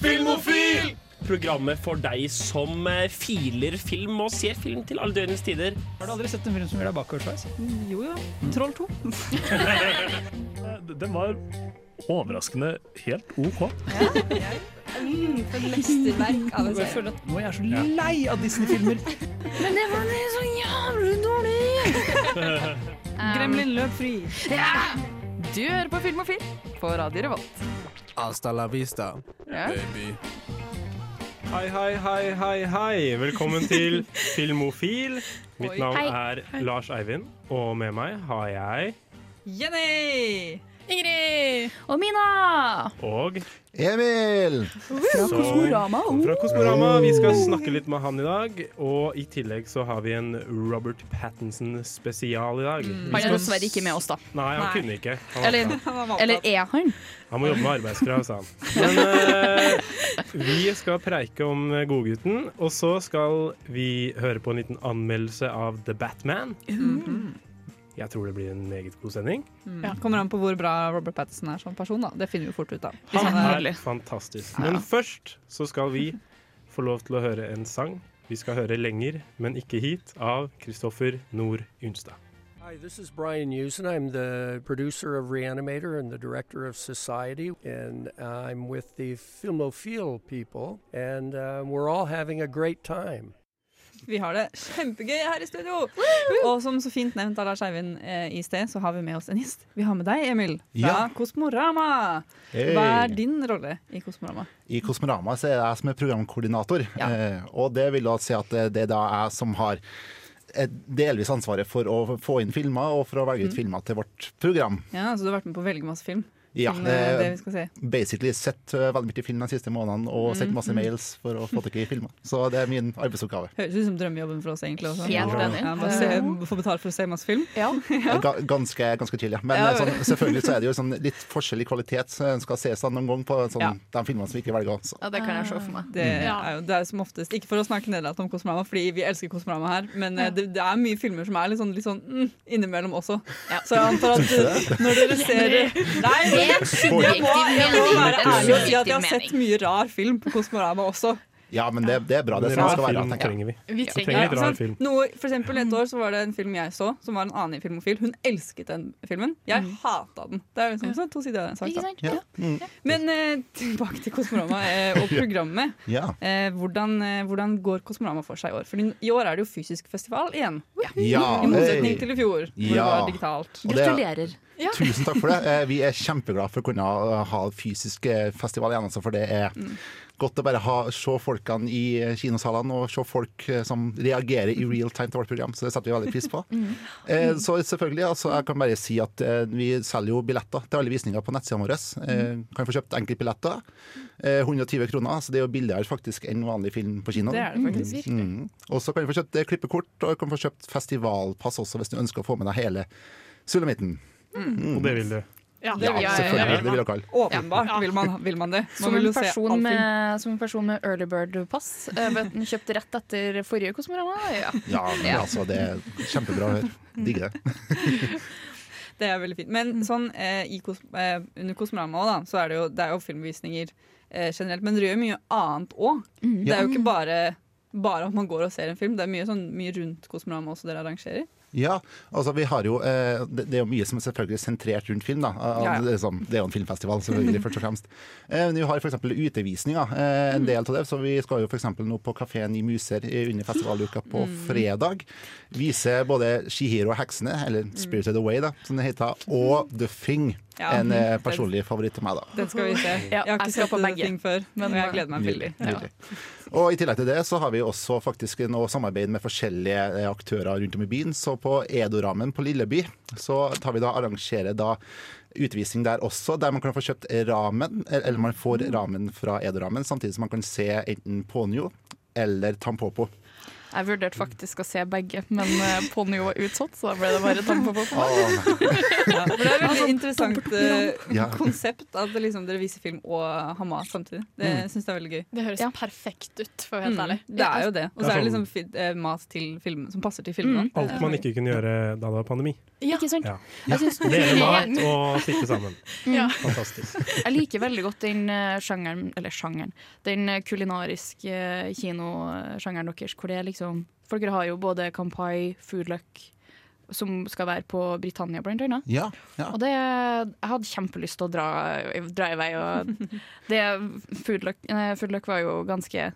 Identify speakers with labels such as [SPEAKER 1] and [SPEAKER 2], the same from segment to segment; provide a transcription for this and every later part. [SPEAKER 1] Filmofil! Programmet for deg som eh, filer film og ser film til alle døgnets tider.
[SPEAKER 2] Har du aldri sett en film som gjør deg bakoversveis?
[SPEAKER 3] Jo jo. Troll 2.
[SPEAKER 4] Den var overraskende helt OK.
[SPEAKER 3] Mm, for et mesterverk av en
[SPEAKER 2] Jeg
[SPEAKER 3] serie.
[SPEAKER 2] føler at nå er jeg så lei av Disney-filmer.
[SPEAKER 5] Men det var så jævlig dårlig!
[SPEAKER 3] Gremlin løp fri.
[SPEAKER 5] Du hører på Filmofil på Radio Revolt.
[SPEAKER 6] Hasta la vista,
[SPEAKER 5] Ja.
[SPEAKER 6] baby.
[SPEAKER 1] Hei, hei, hei, hei, hei. Velkommen til Filmofil. Mitt navn
[SPEAKER 5] Hei.
[SPEAKER 1] er Lars Eivind, og med meg har jeg
[SPEAKER 3] Jenny!
[SPEAKER 5] Ingrid! Og Mina!
[SPEAKER 1] og
[SPEAKER 7] Emil!
[SPEAKER 1] så- fra Kosmorama. Vi skal snakke litt med han i dag. Og i tillegg så har vi en Robert Pattinson-spesial i dag.
[SPEAKER 5] Han er dessverre ikke med oss, da.
[SPEAKER 1] Nei, han
[SPEAKER 3] Nei.
[SPEAKER 1] kunne ikke. Han, var
[SPEAKER 5] Eller,
[SPEAKER 1] opptatt.
[SPEAKER 5] eller er han?
[SPEAKER 1] han må jobbe med arbeidskrav, sa han. Men eh, vi skal preike om Godgutten, og så skal vi høre på en liten anmeldelse av The Batman. Jeg tror det blir en meget god sending.
[SPEAKER 3] Mm. Ja, kommer an på hvor bra Robert Pattinson er som person. da. Det finner vi fort ut av. Hvis
[SPEAKER 1] Han
[SPEAKER 3] han er-
[SPEAKER 1] er fantastisk. Men først så skal vi få lov til å høre en sang. Vi skal høre lenger, men ikke hit, av Kristoffer Nord Unstad.
[SPEAKER 8] Hi, this is Brian Usen. I'm the producer of Reanimator and the director of Society, and uh, I'm with the Filmophile people, and uh, we're all having a great time.
[SPEAKER 3] Vi har det kjempegøy her i studio! Og som så fint nevnt av Lars Eivind eh, i sted, så har vi med oss en gjest. Vi har med deg, Emil, fra
[SPEAKER 7] Ja.
[SPEAKER 3] Kosmorama. Hva er
[SPEAKER 7] Hey.
[SPEAKER 3] din rolle i Kosmorama?
[SPEAKER 7] I Kosmorama så er det jeg som er programkoordinator.
[SPEAKER 3] Ja.
[SPEAKER 7] Eh, og det vil da si at eh, det det er da jeg som har eh, delvis ansvaret for å få inn filmer, og for å
[SPEAKER 3] Mm.
[SPEAKER 7] velge ut filmer til vårt program.
[SPEAKER 3] Ja, Så du har vært med på å velge masse film?
[SPEAKER 7] Ja,
[SPEAKER 3] til, eh, det
[SPEAKER 7] eh,
[SPEAKER 3] vi skal se.
[SPEAKER 7] basically sett eh, veldig mye film de siste månedene, og
[SPEAKER 3] Mm,
[SPEAKER 7] sett masse mails for å få tak i filmer. Så det er min arbeidsoppgave.
[SPEAKER 3] Høres ut som drømmejobben for oss, egentlig. Også.
[SPEAKER 5] Helt enig.
[SPEAKER 3] Ja, bare se- Få betalt for å se masse film.
[SPEAKER 5] Ja.
[SPEAKER 7] Ga ganske, ganske chill, ja. Men
[SPEAKER 3] Ja,
[SPEAKER 7] eh,
[SPEAKER 3] vel.
[SPEAKER 7] sånn, selvfølgelig så er det jo sånn litt forskjellig kvalitet så en skal ses da noen gang på sånn,
[SPEAKER 3] Ja.
[SPEAKER 7] de filmene som vi ikke velger. Så.
[SPEAKER 5] ja, det kan jeg se for meg.
[SPEAKER 3] Det
[SPEAKER 1] Mm.
[SPEAKER 3] er jo det er som oftest Ikke for å snakke nedlatende om Kosmorama, fordi vi elsker Kosmorama her, men eh, det, det er mye filmer som er litt sånn, litt sånn mm, innimellom også. Så jeg antar at eh, når dere ser Nei,
[SPEAKER 5] Det er en
[SPEAKER 3] Jeg må, jeg må være ærlig og si at jeg har
[SPEAKER 5] mening.
[SPEAKER 3] sett mye rar film på Kosmorama også.
[SPEAKER 7] Ja, men det, det er bra. Det er sånn det
[SPEAKER 1] Rar
[SPEAKER 7] skal være.
[SPEAKER 1] film
[SPEAKER 7] tenker jeg.
[SPEAKER 1] trenger vi.
[SPEAKER 5] Vi
[SPEAKER 1] Vi trenger litt rar
[SPEAKER 3] sant?
[SPEAKER 1] film.
[SPEAKER 3] Noe, for eksempel Et år så var det en film jeg så, som var en annen filmofil. Hun elsket den filmen. Jeg hata den. Det er jo liksom, sånn, to sider av den
[SPEAKER 5] Mm. Ikke
[SPEAKER 3] saken.
[SPEAKER 5] sant? Ja.
[SPEAKER 3] Men eh, tilbake til Kosmorama eh, og programmet.
[SPEAKER 7] Ja.
[SPEAKER 3] Eh, hvordan, eh, hvordan går Kosmorama for seg i år? Fordi I år er det jo fysisk festival igjen.
[SPEAKER 7] Ja,
[SPEAKER 3] I motsetning
[SPEAKER 7] hey.
[SPEAKER 3] til i fjor, hvor det
[SPEAKER 7] Ja.
[SPEAKER 3] var digitalt.
[SPEAKER 7] Og det-
[SPEAKER 5] Gratulerer.
[SPEAKER 7] Tusen takk for det. Eh, Vi er kjempeglade for å kunne ha fysisk eh, festival igjen, altså, for det er
[SPEAKER 3] Mm.
[SPEAKER 7] godt å bare ha, se folkene i eh, kinosalene og se folk eh, som reagerer i real time til vårt program, så det setter vi veldig pris på.
[SPEAKER 3] Mm.
[SPEAKER 7] Eh, Så selvfølgelig, altså, jeg kan bare si at eh, vi selger jo billetter til alle visninger på nettsidene våre. Eh,
[SPEAKER 3] Mm.
[SPEAKER 7] Kan få kjøpt enkeltbilletter. Eh, 120 kroner, så det er jo billigere faktisk enn vanlig film på kino.
[SPEAKER 3] Det er det faktisk.
[SPEAKER 7] Mm. Og så kan du få kjøpt eh, klippekort, og du kan få kjøpt festivalpass også, hvis du ønsker å få med deg hele sulamitten.
[SPEAKER 1] Og det vil du.
[SPEAKER 7] Ja,
[SPEAKER 5] vil jeg.
[SPEAKER 7] selvfølgelig. Det vil dere alle.
[SPEAKER 3] Åpenbart vil, man, vil man det. Man
[SPEAKER 5] Som
[SPEAKER 3] vil
[SPEAKER 5] en,
[SPEAKER 3] jo se all
[SPEAKER 5] person
[SPEAKER 3] film.
[SPEAKER 5] med, som en person med early bird-pass. eh, ble den Kjøpt rett etter forrige Kosmorama. Ja.
[SPEAKER 7] Ja, Mm. men altså, det er kjempebra å høre. Digger det.
[SPEAKER 3] Det er veldig fint. Men
[SPEAKER 5] Mm.
[SPEAKER 3] sånn, eh, i kos eh, under Kosmorama også, da, så er det jo, det er jo filmvisninger eh, generelt. Men dere gjør mye annet òg.
[SPEAKER 5] Mm.
[SPEAKER 3] Det er jo ikke bare, bare at man går og ser en film. Det er mye, sånn, mye rundt Kosmorama også dere arrangerer.
[SPEAKER 7] Ja, altså vi har jo eh, Det det er jo mye som er selvfølgelig sentrert rundt film. da Al-
[SPEAKER 3] Ja, ja.
[SPEAKER 7] Det, er sånn- det er jo en filmfestival, selvfølgelig, først og fremst. Eh, men vi har f.eks. utevisninger,
[SPEAKER 3] Mm.
[SPEAKER 7] eh, en del av det. Så vi skal jo f.eks. nå på Kafeen i Muser eh, under festivaluka på
[SPEAKER 3] Mm.
[SPEAKER 7] fredag. Vise både Shihiro og heksene, eller Spirited Away, da, som det heter, og The Thing.
[SPEAKER 3] Mm. Ja. mm.
[SPEAKER 7] En eh, personlig favoritt til meg, da.
[SPEAKER 3] Den skal vi se. jeg
[SPEAKER 5] Ja,
[SPEAKER 3] har
[SPEAKER 5] jeg
[SPEAKER 3] ikke
[SPEAKER 5] skal
[SPEAKER 3] sett
[SPEAKER 5] på
[SPEAKER 3] den
[SPEAKER 5] begge.
[SPEAKER 3] ting før, men jeg gleder meg veldig.
[SPEAKER 7] Nydelig. nydelig. Og I tillegg til det så har vi også faktisk nå samarbeid med forskjellige eh, aktører rundt om i byen. Så på Edoramen på Lilleby så tar vi da arrangerer da utvisning der også, der man kan få kjøpt ramen, eller eller man får ramen fra Edoramen, samtidig som man kan se enten Ponyo eller Tampopo.
[SPEAKER 5] Jeg vurderte faktisk å se begge, men eh, Ponyo var utsatt, så da ble det bare tanke på på.
[SPEAKER 7] Åh,
[SPEAKER 3] Ja, for det er et veldig interessant eh,
[SPEAKER 7] Ja.
[SPEAKER 3] konsept at det liksom dere viser film og Hamas samtidig. Det
[SPEAKER 7] Mm.
[SPEAKER 3] syns jeg er veldig gøy. Mm.
[SPEAKER 9] Det høres
[SPEAKER 5] Ja. Mm.
[SPEAKER 9] perfekt ut, for å være helt ærlig.
[SPEAKER 3] Det er jo det. Og så
[SPEAKER 1] Det er
[SPEAKER 3] er det
[SPEAKER 1] sånn-
[SPEAKER 7] Mm.
[SPEAKER 3] liksom fi- eh, mat til film, som passer til filmen.
[SPEAKER 1] Alt man ikke kunne gjøre da det var pandemi.
[SPEAKER 5] Ja.
[SPEAKER 9] Ikke sant?
[SPEAKER 1] Ja.
[SPEAKER 9] Jeg syns
[SPEAKER 1] Dele mat og sitte sammen.
[SPEAKER 5] Ja.
[SPEAKER 1] Fantastisk.
[SPEAKER 5] Jeg liker veldig godt den eh, sjangeren, eller sjangeren, den eh, kulinariske eh, kinosjangeren deres, hvor det er liksom For dere har jo både Kampai, Foodluck, som skal være på Britannia, blant annet.
[SPEAKER 7] Ja, ja.
[SPEAKER 5] Og det, jeg hadde kjempelyst til å dra, dra i vei. Og det, Foodluck, nei, Foodluck var jo ganske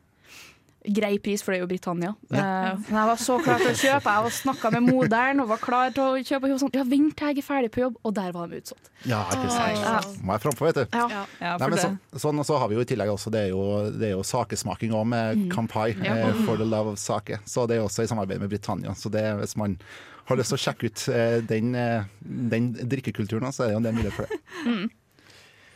[SPEAKER 5] grei pris, for det er jo Britannia. Eh, men jeg var så klar til å kjøpe. Jeg snakka med moderen og var klar til å kjøpe. Og hun var sånn, ja, vent til jeg er ferdig på jobb. Og der var de utsolgt.
[SPEAKER 7] ja ikke
[SPEAKER 5] Ja.
[SPEAKER 7] sant. Må være frampå, vet du.
[SPEAKER 5] Ja.
[SPEAKER 3] Ja,
[SPEAKER 7] Nei,
[SPEAKER 3] for
[SPEAKER 7] men så,
[SPEAKER 3] det.
[SPEAKER 7] sånn, og så har vi jo i tillegg også, det er jo, det er jo sakesmaking også med
[SPEAKER 3] Mm.
[SPEAKER 7] Kampai, eh, For the love of sake. Så det er også i samarbeid med Britannia. Så det, hvis man har lyst til å sjekke ut eh, den, eh, den drikkekulturen, så er det jo en del mulighet for det.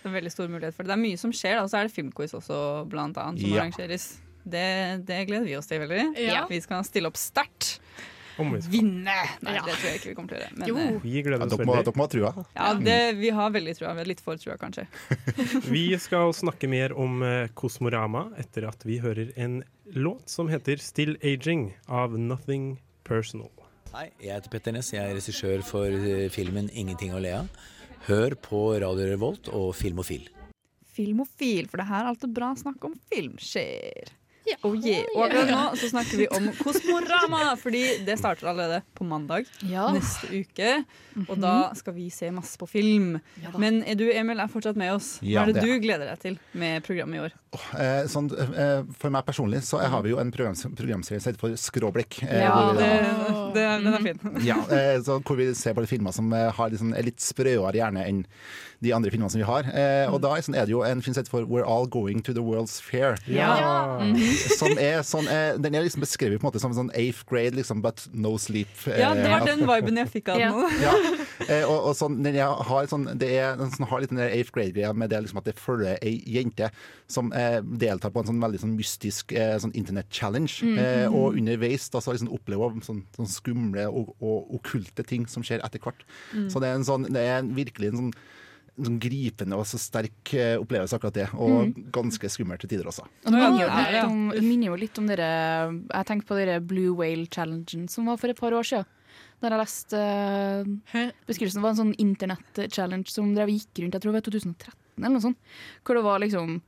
[SPEAKER 3] Det er veldig stor mulighet for det. Det er mye som skjer, da. Og så er det filmquiz også, blant annet, som
[SPEAKER 7] Ja.
[SPEAKER 3] arrangeres. Det, det gleder vi oss til veldig.
[SPEAKER 5] Ja.
[SPEAKER 3] Vi skal stille opp sterkt.
[SPEAKER 1] Om vi-
[SPEAKER 3] Vinne! Nei,
[SPEAKER 5] Ja.
[SPEAKER 3] det tror jeg ikke vi kommer til å gjøre. Men
[SPEAKER 5] Jo.
[SPEAKER 3] eh,
[SPEAKER 1] Vi gleder
[SPEAKER 7] Ja,
[SPEAKER 1] oss
[SPEAKER 7] dere, må,
[SPEAKER 1] veldig.
[SPEAKER 7] dere må ha trua.
[SPEAKER 3] ja, det, vi har veldig trua. Vi har Litt for trua, kanskje.
[SPEAKER 1] Vi skal snakke mer om eh, Kosmorama etter at vi hører en låt som heter 'Still Aging' av Nothing Personal.
[SPEAKER 10] Hei, jeg heter Petter Ness. Jeg er regissør for eh, filmen 'Ingenting å le av'. Hør på Radio Revolt og Filmofil.
[SPEAKER 3] Filmofil, for det her er alltid bra snakk om filmskjer. Oh yeah. Og akkurat nå så snakker vi om Kosmorama, fordi det starter allerede på mandag
[SPEAKER 5] Ja.
[SPEAKER 3] neste uke. Og da skal vi se masse på film. Men er du, Emil, er fortsatt med oss. Hva
[SPEAKER 7] Ja,
[SPEAKER 3] er det
[SPEAKER 7] det er
[SPEAKER 3] du gleder deg til med programmet i år?
[SPEAKER 7] Eh, sånn, eh, for meg personlig så har vi jo en program, programserie som heter for Skråblikk. eh,
[SPEAKER 3] Ja,
[SPEAKER 7] hvor vi da-
[SPEAKER 3] det, det, den er fin.
[SPEAKER 7] Ja, eh, så hvor vi ser på de filmer som eh, har liksom, er litt sprøere gjerne enn de andre filmene som vi har. Eh, og da er sånn, er det jo en film som heter for We're All Going to the World's Fair. Som er sånn, eh, den er liksom beskrevet på en måte som en sånn eighth grade, liksom, but no sleep. eh,
[SPEAKER 3] Ja, det var den viben jeg fikk av
[SPEAKER 5] Ja.
[SPEAKER 3] den nå.
[SPEAKER 7] ja. Eh, og, og sånn, den jeg har, sånn, det er, den sånn, har litt den der eighth grade-greia med det liksom at det følger ei jente som eh, deltar på en sånn veldig sånn mystisk eh, sånn internett-challenge.
[SPEAKER 3] Mm.
[SPEAKER 7] Eh, og underveis da, så liksom opplever hun sånn, sånn skumle og, og okkulte ting som skjer etter hvert.
[SPEAKER 3] Mm.
[SPEAKER 7] Så det er, en sånn, det er en, virkelig en sånn en sånn gripende og så sterk eh, opplevelse, akkurat det. Og
[SPEAKER 3] Mm.
[SPEAKER 7] ganske skummelt til tider også.
[SPEAKER 5] Og det
[SPEAKER 3] Ja,
[SPEAKER 5] minner jo,
[SPEAKER 3] det er
[SPEAKER 5] litt
[SPEAKER 3] det.
[SPEAKER 5] om, det minner jo litt om dere Jeg tenker på dere Blue Whale Challengen som var for et par år siden. Der jeg leste eh, beskrivelsen. Det var en sånn internett-challenge som dere gikk rundt jeg tror det var 2013 eller noe sånt. Hvor det var liksom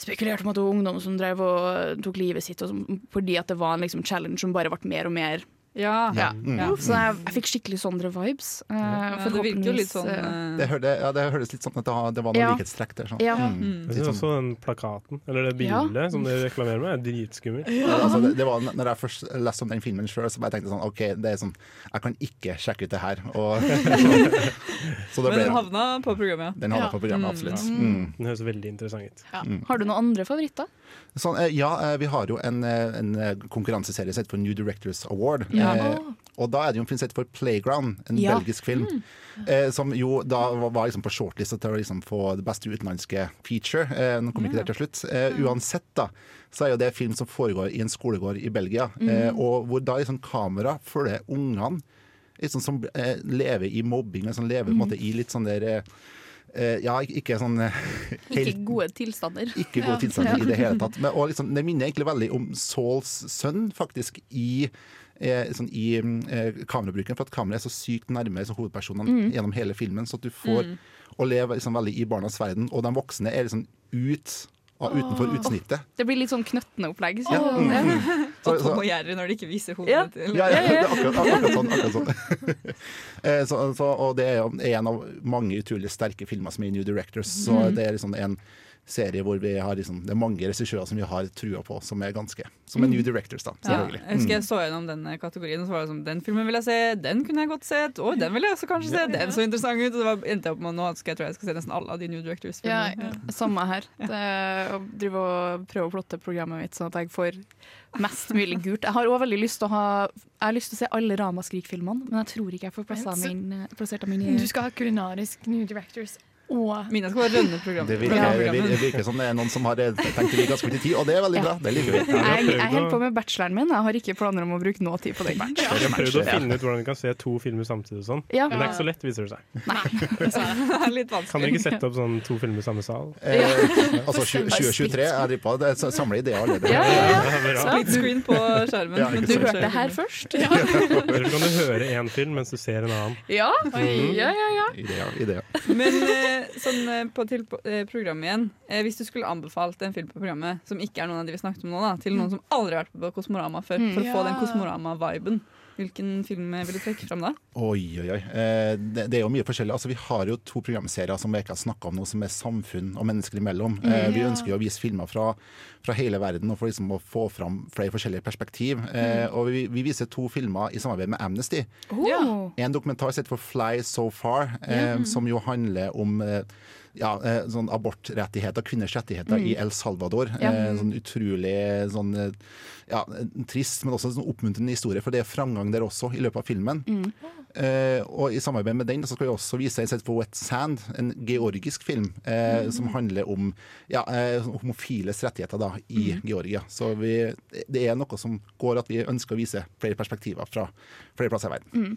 [SPEAKER 5] spekulert om at det var ungdom som drev og eh, tok livet sitt og som, fordi at det var en liksom challenge som bare ble mer og mer.
[SPEAKER 3] Ja.
[SPEAKER 5] Ja.
[SPEAKER 3] Ja.
[SPEAKER 5] Så jeg, jeg fikk skikkelig sånne vibes. eh,
[SPEAKER 3] Ja, det virker jo litt
[SPEAKER 5] forhåpentligvis,
[SPEAKER 3] sånn
[SPEAKER 5] eh,
[SPEAKER 3] eh,
[SPEAKER 7] Det, hørte, ja, det hørtes litt sånn at det, har- det var noen
[SPEAKER 5] Ja.
[SPEAKER 7] likhetstrekk der. Sånn.
[SPEAKER 5] Ja.
[SPEAKER 7] Mm.
[SPEAKER 1] Jeg synes også den plakaten, eller det
[SPEAKER 5] Ja.
[SPEAKER 1] bildet som dere reklamerer med, er dritskummelt.
[SPEAKER 7] Ja, altså, det, det var n- når jeg først leste om den filmen sjøl, så bare tenkte jeg sånn OK, det er sånn, jeg kan ikke sjekke ut det her. Og, så, så det
[SPEAKER 3] Men
[SPEAKER 7] ble
[SPEAKER 3] den havna på programmet, ja.
[SPEAKER 7] den havna på programmet, absolutt. Mm.
[SPEAKER 1] Den høres veldig interessant ut.
[SPEAKER 5] ja. Har du noen andre favoritter?
[SPEAKER 7] Sånn, eh, ja, eh, vi har jo en, eh, en eh, konkurranseserie som heter for New Directors Award.
[SPEAKER 5] Ja.
[SPEAKER 7] Eh, og da er det jo en film som heter for Playground, en
[SPEAKER 5] Ja. Mm.
[SPEAKER 7] belgisk film. Eh, som jo da var, var liksom på shortlista til å liksom få det beste utenlandske feature. Eh, nå kom ikke det til slutt.
[SPEAKER 5] Mm.
[SPEAKER 7] Eh, uansett, da, så er jo det film som foregår i en skolegård i Belgia. Eh,
[SPEAKER 5] Mm.
[SPEAKER 7] og hvor da liksom kamera følger ungene liksom, som eh, lever i mobbing, og som lever
[SPEAKER 5] Mm.
[SPEAKER 7] på en måte i litt sånn der eh, eh, Ja, ikke- ikke sånn eh, helt
[SPEAKER 5] Ikke gode tilstander.
[SPEAKER 7] ikke gode tilstander i det hele tatt. Men, og liksom, det minner egentlig veldig om Sauls sønn, faktisk, i, eh, sånn, i mm, eh, kamerabruken. For at kameraet er så sykt nærme liksom, hovedpersonene gjennom hele filmen, så at du får å leve liksom, veldig i barnas verden. Og de voksne er liksom ut av, utenfor utsnittet.
[SPEAKER 5] Det blir litt sånn knøttende opplegg.
[SPEAKER 7] Ja.
[SPEAKER 5] Ja.
[SPEAKER 7] Mm, mm. Så-
[SPEAKER 3] Og Tom
[SPEAKER 7] så-
[SPEAKER 3] og Jerry når de ikke viser hodet
[SPEAKER 5] Ja.
[SPEAKER 3] til
[SPEAKER 7] ja, ja, det er akkurat, akkurat sånn. Akkurat sånn. Eh, så, så, og det er jo en av mange utrolig sterke filmer som er i New Directors. Så det er liksom en serie hvor vi har liksom, det er mange regissører som vi har trua på, som er ganske Som er New Directors, da.
[SPEAKER 3] Ja,
[SPEAKER 7] Selvfølgelig.
[SPEAKER 3] jeg husker jeg så gjennom den kategorien, og så var det sånn Den filmen vil jeg se, den kunne jeg godt sett, og den vil jeg også kanskje se, den så interessant ut. Og det var, endte jeg opp med nå at skal jeg tror jeg skal se nesten alle av de New
[SPEAKER 5] Ja,
[SPEAKER 3] Directors-filmene.
[SPEAKER 5] samme her. Det, å drive og prøve å plotte programmet mitt sånn at jeg får mest mulig gult. Jeg har også veldig lyst til å ha Jeg har lyst til å se alle Rama Skrik-filmene, men jeg tror ikke jeg får plassert
[SPEAKER 9] Men så-
[SPEAKER 11] Mm.
[SPEAKER 5] min, plassert dem inn i
[SPEAKER 9] Du skal ha kulinarisk New Directors
[SPEAKER 5] Åh.
[SPEAKER 3] Mina skal bare rønne programmet.
[SPEAKER 7] Det virker,
[SPEAKER 5] Ja.
[SPEAKER 7] det virker, det virker som det er noen som har tenkt å gi ganske mye tid, og det er veldig bra. Det liker vi.
[SPEAKER 1] har
[SPEAKER 5] Jeg,
[SPEAKER 1] prøvd
[SPEAKER 5] jeg holder
[SPEAKER 1] å-
[SPEAKER 5] på med bacheloren min. Jeg har ikke planer om å bruke noe tid på det.
[SPEAKER 1] Jeg har prøvd å finne ut hvordan du kan se to filmer samtidig og sånn.
[SPEAKER 5] Ja.
[SPEAKER 1] Men det er ikke så lett, viser det seg.
[SPEAKER 3] Det er litt
[SPEAKER 1] Kan dere
[SPEAKER 3] vanskelig.
[SPEAKER 1] ikke sette opp sånn to filmer i samme sal?
[SPEAKER 7] Eh, altså 20- 2023 er de på det er samler ideer allerede.
[SPEAKER 5] Ja, ja, ja.
[SPEAKER 1] Det er bra.
[SPEAKER 3] Split screen på skjermen.
[SPEAKER 7] Ja, ikke
[SPEAKER 3] men
[SPEAKER 5] Du
[SPEAKER 3] du
[SPEAKER 5] hørte
[SPEAKER 3] ser
[SPEAKER 5] det her
[SPEAKER 3] filmen.
[SPEAKER 5] først?
[SPEAKER 1] Eller kan du høre én film mens du ser en annen?
[SPEAKER 5] Ja. ja, ja, ja.
[SPEAKER 7] Ideer, ideer.
[SPEAKER 3] Men eh, sånn eh, på til eh, programmet igjen eh, Hvis du skulle anbefalt en film på programmet som ikke er noen av de vi snakket om nå, da, til
[SPEAKER 5] Mm.
[SPEAKER 3] noen som aldri har vært på Kosmorama før, for å få den Kosmorama-viben, hvilken film eh, vil du trekke fram da?
[SPEAKER 7] Oi, oi, oi. Eh, Det, det er jo mye forskjellig. Altså, vi har jo to programserier som vi ikke har snakka om nå, som er samfunn og mennesker imellom. Eh, vi ønsker jo å vise filmer fra, fra hele verden og for liksom å få fram flere forskjellige perspektiv. Eh, og vi, vi viser to filmer i samarbeid med Amnesty.
[SPEAKER 5] Oh.
[SPEAKER 7] En dokumentar som heter for 'Fly So Far', eh, som jo handler om eh, ja, eh, sånn abortrettigheter, kvinners rettigheter i El Salvador.
[SPEAKER 5] Ja.
[SPEAKER 7] Eh, sånn utrolig sånn, eh, ja, trist, men også sånn oppmuntrende historie, for det er framgang der også i løpet av filmen. Eh, og I samarbeid med den så skal vi også vise en sett på Wet Sand, en georgisk film eh, som handler om ja, eh, homofiles rettigheter da, i Georgia. Så vi, det er noe som går at vi ønsker å vise flere perspektiver fra flere plasser i verden.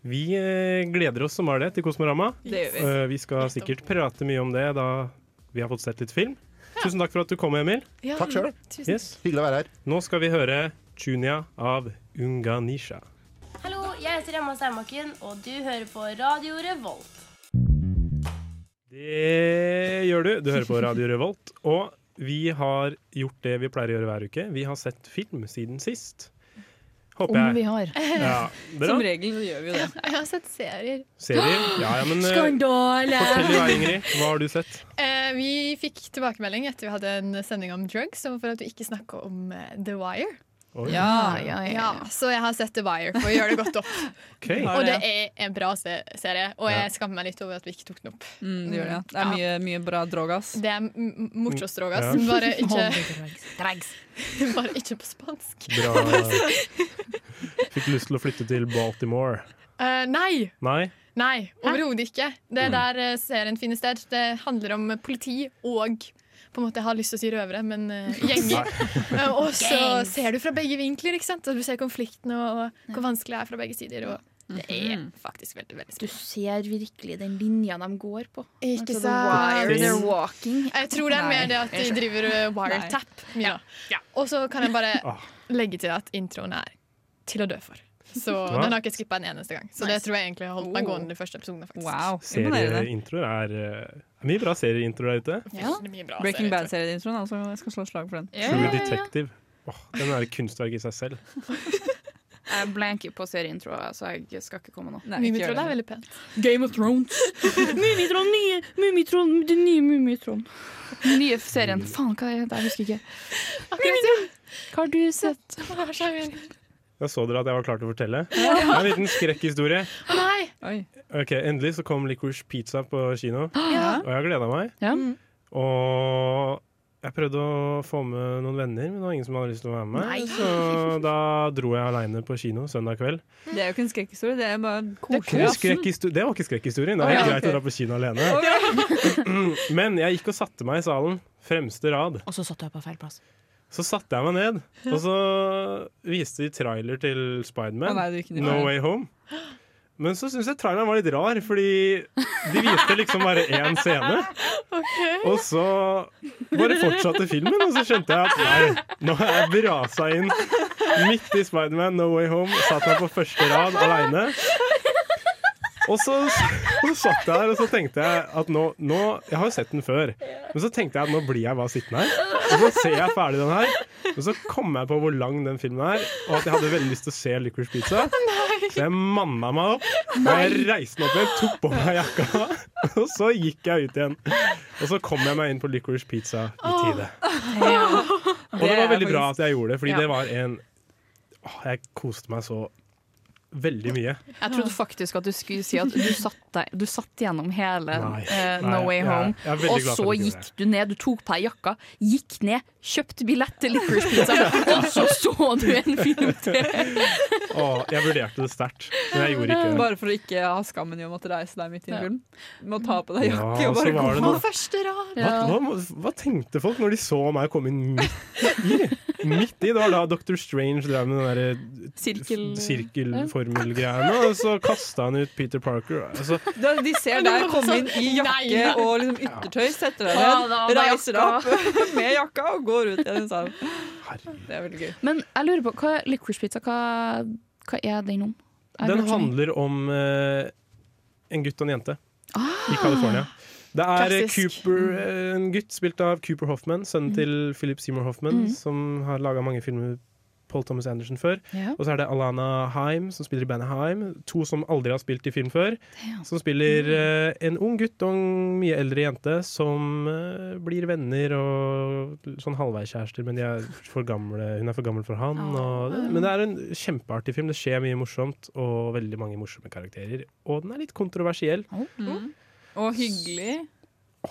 [SPEAKER 1] Vi eh, gleder oss som var det til Kosmorama.
[SPEAKER 3] Det gjør vi.
[SPEAKER 1] Eh, vi skal sikkert prate mye om det da vi har fått sett litt film. Tusen takk for at du kom, Emil.
[SPEAKER 7] Takk sjøl.
[SPEAKER 1] Yes.
[SPEAKER 7] Hyggelig å være her.
[SPEAKER 1] Nå skal vi høre Chunia av Unganisha.
[SPEAKER 9] Hallo, jeg heter Emma Steinbakken, og du hører på Radio Revolt.
[SPEAKER 1] Det gjør du. Du hører på Radio Revolt. Og vi har gjort det vi pleier å gjøre hver uke. Vi har sett film siden sist.
[SPEAKER 5] Om
[SPEAKER 1] Håper
[SPEAKER 5] vi
[SPEAKER 1] jeg.
[SPEAKER 5] har.
[SPEAKER 1] Ja, bra.
[SPEAKER 3] Som regel så gjør vi jo det.
[SPEAKER 11] Jeg har sett serier.
[SPEAKER 1] Serier. Ja, ja, men eh,
[SPEAKER 11] Skandale!
[SPEAKER 1] fortell i vei, Ingrid. Hva har du sett?
[SPEAKER 11] Eh, vi fikk tilbakemelding etter vi hadde en sending om drugs om for at vi ikke snakka om eh, The Wire.
[SPEAKER 1] Oi,
[SPEAKER 3] Ja,
[SPEAKER 5] ja,
[SPEAKER 11] Ja, Så jeg har sett The Wire for å gjøre det godt opp.
[SPEAKER 1] OK.
[SPEAKER 11] Og det er en bra se serie, og jeg skammer meg litt over at vi ikke tok den opp.
[SPEAKER 3] mm, det, gjør det. det er mye, mye bra drogas.
[SPEAKER 11] Det er morsomt,
[SPEAKER 1] Ja.
[SPEAKER 11] bare ikke,
[SPEAKER 5] Dregs.
[SPEAKER 11] bare ikke på spansk.
[SPEAKER 1] Bra. Fikk lyst til å flytte til Baltimore.
[SPEAKER 11] Eh, nei!
[SPEAKER 1] Nei?
[SPEAKER 11] Nei, overhodet ikke. Det er der eh, serien finner sted. Det handler om eh, politi og på en måte, Jeg har lyst til å si røvere, men eh, gjenger. Eh, og så ser du fra begge vinkler. ikke sant? Og du ser konfliktene og, og hvor vanskelig det er fra begge sider. Og det er faktisk veldig veldig
[SPEAKER 5] Du
[SPEAKER 11] spennende.
[SPEAKER 5] ser virkelig den linja de går på.
[SPEAKER 11] Ikke
[SPEAKER 5] Altså,
[SPEAKER 11] sant?
[SPEAKER 5] The wire they're walking.
[SPEAKER 11] Jeg tror det er mer det at de driver eh, wiretap. Mia. Og så kan jeg bare
[SPEAKER 1] Ah.
[SPEAKER 11] legge til at introen er til å dø for. Så
[SPEAKER 1] Hva?
[SPEAKER 11] Den har ikke skippa en eneste gang. Så det tror jeg egentlig har holdt meg gående de første episodene. faktisk.
[SPEAKER 3] Wow, imponerende.
[SPEAKER 1] Serieintroer er eh, det er mye bra serieintroer der ute.
[SPEAKER 11] Det er mye bra
[SPEAKER 3] Breaking
[SPEAKER 11] serier, tror jeg.
[SPEAKER 3] Bad-serieintroen. Altså, jeg skal slå slag for den.
[SPEAKER 1] True Detective. Åh, den er et kunstverk i seg selv.
[SPEAKER 5] Jeg blanker på serieintroa, så jeg skal ikke komme nå.
[SPEAKER 3] Nei, ikke gjør
[SPEAKER 11] Mummitrollet er
[SPEAKER 3] det.
[SPEAKER 11] veldig pent.
[SPEAKER 5] Game of Thrones. Mummitroll, nye Mummitroll, den nye Mummitrollen. Den nye serien. Faen, hva er det? Jeg husker ikke. Hva har du sett?
[SPEAKER 1] Da så dere at jeg var klar til å fortelle. Det er En liten skrekkhistorie.
[SPEAKER 11] Å nei!
[SPEAKER 3] Oi.
[SPEAKER 1] Ok, Endelig så kom Licorice Pizza på kino, og jeg gleda meg.
[SPEAKER 5] Ja.
[SPEAKER 1] Og jeg prøvde å få med noen venner, men det var ingen som hadde lyst til å være med.
[SPEAKER 5] Nei.
[SPEAKER 1] Så da dro jeg aleine på kino søndag kveld.
[SPEAKER 3] Det er jo ikke en skrekkhistorie, det er bare
[SPEAKER 1] Det,
[SPEAKER 3] koselig.
[SPEAKER 1] er skrekkhisto- det var ikke skrekkhistorien. Det
[SPEAKER 3] Å,
[SPEAKER 1] er
[SPEAKER 3] ja,
[SPEAKER 1] helt greit
[SPEAKER 3] ok.
[SPEAKER 1] å dra på kino alene. Men jeg gikk og satte meg i salen. Fremste rad.
[SPEAKER 5] Og så satt jeg på feil plass.
[SPEAKER 1] Så satte jeg meg ned, og så viste de trailer til
[SPEAKER 3] Å
[SPEAKER 1] Spiderman.
[SPEAKER 3] nei, du gikk ned.
[SPEAKER 1] No Way Home. Men så syns jeg traileren var litt rar, fordi de viste liksom bare én scene. Og så bare fortsatte filmen, og så skjønte jeg at nei, nå er jeg brasa inn midt i Spiderman No Way Home. Satt meg på første rad aleine. Og så, så satt jeg der og så tenkte jeg at nå, nå Jeg har jo sett den før, men så tenkte jeg at nå blir jeg bare sittende her. Og så ser jeg ferdig den her, men så kom jeg på hvor lang den filmen er, og at jeg hadde veldig lyst til å se Licorice Pizza. Så jeg manna meg opp, og jeg reiste meg opp igjen, tok på meg jakka, og så gikk jeg ut igjen. Og så kom jeg meg inn på Licorice Pizza i tide. Og det var veldig bra at jeg gjorde det, fordi det var en Åh, Jeg koste meg så veldig mye.
[SPEAKER 5] Jeg trodde faktisk at du skulle si at du satt, deg, du satt gjennom hele
[SPEAKER 1] Nei.
[SPEAKER 5] eh,
[SPEAKER 1] Nei,
[SPEAKER 5] No Way
[SPEAKER 1] jeg-
[SPEAKER 5] Home,
[SPEAKER 1] jeg er veldig glad for
[SPEAKER 5] og så
[SPEAKER 1] at du gjorde
[SPEAKER 5] gikk du ned. Du tok på deg jakka, gikk ned, kjøpte billett til Licorice Pizza, og så så du en film til!
[SPEAKER 1] Å, jeg vurderte det sterkt, men jeg gjorde ikke det.
[SPEAKER 3] Bare for å ikke ha skammen i å måtte reise deg midt i en
[SPEAKER 5] Ja.
[SPEAKER 3] film. Du må ta på deg
[SPEAKER 1] Ja,
[SPEAKER 3] jakke og
[SPEAKER 1] så
[SPEAKER 3] bare
[SPEAKER 1] var det
[SPEAKER 3] gå.
[SPEAKER 1] noe-
[SPEAKER 11] Første rad!
[SPEAKER 1] Hva, hva, hva tenkte folk når de så meg komme inn midt i? Midt i, Det var da Dr. Strange drev med den derre
[SPEAKER 5] Sirkel-
[SPEAKER 1] sirkelformelgreiene, og så kasta han ut Peter Parker. Altså,
[SPEAKER 3] Da, de ser deg komme
[SPEAKER 5] sånn,
[SPEAKER 3] inn i jakke
[SPEAKER 11] Nei.
[SPEAKER 3] og liksom yttertøy, setter deg
[SPEAKER 5] Ja,
[SPEAKER 3] ned,
[SPEAKER 5] da, da
[SPEAKER 3] reiser deg opp med jakka og går ut igjen i salen. Det er veldig gøy.
[SPEAKER 5] Men jeg lurer på, hva, Licorice Pizza, hva, hva er den om? Jeg
[SPEAKER 1] den
[SPEAKER 5] lurer på-
[SPEAKER 1] handler om eh, en gutt og en jente i California. Det er eh,
[SPEAKER 5] Klassisk. Mm.
[SPEAKER 1] Cooper, eh, en gutt spilt av Cooper Hoffman, sønnen til Philip Seymour Hoffman,
[SPEAKER 5] Mm.
[SPEAKER 1] som har laga mange filmer med Paul Thomas Anderson før.
[SPEAKER 5] Ja.
[SPEAKER 1] Og så er det Alana Heim, som spiller i bandet Heim. To som aldri har spilt i film før. Som spiller
[SPEAKER 5] Mm.
[SPEAKER 1] eh, en ung gutt og en mye eldre jente som eh, blir venner og sånn halvveiskjærester, men de er for gamle. hun er for gammel for han. Og, men det er en kjempeartig film. Det skjer mye morsomt, og veldig mange morsomme karakterer. Og den er litt kontroversiell.
[SPEAKER 3] Og hyggelig. Er det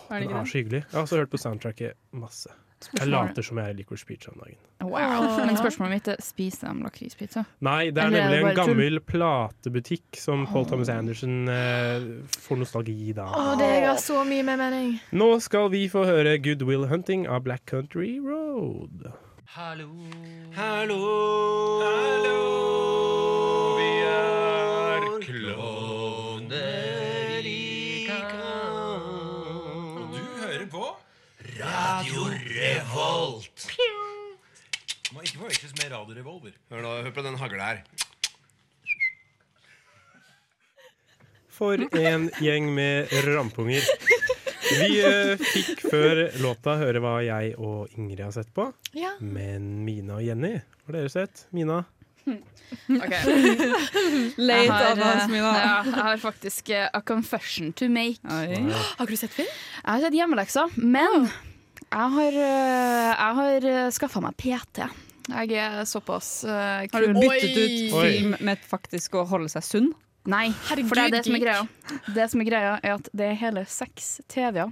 [SPEAKER 1] Den
[SPEAKER 3] ikke
[SPEAKER 1] er
[SPEAKER 3] det?
[SPEAKER 1] så hyggelig. Jeg har også hørt på soundtracket masse. Jeg later som jeg liker speech om dagen.
[SPEAKER 5] Wow. Men spørsmålet mitt er, spiser de lakrispizza?
[SPEAKER 1] Nei, det er
[SPEAKER 5] Eller er det
[SPEAKER 1] nemlig en
[SPEAKER 5] bare tull?
[SPEAKER 1] gammel platebutikk som Paul Thomas Anderson eh, får nostalgi da.
[SPEAKER 11] Å, det ga så mye mer mening.
[SPEAKER 1] Nå skal vi få høre Good Will Hunting av Black Country Road.
[SPEAKER 6] Hallo.
[SPEAKER 12] Hallo. Vi er klovner i kamp. Og du hører på Radio Revolt. Må ikke forveksles med Radio Revolver. Hør, da, hør på den hagla her.
[SPEAKER 1] For en gjeng med rampunger. Vi eh, fikk før låta høre hva jeg og Ingrid har sett på.
[SPEAKER 11] Ja.
[SPEAKER 1] Men Mina og Jenny, hva har dere sett? Mina?
[SPEAKER 3] Late
[SPEAKER 5] Jeg har,
[SPEAKER 3] Adams,
[SPEAKER 5] eh,
[SPEAKER 3] Mina.
[SPEAKER 5] Ja, jeg har faktisk eh, a confession to make.
[SPEAKER 11] Har ikke du sett film?
[SPEAKER 5] Jeg har sett hjemmelekser, men jeg har, eh, jeg har skaffa meg PT. Jeg er såpass eh, kul.
[SPEAKER 3] Har du byttet ut
[SPEAKER 5] Oi.
[SPEAKER 3] film med faktisk å holde seg sunn?
[SPEAKER 5] Nei,
[SPEAKER 3] Herregud,
[SPEAKER 5] for det er det som er
[SPEAKER 3] geek.
[SPEAKER 5] greia. Det som er greia er at det er hele seks TV-er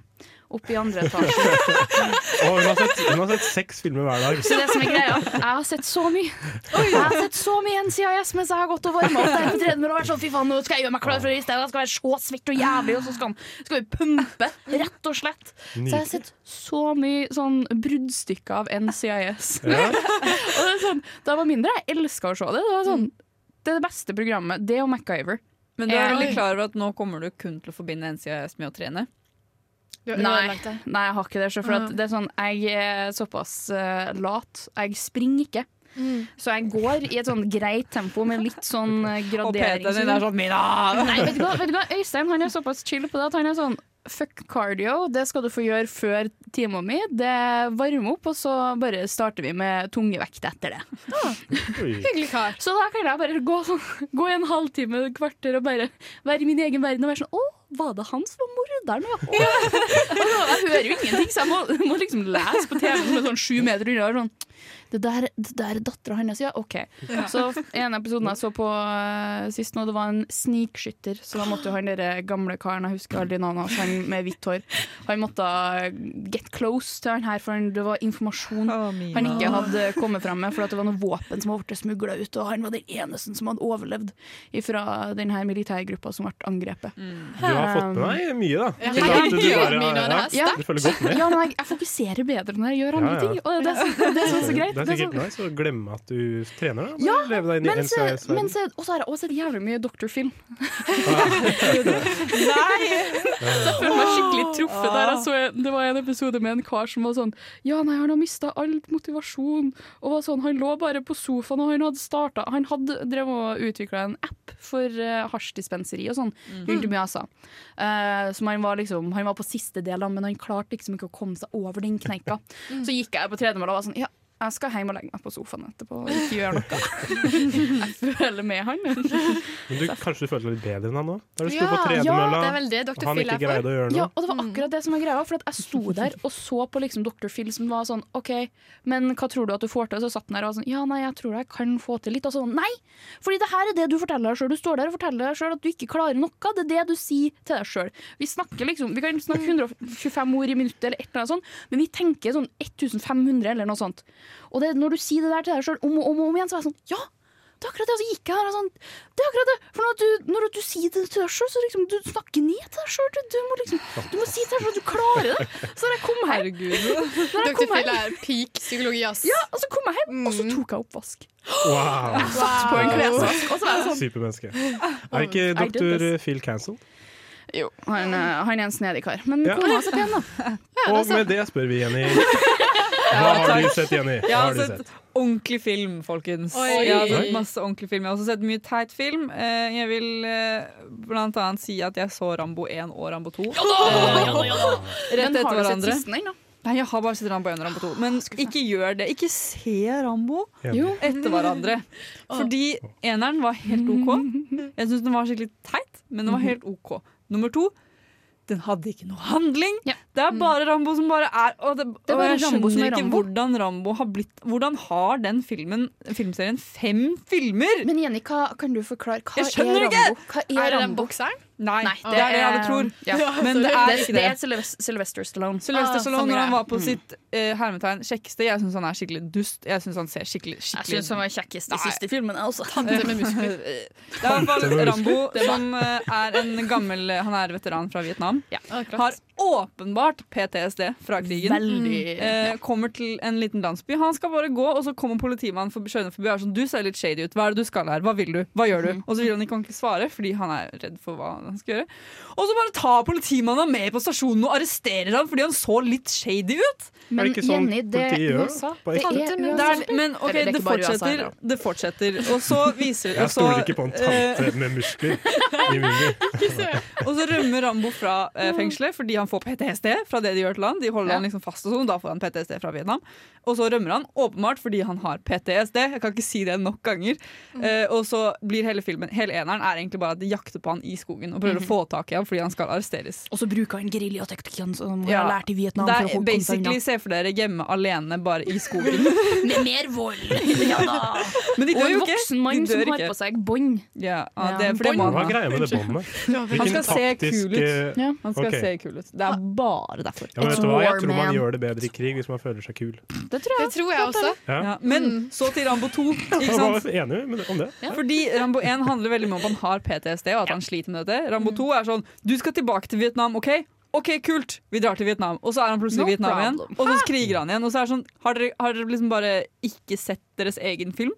[SPEAKER 5] oppe i andre etasje.
[SPEAKER 1] Å, hun, har sett, hun har sett seks filmer hver dag.
[SPEAKER 5] Så det som er greia Jeg har sett så mye Jeg har sett så mye NCIS mens jeg har gått og varma opp der på tredemølla og vært sånn fy faen, nå skal jeg gjøre meg klar for det i stedet. Jeg skal være så svett og jævlig, og så skal, skal vi pumpe, rett og slett. Så jeg har sett så mye sånn bruddstykker av NCIS.
[SPEAKER 1] Ja.
[SPEAKER 5] og det er sånn, da jeg var mindre, jeg elska å se det. Det var sånn det, er det beste programmet. Det og MacGyver.
[SPEAKER 3] Men du er
[SPEAKER 5] Eh,
[SPEAKER 3] veldig klar over at nå kommer du kun til å forbinde NCIS med å trene?
[SPEAKER 5] Nei, nei, jeg har ikke det. så For at
[SPEAKER 3] Ja.
[SPEAKER 5] det er sånn, jeg er såpass eh, lat. Jeg springer ikke.
[SPEAKER 11] Mm.
[SPEAKER 5] Så jeg går i et sånn greit tempo med litt sånn eh, gradering.
[SPEAKER 3] Og PT-en din er sånn, «Mina!»
[SPEAKER 5] Nei, vet du, hva, vet du hva? Øystein han er såpass chill på det at han er sånn Fuck cardio, det skal du få gjøre før timen min. Det varmer opp, og så bare starter vi med tungevekt etter det.
[SPEAKER 11] Hyggelig kar.
[SPEAKER 5] Så da kan jeg bare gå, sånn, gå i en halvtime, et kvarter og bare være i min egen verden og være sånn Å, var det han som var morderen, ja? Å. Og da, jeg hører jo ingenting, så jeg må, må liksom lese på TV som er sånn sju meter unna. og Sånn, det der, det der er dattera hans, ja. OK. Så en episode jeg så på eh, sist nå, det var en snikskytter. Så da måtte jo han der gamle karen, jeg husker aldri navnet hans, han med hvitt hår, han måtte eh, get close til han her, for han, det var informasjon han ikke hadde kommet fram med, for at det var noen våpen som var blitt smugla ut, og han var den eneste som hadde overlevd fra denne militærgruppa som ble angrepet.
[SPEAKER 1] Du har fått med deg mye, da.
[SPEAKER 5] Ehm, Ja.
[SPEAKER 1] Til at du
[SPEAKER 5] Ja.
[SPEAKER 1] bare-
[SPEAKER 5] Mina, det er
[SPEAKER 1] ja,
[SPEAKER 5] sterkt.
[SPEAKER 1] Du følger godt med.
[SPEAKER 5] Ja, men jeg, jeg fokuserer bedre når jeg gjør andre
[SPEAKER 1] Ja, ja.
[SPEAKER 5] ting. Og det, er så- det er så, så greit.
[SPEAKER 1] Det er
[SPEAKER 5] Det er så-
[SPEAKER 1] sikkert nice å glemme at du trener. Da. Bare
[SPEAKER 5] Ja,
[SPEAKER 1] leve deg inn i
[SPEAKER 5] men så,
[SPEAKER 1] NCIS verden.
[SPEAKER 5] men så, og så har jeg også sett jævlig mye Dr. Så jeg føler meg skikkelig truffet der. Jeg så, en- det var en episode med en kar som var sånn Ja, nei, han har mista all motivasjon. Og var sånn, Han lå bare på sofaen, og han hadde starta Han hadde drevet og utvikla en app for uh, hasjdispenseri og sånn. Rundt om i Asa. Eh, som han var liksom Han var på siste delen, men han klarte liksom ikke å komme seg over den kneika. Så gikk jeg på tredemølla og var sånn Ja, Jeg skal hjem og legge meg på sofaen etterpå og ikke gjøre noe. Jeg føler med han.
[SPEAKER 1] Men du, kanskje du følte deg litt bedre enn han nå? Da du sto på
[SPEAKER 5] ja,
[SPEAKER 1] tredemølla,
[SPEAKER 5] det er vel det Dr.
[SPEAKER 1] og han
[SPEAKER 5] Phil
[SPEAKER 1] ikke
[SPEAKER 5] er for.
[SPEAKER 1] greide å gjøre noe.
[SPEAKER 5] Ja, og det var akkurat det som var greia. For at jeg sto der og så på liksom Dr. Phil som var sånn OK, men hva tror du at du får til? Så satt han der og var sånn Ja, nei, jeg tror jeg kan få til litt. Og sånn Nei! Fordi det her er det du forteller deg sjøl. Du står der og forteller deg sjøl at du ikke klarer noe. Det er det du sier til deg sjøl. Vi snakker liksom Vi kan snakke 125 ord i minuttet eller et eller annet sånt, men vi tenker sånn 1500 eller noe sånt. Og det, er når du sier det der til deg sjøl om og om, og om igjen, så er jeg sånn Ja! Det er akkurat det, og så gikk jeg her og sånn Det er akkurat det! For når du, når du sier det til deg sjøl, så liksom Du snakker ned til deg sjøl. Du, du, må liksom, du må si til deg sjøl at du klarer det! Så da jeg kom her
[SPEAKER 11] Dr. Phil er peak psykologi, ass.
[SPEAKER 5] Ja, og så kom jeg hjem, og så tok jeg oppvask.
[SPEAKER 1] Wow!
[SPEAKER 5] Jeg satt på en klesvask, og så var jeg sånn
[SPEAKER 1] Supermenneske. Er ikke
[SPEAKER 5] Oh, I did
[SPEAKER 1] doktor
[SPEAKER 5] this.
[SPEAKER 1] Phil cancelled?
[SPEAKER 5] Jo, han, eh, han er en snedig kar. Men
[SPEAKER 1] Ja.
[SPEAKER 5] kona hans er pen, da.
[SPEAKER 1] Og med det spør vi Jenny. Hva har du sett, Jenny?
[SPEAKER 3] Jeg
[SPEAKER 1] Hva
[SPEAKER 3] har
[SPEAKER 1] har du
[SPEAKER 3] sett
[SPEAKER 1] sett?
[SPEAKER 3] ordentlig film, folkens.
[SPEAKER 11] Oi.
[SPEAKER 3] Jeg har sett masse ordentlig film. Jeg har også sett mye teit film. Eh, Jeg vil eh, blant annet si at jeg så Rambo 1 og Rambo 2. Eh, Rett etter
[SPEAKER 5] Men har du sett
[SPEAKER 3] hverandre.
[SPEAKER 5] sisten din, da?
[SPEAKER 3] Nei, jeg har bare sett Rambo 1 og Rambo 2. Men ikke gjør det. Ikke se Rambo
[SPEAKER 5] Enig. Jo.
[SPEAKER 3] etter hverandre. Fordi eneren var helt OK. Jeg syns den var skikkelig teit, men den
[SPEAKER 5] Mhm.
[SPEAKER 3] var helt OK. Nummer to den hadde ikke noe handling. Det er bare Rambo som bare er Og, det,
[SPEAKER 5] Mm. Det er
[SPEAKER 3] og
[SPEAKER 5] bare
[SPEAKER 3] jeg
[SPEAKER 5] Rambo som
[SPEAKER 3] skjønner
[SPEAKER 5] er
[SPEAKER 3] ikke
[SPEAKER 5] Rambo.
[SPEAKER 3] hvordan Rambo har blitt Hvordan har den filmen, filmserien fem filmer?!
[SPEAKER 5] Men Jenny, hva, kan du forklare hva
[SPEAKER 3] Jeg skjønner
[SPEAKER 5] er
[SPEAKER 3] ikke!
[SPEAKER 5] Rambo? Hva er,
[SPEAKER 11] Er det den
[SPEAKER 5] Rambo?
[SPEAKER 11] bokseren?
[SPEAKER 3] Nei, det er det alle tror. Men det er ikke det.
[SPEAKER 5] er Sylvester, Sylvester Stallone.
[SPEAKER 3] Sylvester
[SPEAKER 5] Ah,
[SPEAKER 3] Stallone,
[SPEAKER 5] samme
[SPEAKER 3] når han
[SPEAKER 5] greie.
[SPEAKER 3] var på sitt eh, hermetegn kjekkeste Jeg syns han er skikkelig dust. Jeg syns han ser skikkelig,
[SPEAKER 5] Jeg
[SPEAKER 3] skikkelig
[SPEAKER 5] syns han var kjekkest i
[SPEAKER 3] Nei.
[SPEAKER 5] siste filmen, altså. jeg også.
[SPEAKER 11] Tante med muskler.
[SPEAKER 3] Det er i hvert
[SPEAKER 5] Tante
[SPEAKER 3] fall
[SPEAKER 5] med
[SPEAKER 3] Rambo,
[SPEAKER 5] muskler.
[SPEAKER 3] som eh, er en gammel Han er veteran fra Vietnam.
[SPEAKER 11] Ja, klart.
[SPEAKER 3] Har åpenbart PTSD fra krigen.
[SPEAKER 5] Veldig,
[SPEAKER 3] Eh, kommer til en liten landsby. Han skal bare gå, og så kommer politimannen for skjønner forbi og er sånn Du ser litt shady ut. Hva er det du skal her? Hva vil du? Hva gjør du?
[SPEAKER 5] Mm.
[SPEAKER 3] Og så vil han ikke ordentlig svare, fordi han er redd for hva han skal gjøre. Og så bare tar politimannen ham med på stasjonen og arresterer ham fordi han så litt shady ut.
[SPEAKER 5] Men Er det ikke sånn Jenny, det- politiet gjør? USA, det er
[SPEAKER 3] Tante med
[SPEAKER 5] USA.
[SPEAKER 3] muskler. Men OK,
[SPEAKER 5] Eller det er
[SPEAKER 3] det
[SPEAKER 5] ikke bare USA,
[SPEAKER 3] fortsetter.
[SPEAKER 5] da.
[SPEAKER 3] Det fortsetter. Og så viser og
[SPEAKER 1] Jeg
[SPEAKER 3] så,
[SPEAKER 1] stoler ikke på en
[SPEAKER 3] eh,
[SPEAKER 1] tante med muskler i munnen.
[SPEAKER 3] og så rømmer Rambo fra eh, fengselet fordi han får PTSD fra det de gjør til han. De holder
[SPEAKER 5] Ja.
[SPEAKER 3] han liksom fast og sånn, da får han PTSD fra Vietnam. Og så rømmer han, åpenbart fordi han har PTSD. Jeg kan ikke si det nok ganger.
[SPEAKER 5] Mm.
[SPEAKER 3] Eh, og så blir hele filmen Hele eneren er egentlig bare at de jakter på han i skogen og prøver
[SPEAKER 5] Mhm.
[SPEAKER 3] å få tak i ham fordi han skal arresteres.
[SPEAKER 5] Og så bruker han geriljateknikken som han har lært i Vietnam.
[SPEAKER 3] Det
[SPEAKER 5] for å
[SPEAKER 3] er
[SPEAKER 5] komme seg unna.
[SPEAKER 3] basically se for dere hjemme alene, bare i skogen.
[SPEAKER 5] Med mer vold! Ja da.
[SPEAKER 3] Men de
[SPEAKER 5] og
[SPEAKER 3] dør
[SPEAKER 5] en
[SPEAKER 3] jo ikke.
[SPEAKER 5] voksen
[SPEAKER 3] De
[SPEAKER 5] mann
[SPEAKER 3] dør
[SPEAKER 5] som har
[SPEAKER 3] ikke.
[SPEAKER 5] på seg bånd.
[SPEAKER 3] Ja, ja,
[SPEAKER 5] Ja,
[SPEAKER 3] det, for det må
[SPEAKER 1] Hva
[SPEAKER 3] han
[SPEAKER 1] er
[SPEAKER 3] ha.
[SPEAKER 1] greia med det båndet?
[SPEAKER 3] Han
[SPEAKER 1] Hvilken
[SPEAKER 3] skal se
[SPEAKER 1] taktisk,
[SPEAKER 3] kul ut.
[SPEAKER 1] eh,
[SPEAKER 3] Han skal
[SPEAKER 1] ok.
[SPEAKER 3] se kul ut. Det er bare derfor.
[SPEAKER 1] Ja, men vet du hva? Jeg tror man gjør det bedre i krig hvis man føler seg kul.
[SPEAKER 5] Det tror jeg,
[SPEAKER 11] også.
[SPEAKER 5] Ah.
[SPEAKER 1] Ja.
[SPEAKER 3] Ja,
[SPEAKER 5] Mm.
[SPEAKER 3] men så til Rambo 2. Ikke
[SPEAKER 1] Jeg
[SPEAKER 3] sant?
[SPEAKER 1] var enig med- om det.
[SPEAKER 3] Ja. Fordi Rambo 1 handler veldig mye om at han har PTSD og at han sliter med dette. Rambo
[SPEAKER 5] Mm.
[SPEAKER 3] 2 er sånn Du skal tilbake til Vietnam, OK? OK, kult! Vi drar til Vietnam. Og så er han plutselig
[SPEAKER 5] No
[SPEAKER 3] i Vietnam igjen.
[SPEAKER 5] problem.
[SPEAKER 3] Og så kriger han igjen. Og så er det sånn Har dere, har dere liksom bare ikke sett deres egen film?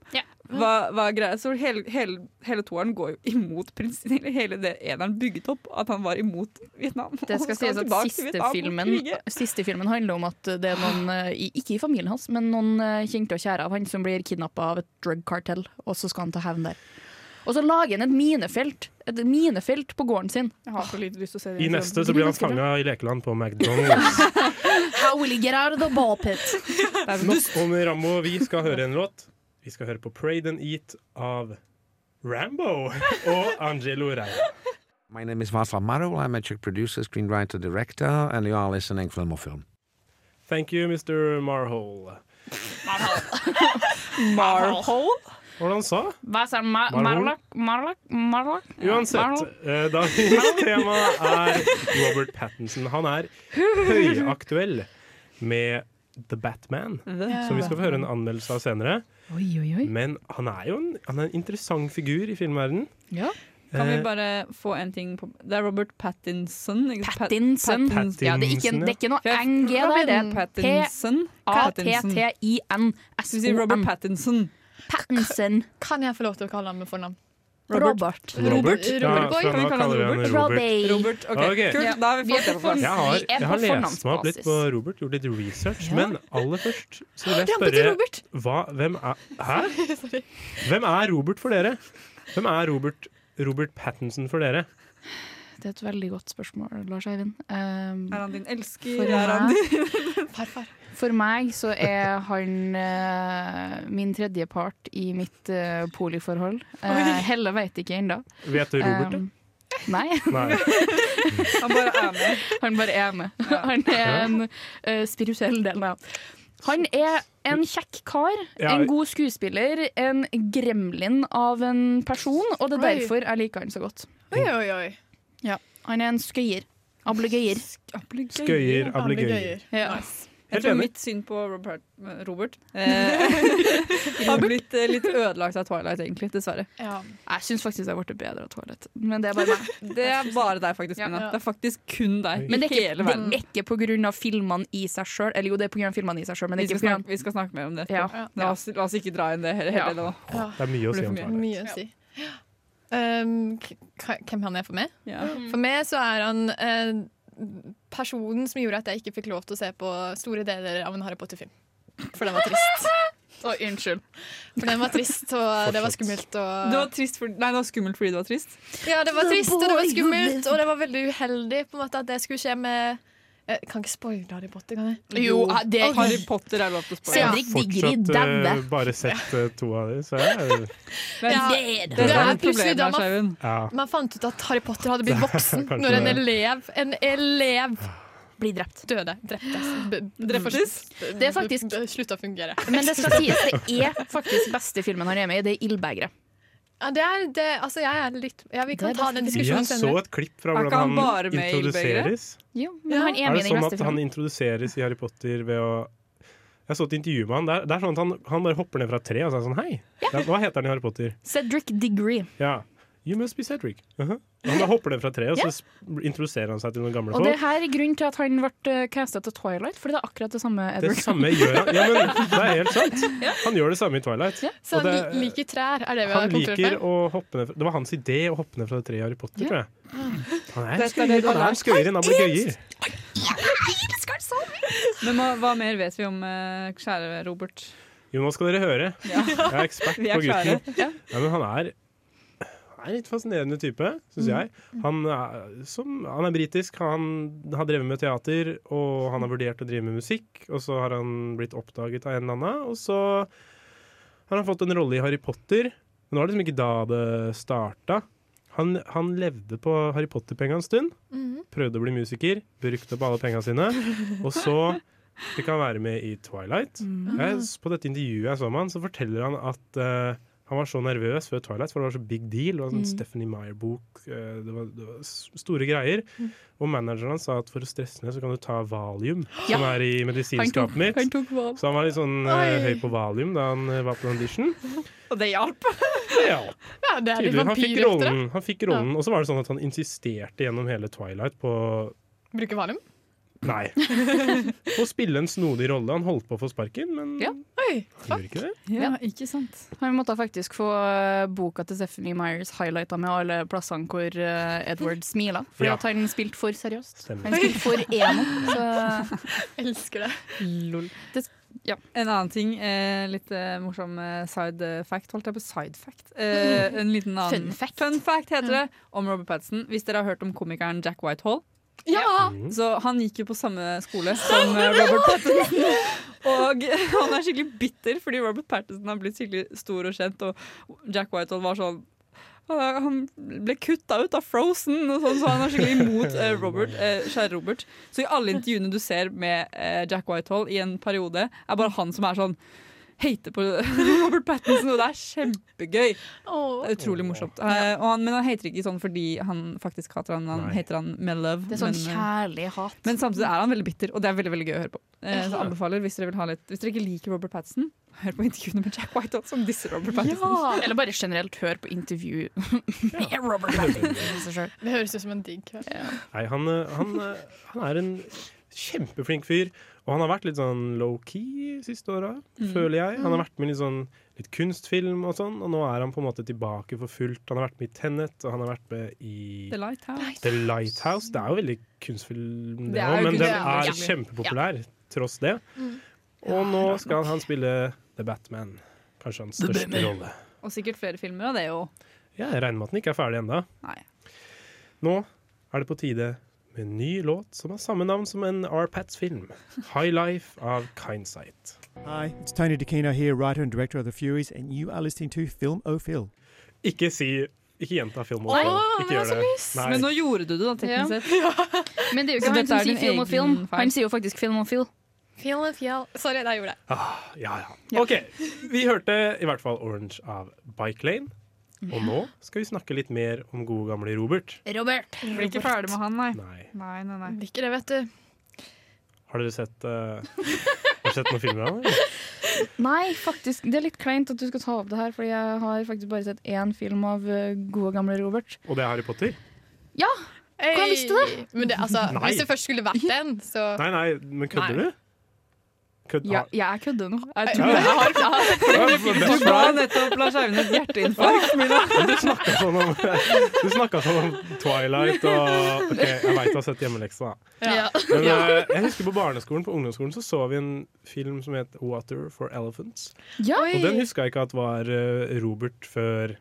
[SPEAKER 3] Hva, hva er greia? Så hele, hele, hele toeren går jo imot prins eller Hele det eneren bygget opp, at han var imot Vietnam.
[SPEAKER 5] Det
[SPEAKER 3] Og så
[SPEAKER 5] skal sies
[SPEAKER 3] han
[SPEAKER 5] at
[SPEAKER 3] tilbake til
[SPEAKER 5] siste
[SPEAKER 3] Vietnam og
[SPEAKER 5] filmen,
[SPEAKER 3] krige.
[SPEAKER 5] siste filmen handler om at det er noen, eh, i- ikke i familien hans, men noen eh, kjente og kjære av han som blir kidnappa av et drugkartell, og så skal han ta hevn der. Og så lager han et minefelt, et minefelt på gården sin.
[SPEAKER 3] Jeg har så lite lyst til å se det.
[SPEAKER 1] I neste så blir han fanga i lekeland på McDonald's.
[SPEAKER 5] How will he get out of the ball pit?
[SPEAKER 1] Nok om Rambo. Vi skal høre en låt. Vi skal høre på Pray and Eat av Rambo og Angelo Reira.
[SPEAKER 13] My name is Václav Marou. I'm a Czech producer, screenwriter, director, and you are listening to Filmofilm.
[SPEAKER 1] Thank you, Mr. Marhole.
[SPEAKER 3] Marhole?
[SPEAKER 1] Hvordan sa?
[SPEAKER 5] Hva sa han? Ma-
[SPEAKER 1] Marhole?
[SPEAKER 5] Marlock? Marlock? Marlock?
[SPEAKER 1] Uansett,
[SPEAKER 5] Marlock?
[SPEAKER 1] eh, dagens tema er Robert Pattinson. Han er høyaktuell med The Batman,
[SPEAKER 5] The
[SPEAKER 1] som vi skal få høre en anmeldelse av senere.
[SPEAKER 5] Oi, oi, oi.
[SPEAKER 1] Men han er jo en, han er en interessant figur i filmverdenen.
[SPEAKER 5] Ja.
[SPEAKER 3] Kan vi
[SPEAKER 1] Eh,
[SPEAKER 3] bare få en ting på Det er Robert Pattinson. Ikke? Pat-
[SPEAKER 5] Pattinson.
[SPEAKER 1] Pattinson,
[SPEAKER 5] Ja, det er ikke,
[SPEAKER 1] ja.
[SPEAKER 5] det er ikke noe
[SPEAKER 3] For jeg-
[SPEAKER 5] NG der. Det er
[SPEAKER 3] Pattinson.
[SPEAKER 5] P-A-T-T-I-N.
[SPEAKER 3] Skal vi si Robert Pattinson?
[SPEAKER 5] Pattinson.
[SPEAKER 11] Kan jeg få lov til å kalle ham med fornavn?
[SPEAKER 5] Robert.
[SPEAKER 1] Robert?
[SPEAKER 11] Robert Boy,
[SPEAKER 1] Ja,
[SPEAKER 11] kan vi
[SPEAKER 1] hva
[SPEAKER 11] kalle han
[SPEAKER 1] kaller vi
[SPEAKER 11] Robert?
[SPEAKER 1] han? Robert.
[SPEAKER 3] Robert, ok,
[SPEAKER 1] Ok.
[SPEAKER 3] Kult, da har vi
[SPEAKER 11] Vi er
[SPEAKER 3] fått det
[SPEAKER 11] på
[SPEAKER 3] på plass.
[SPEAKER 1] Jeg har,
[SPEAKER 11] er
[SPEAKER 1] jeg
[SPEAKER 11] på
[SPEAKER 1] har lest meg opp litt
[SPEAKER 11] fornavnsbasis.
[SPEAKER 1] på Robert, gjort litt research. Men aller først så vil jeg
[SPEAKER 11] Rambo til
[SPEAKER 1] spørre
[SPEAKER 11] Robert.
[SPEAKER 1] hva, hvem, er, hæ? hvem er Robert for dere? Hvem er Robert, Robert Pattinson for dere?
[SPEAKER 5] Det er et veldig godt spørsmål, Lars Eivind. Um,
[SPEAKER 3] Er han din elsker?
[SPEAKER 5] for
[SPEAKER 3] Er han
[SPEAKER 5] meg-
[SPEAKER 3] din
[SPEAKER 11] Farfar.
[SPEAKER 5] For meg så er han eh, min tredjepart i mitt eh, poliforhold. Eh, Helle veit ikke ennå.
[SPEAKER 1] Vet du Robert, da?
[SPEAKER 5] Um, Nei.
[SPEAKER 1] Nei.
[SPEAKER 5] Han bare er med. Han bare er med. Han er en eh, spirituell del av Han er en kjekk kar,
[SPEAKER 1] Ja.
[SPEAKER 5] en god skuespiller, en gremlin av en person, og det er
[SPEAKER 11] Oi.
[SPEAKER 5] derfor jeg liker han så godt.
[SPEAKER 11] Oi, oi, oi.
[SPEAKER 5] Ja, Han er en skøyer. Ablegøyer.
[SPEAKER 1] Skøyer, ablegøyer.
[SPEAKER 5] Ja.
[SPEAKER 3] Jeg
[SPEAKER 1] Helt
[SPEAKER 3] tror
[SPEAKER 1] enig.
[SPEAKER 3] mitt syn på Robert, Robert eh, har blitt eh, litt ødelagt av Twilight, egentlig. Dessverre.
[SPEAKER 5] Jeg syns faktisk jeg ble bedre av Twilight, men det er bare meg.
[SPEAKER 3] Det er bare deg, faktisk. Mina. Det er faktisk kun deg.
[SPEAKER 5] Men det er ikke,
[SPEAKER 3] hele verden.
[SPEAKER 5] det er ikke pga. filmene i seg sjøl. Eller jo, det er pga. filmene i seg sjøl, men det
[SPEAKER 3] vi,
[SPEAKER 5] er
[SPEAKER 3] skal
[SPEAKER 5] ikke på grunn-
[SPEAKER 3] snakke, vi skal snakke mer om det.
[SPEAKER 5] Ja.
[SPEAKER 3] etterpå. La, oss, la oss ikke dra inn det hele,
[SPEAKER 5] Ja.
[SPEAKER 3] hele nå.
[SPEAKER 1] Det er mye å si om
[SPEAKER 3] Twilight.
[SPEAKER 11] Mye å si. Um, k- k- hvem han er for meg?
[SPEAKER 3] Ja.
[SPEAKER 11] For meg så er han eh, personen som gjorde at jeg ikke fikk lov til å se på store deler av en Harry Potter-film. For den var trist.
[SPEAKER 5] Oi, unnskyld.
[SPEAKER 11] For den var trist, og det var skummelt. Og...
[SPEAKER 3] Det var, trist for, nei, det var skummelt fordi det var trist.
[SPEAKER 11] Ja, det var trist, og det var skummelt, og det var veldig uheldig på en måte at det skulle skje med jeg kan ikke spoile Harry Potter, kan jeg?
[SPEAKER 5] Jo,
[SPEAKER 1] eh,
[SPEAKER 5] det-
[SPEAKER 11] Ok.
[SPEAKER 5] Harry
[SPEAKER 3] Potter er lov til å
[SPEAKER 1] Jeg har fortsatt eh, bare sett eh, to av dem, så jeg er
[SPEAKER 11] Ja,
[SPEAKER 3] det,
[SPEAKER 11] det
[SPEAKER 1] er
[SPEAKER 11] er
[SPEAKER 1] et
[SPEAKER 11] plutselig
[SPEAKER 1] problem
[SPEAKER 11] da
[SPEAKER 1] her,
[SPEAKER 11] man,
[SPEAKER 1] Ja.
[SPEAKER 11] man fant ut at Harry Potter hadde blitt
[SPEAKER 1] Det er
[SPEAKER 11] voksen
[SPEAKER 1] kanskje
[SPEAKER 11] når en
[SPEAKER 1] det.
[SPEAKER 11] elev En elev
[SPEAKER 5] blir drept.
[SPEAKER 11] Døde. Drept, altså. B- b-
[SPEAKER 5] Faktisk. Det er faktisk-
[SPEAKER 11] b- b- Slutta å fungere.
[SPEAKER 5] Men det skal sies, det er faktisk beste filmen han er med i. Det er 'Ildbegeret'.
[SPEAKER 11] Ja, det er, det, altså, jeg er litt Ja, vi kan
[SPEAKER 5] Det er
[SPEAKER 11] ta
[SPEAKER 5] best-
[SPEAKER 11] den
[SPEAKER 1] Jeg
[SPEAKER 11] diskusjonen
[SPEAKER 1] så
[SPEAKER 11] senere.
[SPEAKER 1] et klipp fra
[SPEAKER 11] Er ikke
[SPEAKER 1] hvordan han
[SPEAKER 11] han bare med i
[SPEAKER 1] introduseres.
[SPEAKER 5] Jo, men han er
[SPEAKER 1] Er det
[SPEAKER 5] med i den
[SPEAKER 1] sånn
[SPEAKER 5] beste
[SPEAKER 1] at han
[SPEAKER 5] filmen.
[SPEAKER 1] introduseres i Harry Potter ved å Jeg så et intervju med han. Det er, det er sånn at han, han bare hopper ned fra et tre og så er han sånn Hei, Ja, hva heter han i Harry Potter?
[SPEAKER 5] Cedric Diggory.
[SPEAKER 1] Ja. You must be Cedric. Uh Han bare hopper ned fra treet, og så sp- introduserer han seg til noen gamle
[SPEAKER 5] Og det
[SPEAKER 1] folk.
[SPEAKER 5] her er grunnen til at han ble casta til Twilight, Fordi det er akkurat det samme.
[SPEAKER 1] Det
[SPEAKER 5] Edward.
[SPEAKER 11] sånn.
[SPEAKER 1] samme gjør han. Ja, men det er helt sant. Han gjør det samme i Twilight.
[SPEAKER 11] Så
[SPEAKER 1] Og
[SPEAKER 11] han
[SPEAKER 1] det-
[SPEAKER 11] li- liker trær, er det vi
[SPEAKER 1] han
[SPEAKER 11] har konkludert
[SPEAKER 1] liker
[SPEAKER 11] med?
[SPEAKER 1] å hoppe ned fra, Det var hans idé å hoppe ned fra et tre i Harry Potter,
[SPEAKER 11] Ja.
[SPEAKER 1] tror jeg. Han er
[SPEAKER 3] Dette er
[SPEAKER 1] skøyer,
[SPEAKER 3] det du har
[SPEAKER 1] han er
[SPEAKER 3] lært.
[SPEAKER 1] skøyer enn han blir gøyer.
[SPEAKER 3] Men hva, hva mer vet vi om eh, kjære Robert?
[SPEAKER 1] Jo, nå skal dere høre.
[SPEAKER 3] Ja.
[SPEAKER 1] Jeg er ekspert
[SPEAKER 3] Vi er
[SPEAKER 1] på gutten.
[SPEAKER 3] klare.
[SPEAKER 1] Ja. men han er han er en litt fascinerende type,
[SPEAKER 3] Mm.
[SPEAKER 1] syns jeg. Han er, som, han er britisk, han har drevet med teater, og han har vurdert å drive med musikk, og så har han blitt oppdaget av en eller annen, og så har han fått en rolle i Harry Potter. Men det var liksom ikke da det starta. Han, han levde på Harry Potter-penga en stund,
[SPEAKER 11] Mhm.
[SPEAKER 1] prøvde å bli musiker, brukte opp alle penga sine, og så fikk han være med i Twilight. Jeg, på dette intervjuet jeg så med han, så forteller han at eh, han var så nervøs før Twilight, for det var så big deal. Det var sånn
[SPEAKER 12] Mm.
[SPEAKER 1] Stephanie Meyer-bok, eh, det, var- det var s- store greier.
[SPEAKER 12] Mm.
[SPEAKER 1] Og manageren hans sa at for å stresse ned, så kan du ta valium,
[SPEAKER 12] Ja.
[SPEAKER 1] som er i medisinskapet mitt. Så han var litt sånn eh, høy på valium da han eh, var på audition.
[SPEAKER 3] Og det hjalp.
[SPEAKER 1] Ja,
[SPEAKER 11] Ja, det er litt
[SPEAKER 1] tydelig. Han fikk
[SPEAKER 11] vampyraktere.
[SPEAKER 1] rollen. Han fikk rollen. Og så var det sånn at han insisterte gjennom hele Twilight på
[SPEAKER 11] Bruker valium?
[SPEAKER 1] Nei. På å spille en snodig rolle. Han holdt på å få sparken, men
[SPEAKER 5] Ja.
[SPEAKER 11] Oi.
[SPEAKER 1] han gjorde ikke det.
[SPEAKER 5] Ja,
[SPEAKER 3] ikke sant.
[SPEAKER 5] Han måtte faktisk få eh, boka til Stephanie Myers highlighta med alle plassene hvor eh, Edward smiler. Fordi
[SPEAKER 1] Ja.
[SPEAKER 5] at han spilte for seriøst.
[SPEAKER 1] Stemmer.
[SPEAKER 5] Han spilte for emo. Så
[SPEAKER 11] Elsker det.
[SPEAKER 5] Lol.
[SPEAKER 3] En annen ting, eh, litt eh, morsom eh, side fact, holdt jeg på side fact. Eh, en liten annen
[SPEAKER 5] Fun
[SPEAKER 3] fact. heter det, om Robert Pattinson. Hvis dere har hørt om komikeren Jack Whitehall.
[SPEAKER 11] Ja!
[SPEAKER 3] Så han gikk jo på samme skole som eh, Robert Pattinson. Og han er skikkelig bitter fordi Robert Pattinson har blitt skikkelig stor og kjent, og Jack Whitehall var sånn «Åh, han ble kutta ut av Frozen, og sånn, så han er skikkelig imot eh, Robert, eh, kjære Robert. Så i alle intervjuene du ser med eh, Jack Whitehall i en periode, er bare han som er sånn Hater på Robert Pattinson, og det er kjempegøy. Det er utrolig morsomt. Eh, og han, men han hater ikke sånn fordi han faktisk hater han, han
[SPEAKER 5] Nei.
[SPEAKER 3] hater han med love.
[SPEAKER 5] Det er sånn
[SPEAKER 3] men, eh,
[SPEAKER 5] kjærlig hat.
[SPEAKER 3] men samtidig er han veldig bitter, og det er veldig veldig gøy å høre på. Eh, så
[SPEAKER 5] Ja.
[SPEAKER 3] anbefaler Hvis dere vil ha litt Hvis dere ikke liker Robert Pattinson, hør på intervjuene med Jack White som disser Robert Pattinson.
[SPEAKER 5] Eller bare generelt hør på intervju med Robert Pattinson.
[SPEAKER 11] Det høres ut som en digg kveld.
[SPEAKER 1] Nei, han, eh, han, eh, han er en kjempeflink fyr. Og han har vært litt sånn low-key siste åra,
[SPEAKER 12] Mm.
[SPEAKER 1] føler jeg. Han
[SPEAKER 12] Mm.
[SPEAKER 1] har vært med i litt sånn litt kunstfilm og sånn, og nå er han på en måte tilbake for fullt. Han har vært med i Tenet, og han har vært med i
[SPEAKER 3] The Lighthouse.
[SPEAKER 1] The Lighthouse. Det er jo veldig kunstfilm,
[SPEAKER 3] Det
[SPEAKER 1] det
[SPEAKER 3] er
[SPEAKER 1] òg,
[SPEAKER 3] jo
[SPEAKER 1] men den
[SPEAKER 3] kunstfilm,
[SPEAKER 1] er
[SPEAKER 3] ja.
[SPEAKER 1] kjempepopulær tross det. Og nå skal han spille The Batman. Kanskje hans største rolle.
[SPEAKER 3] Og sikkert flere filmer av det jo.
[SPEAKER 1] Ja, jeg regner med at den ikke er ferdig ennå. Nå er det på tide med med en ny låt som har samme navn som en R-Pats-film. High Life av Kindsight.
[SPEAKER 14] Hi, it's Tony DeCino here, writer and director of The Furies, and you are listening to Film O'Phil.
[SPEAKER 1] Ikke si Ikke gjenta film og
[SPEAKER 5] Nei,
[SPEAKER 1] film.
[SPEAKER 5] det
[SPEAKER 1] Ikke
[SPEAKER 5] var
[SPEAKER 1] gjør
[SPEAKER 5] så
[SPEAKER 1] det.
[SPEAKER 5] lyst.
[SPEAKER 1] Nei.
[SPEAKER 3] Men nå gjorde du det, da, teknisk sett.
[SPEAKER 5] Men det er jo
[SPEAKER 3] Så
[SPEAKER 5] ikke han
[SPEAKER 3] dette
[SPEAKER 5] som
[SPEAKER 3] er din
[SPEAKER 5] sier film og
[SPEAKER 3] egen
[SPEAKER 5] film.
[SPEAKER 3] feil.
[SPEAKER 5] Han sier jo faktisk film og film.
[SPEAKER 11] Fjell, fjell. Sorry, da gjorde jeg
[SPEAKER 1] Ah, ja, ja. OK. Vi hørte i hvert fall Orange av Bike Lane. Og nå skal vi snakke litt mer om gode gamle Robert.
[SPEAKER 11] Robert.
[SPEAKER 3] Blir ikke ferdig med han, nei.
[SPEAKER 1] Nei.
[SPEAKER 3] Nei, nei, nei.
[SPEAKER 11] Blir ikke det, vet du.
[SPEAKER 1] Har dere sett, eh, har dere sett noen filmer av ham?
[SPEAKER 5] Nei, faktisk. Det er litt kleint at du skal ta opp det her, Fordi jeg har faktisk bare sett én film av eh, gode, gamle Robert.
[SPEAKER 1] Og det er Harry Potter?
[SPEAKER 5] Ja! Hvordan visste du det?
[SPEAKER 11] Men det, altså,
[SPEAKER 1] Nei.
[SPEAKER 11] hvis det først skulle vært en, så
[SPEAKER 1] Nei, nei, men kødder du?
[SPEAKER 11] Nei.
[SPEAKER 1] Ah. Kødd-
[SPEAKER 5] Ja,
[SPEAKER 1] har-
[SPEAKER 5] jeg kødder nå.
[SPEAKER 3] Jeg
[SPEAKER 1] tror jeg har-
[SPEAKER 3] jeg har sett
[SPEAKER 1] flere filmer.
[SPEAKER 3] Du ga nettopp Lars Eivind et hjerteinfarkt.
[SPEAKER 1] Men Du snakka sånn om Du snakket sånn om Twilight og OK, jeg veit du har sett hjemmeleksa, da.
[SPEAKER 11] Ja.
[SPEAKER 1] Men
[SPEAKER 11] Ja.
[SPEAKER 1] eh, jeg husker på barneskolen på ungdomsskolen så så vi en film som het Water for Elephants.
[SPEAKER 5] Ja.
[SPEAKER 1] Og den huska jeg ikke at var eh, Robert før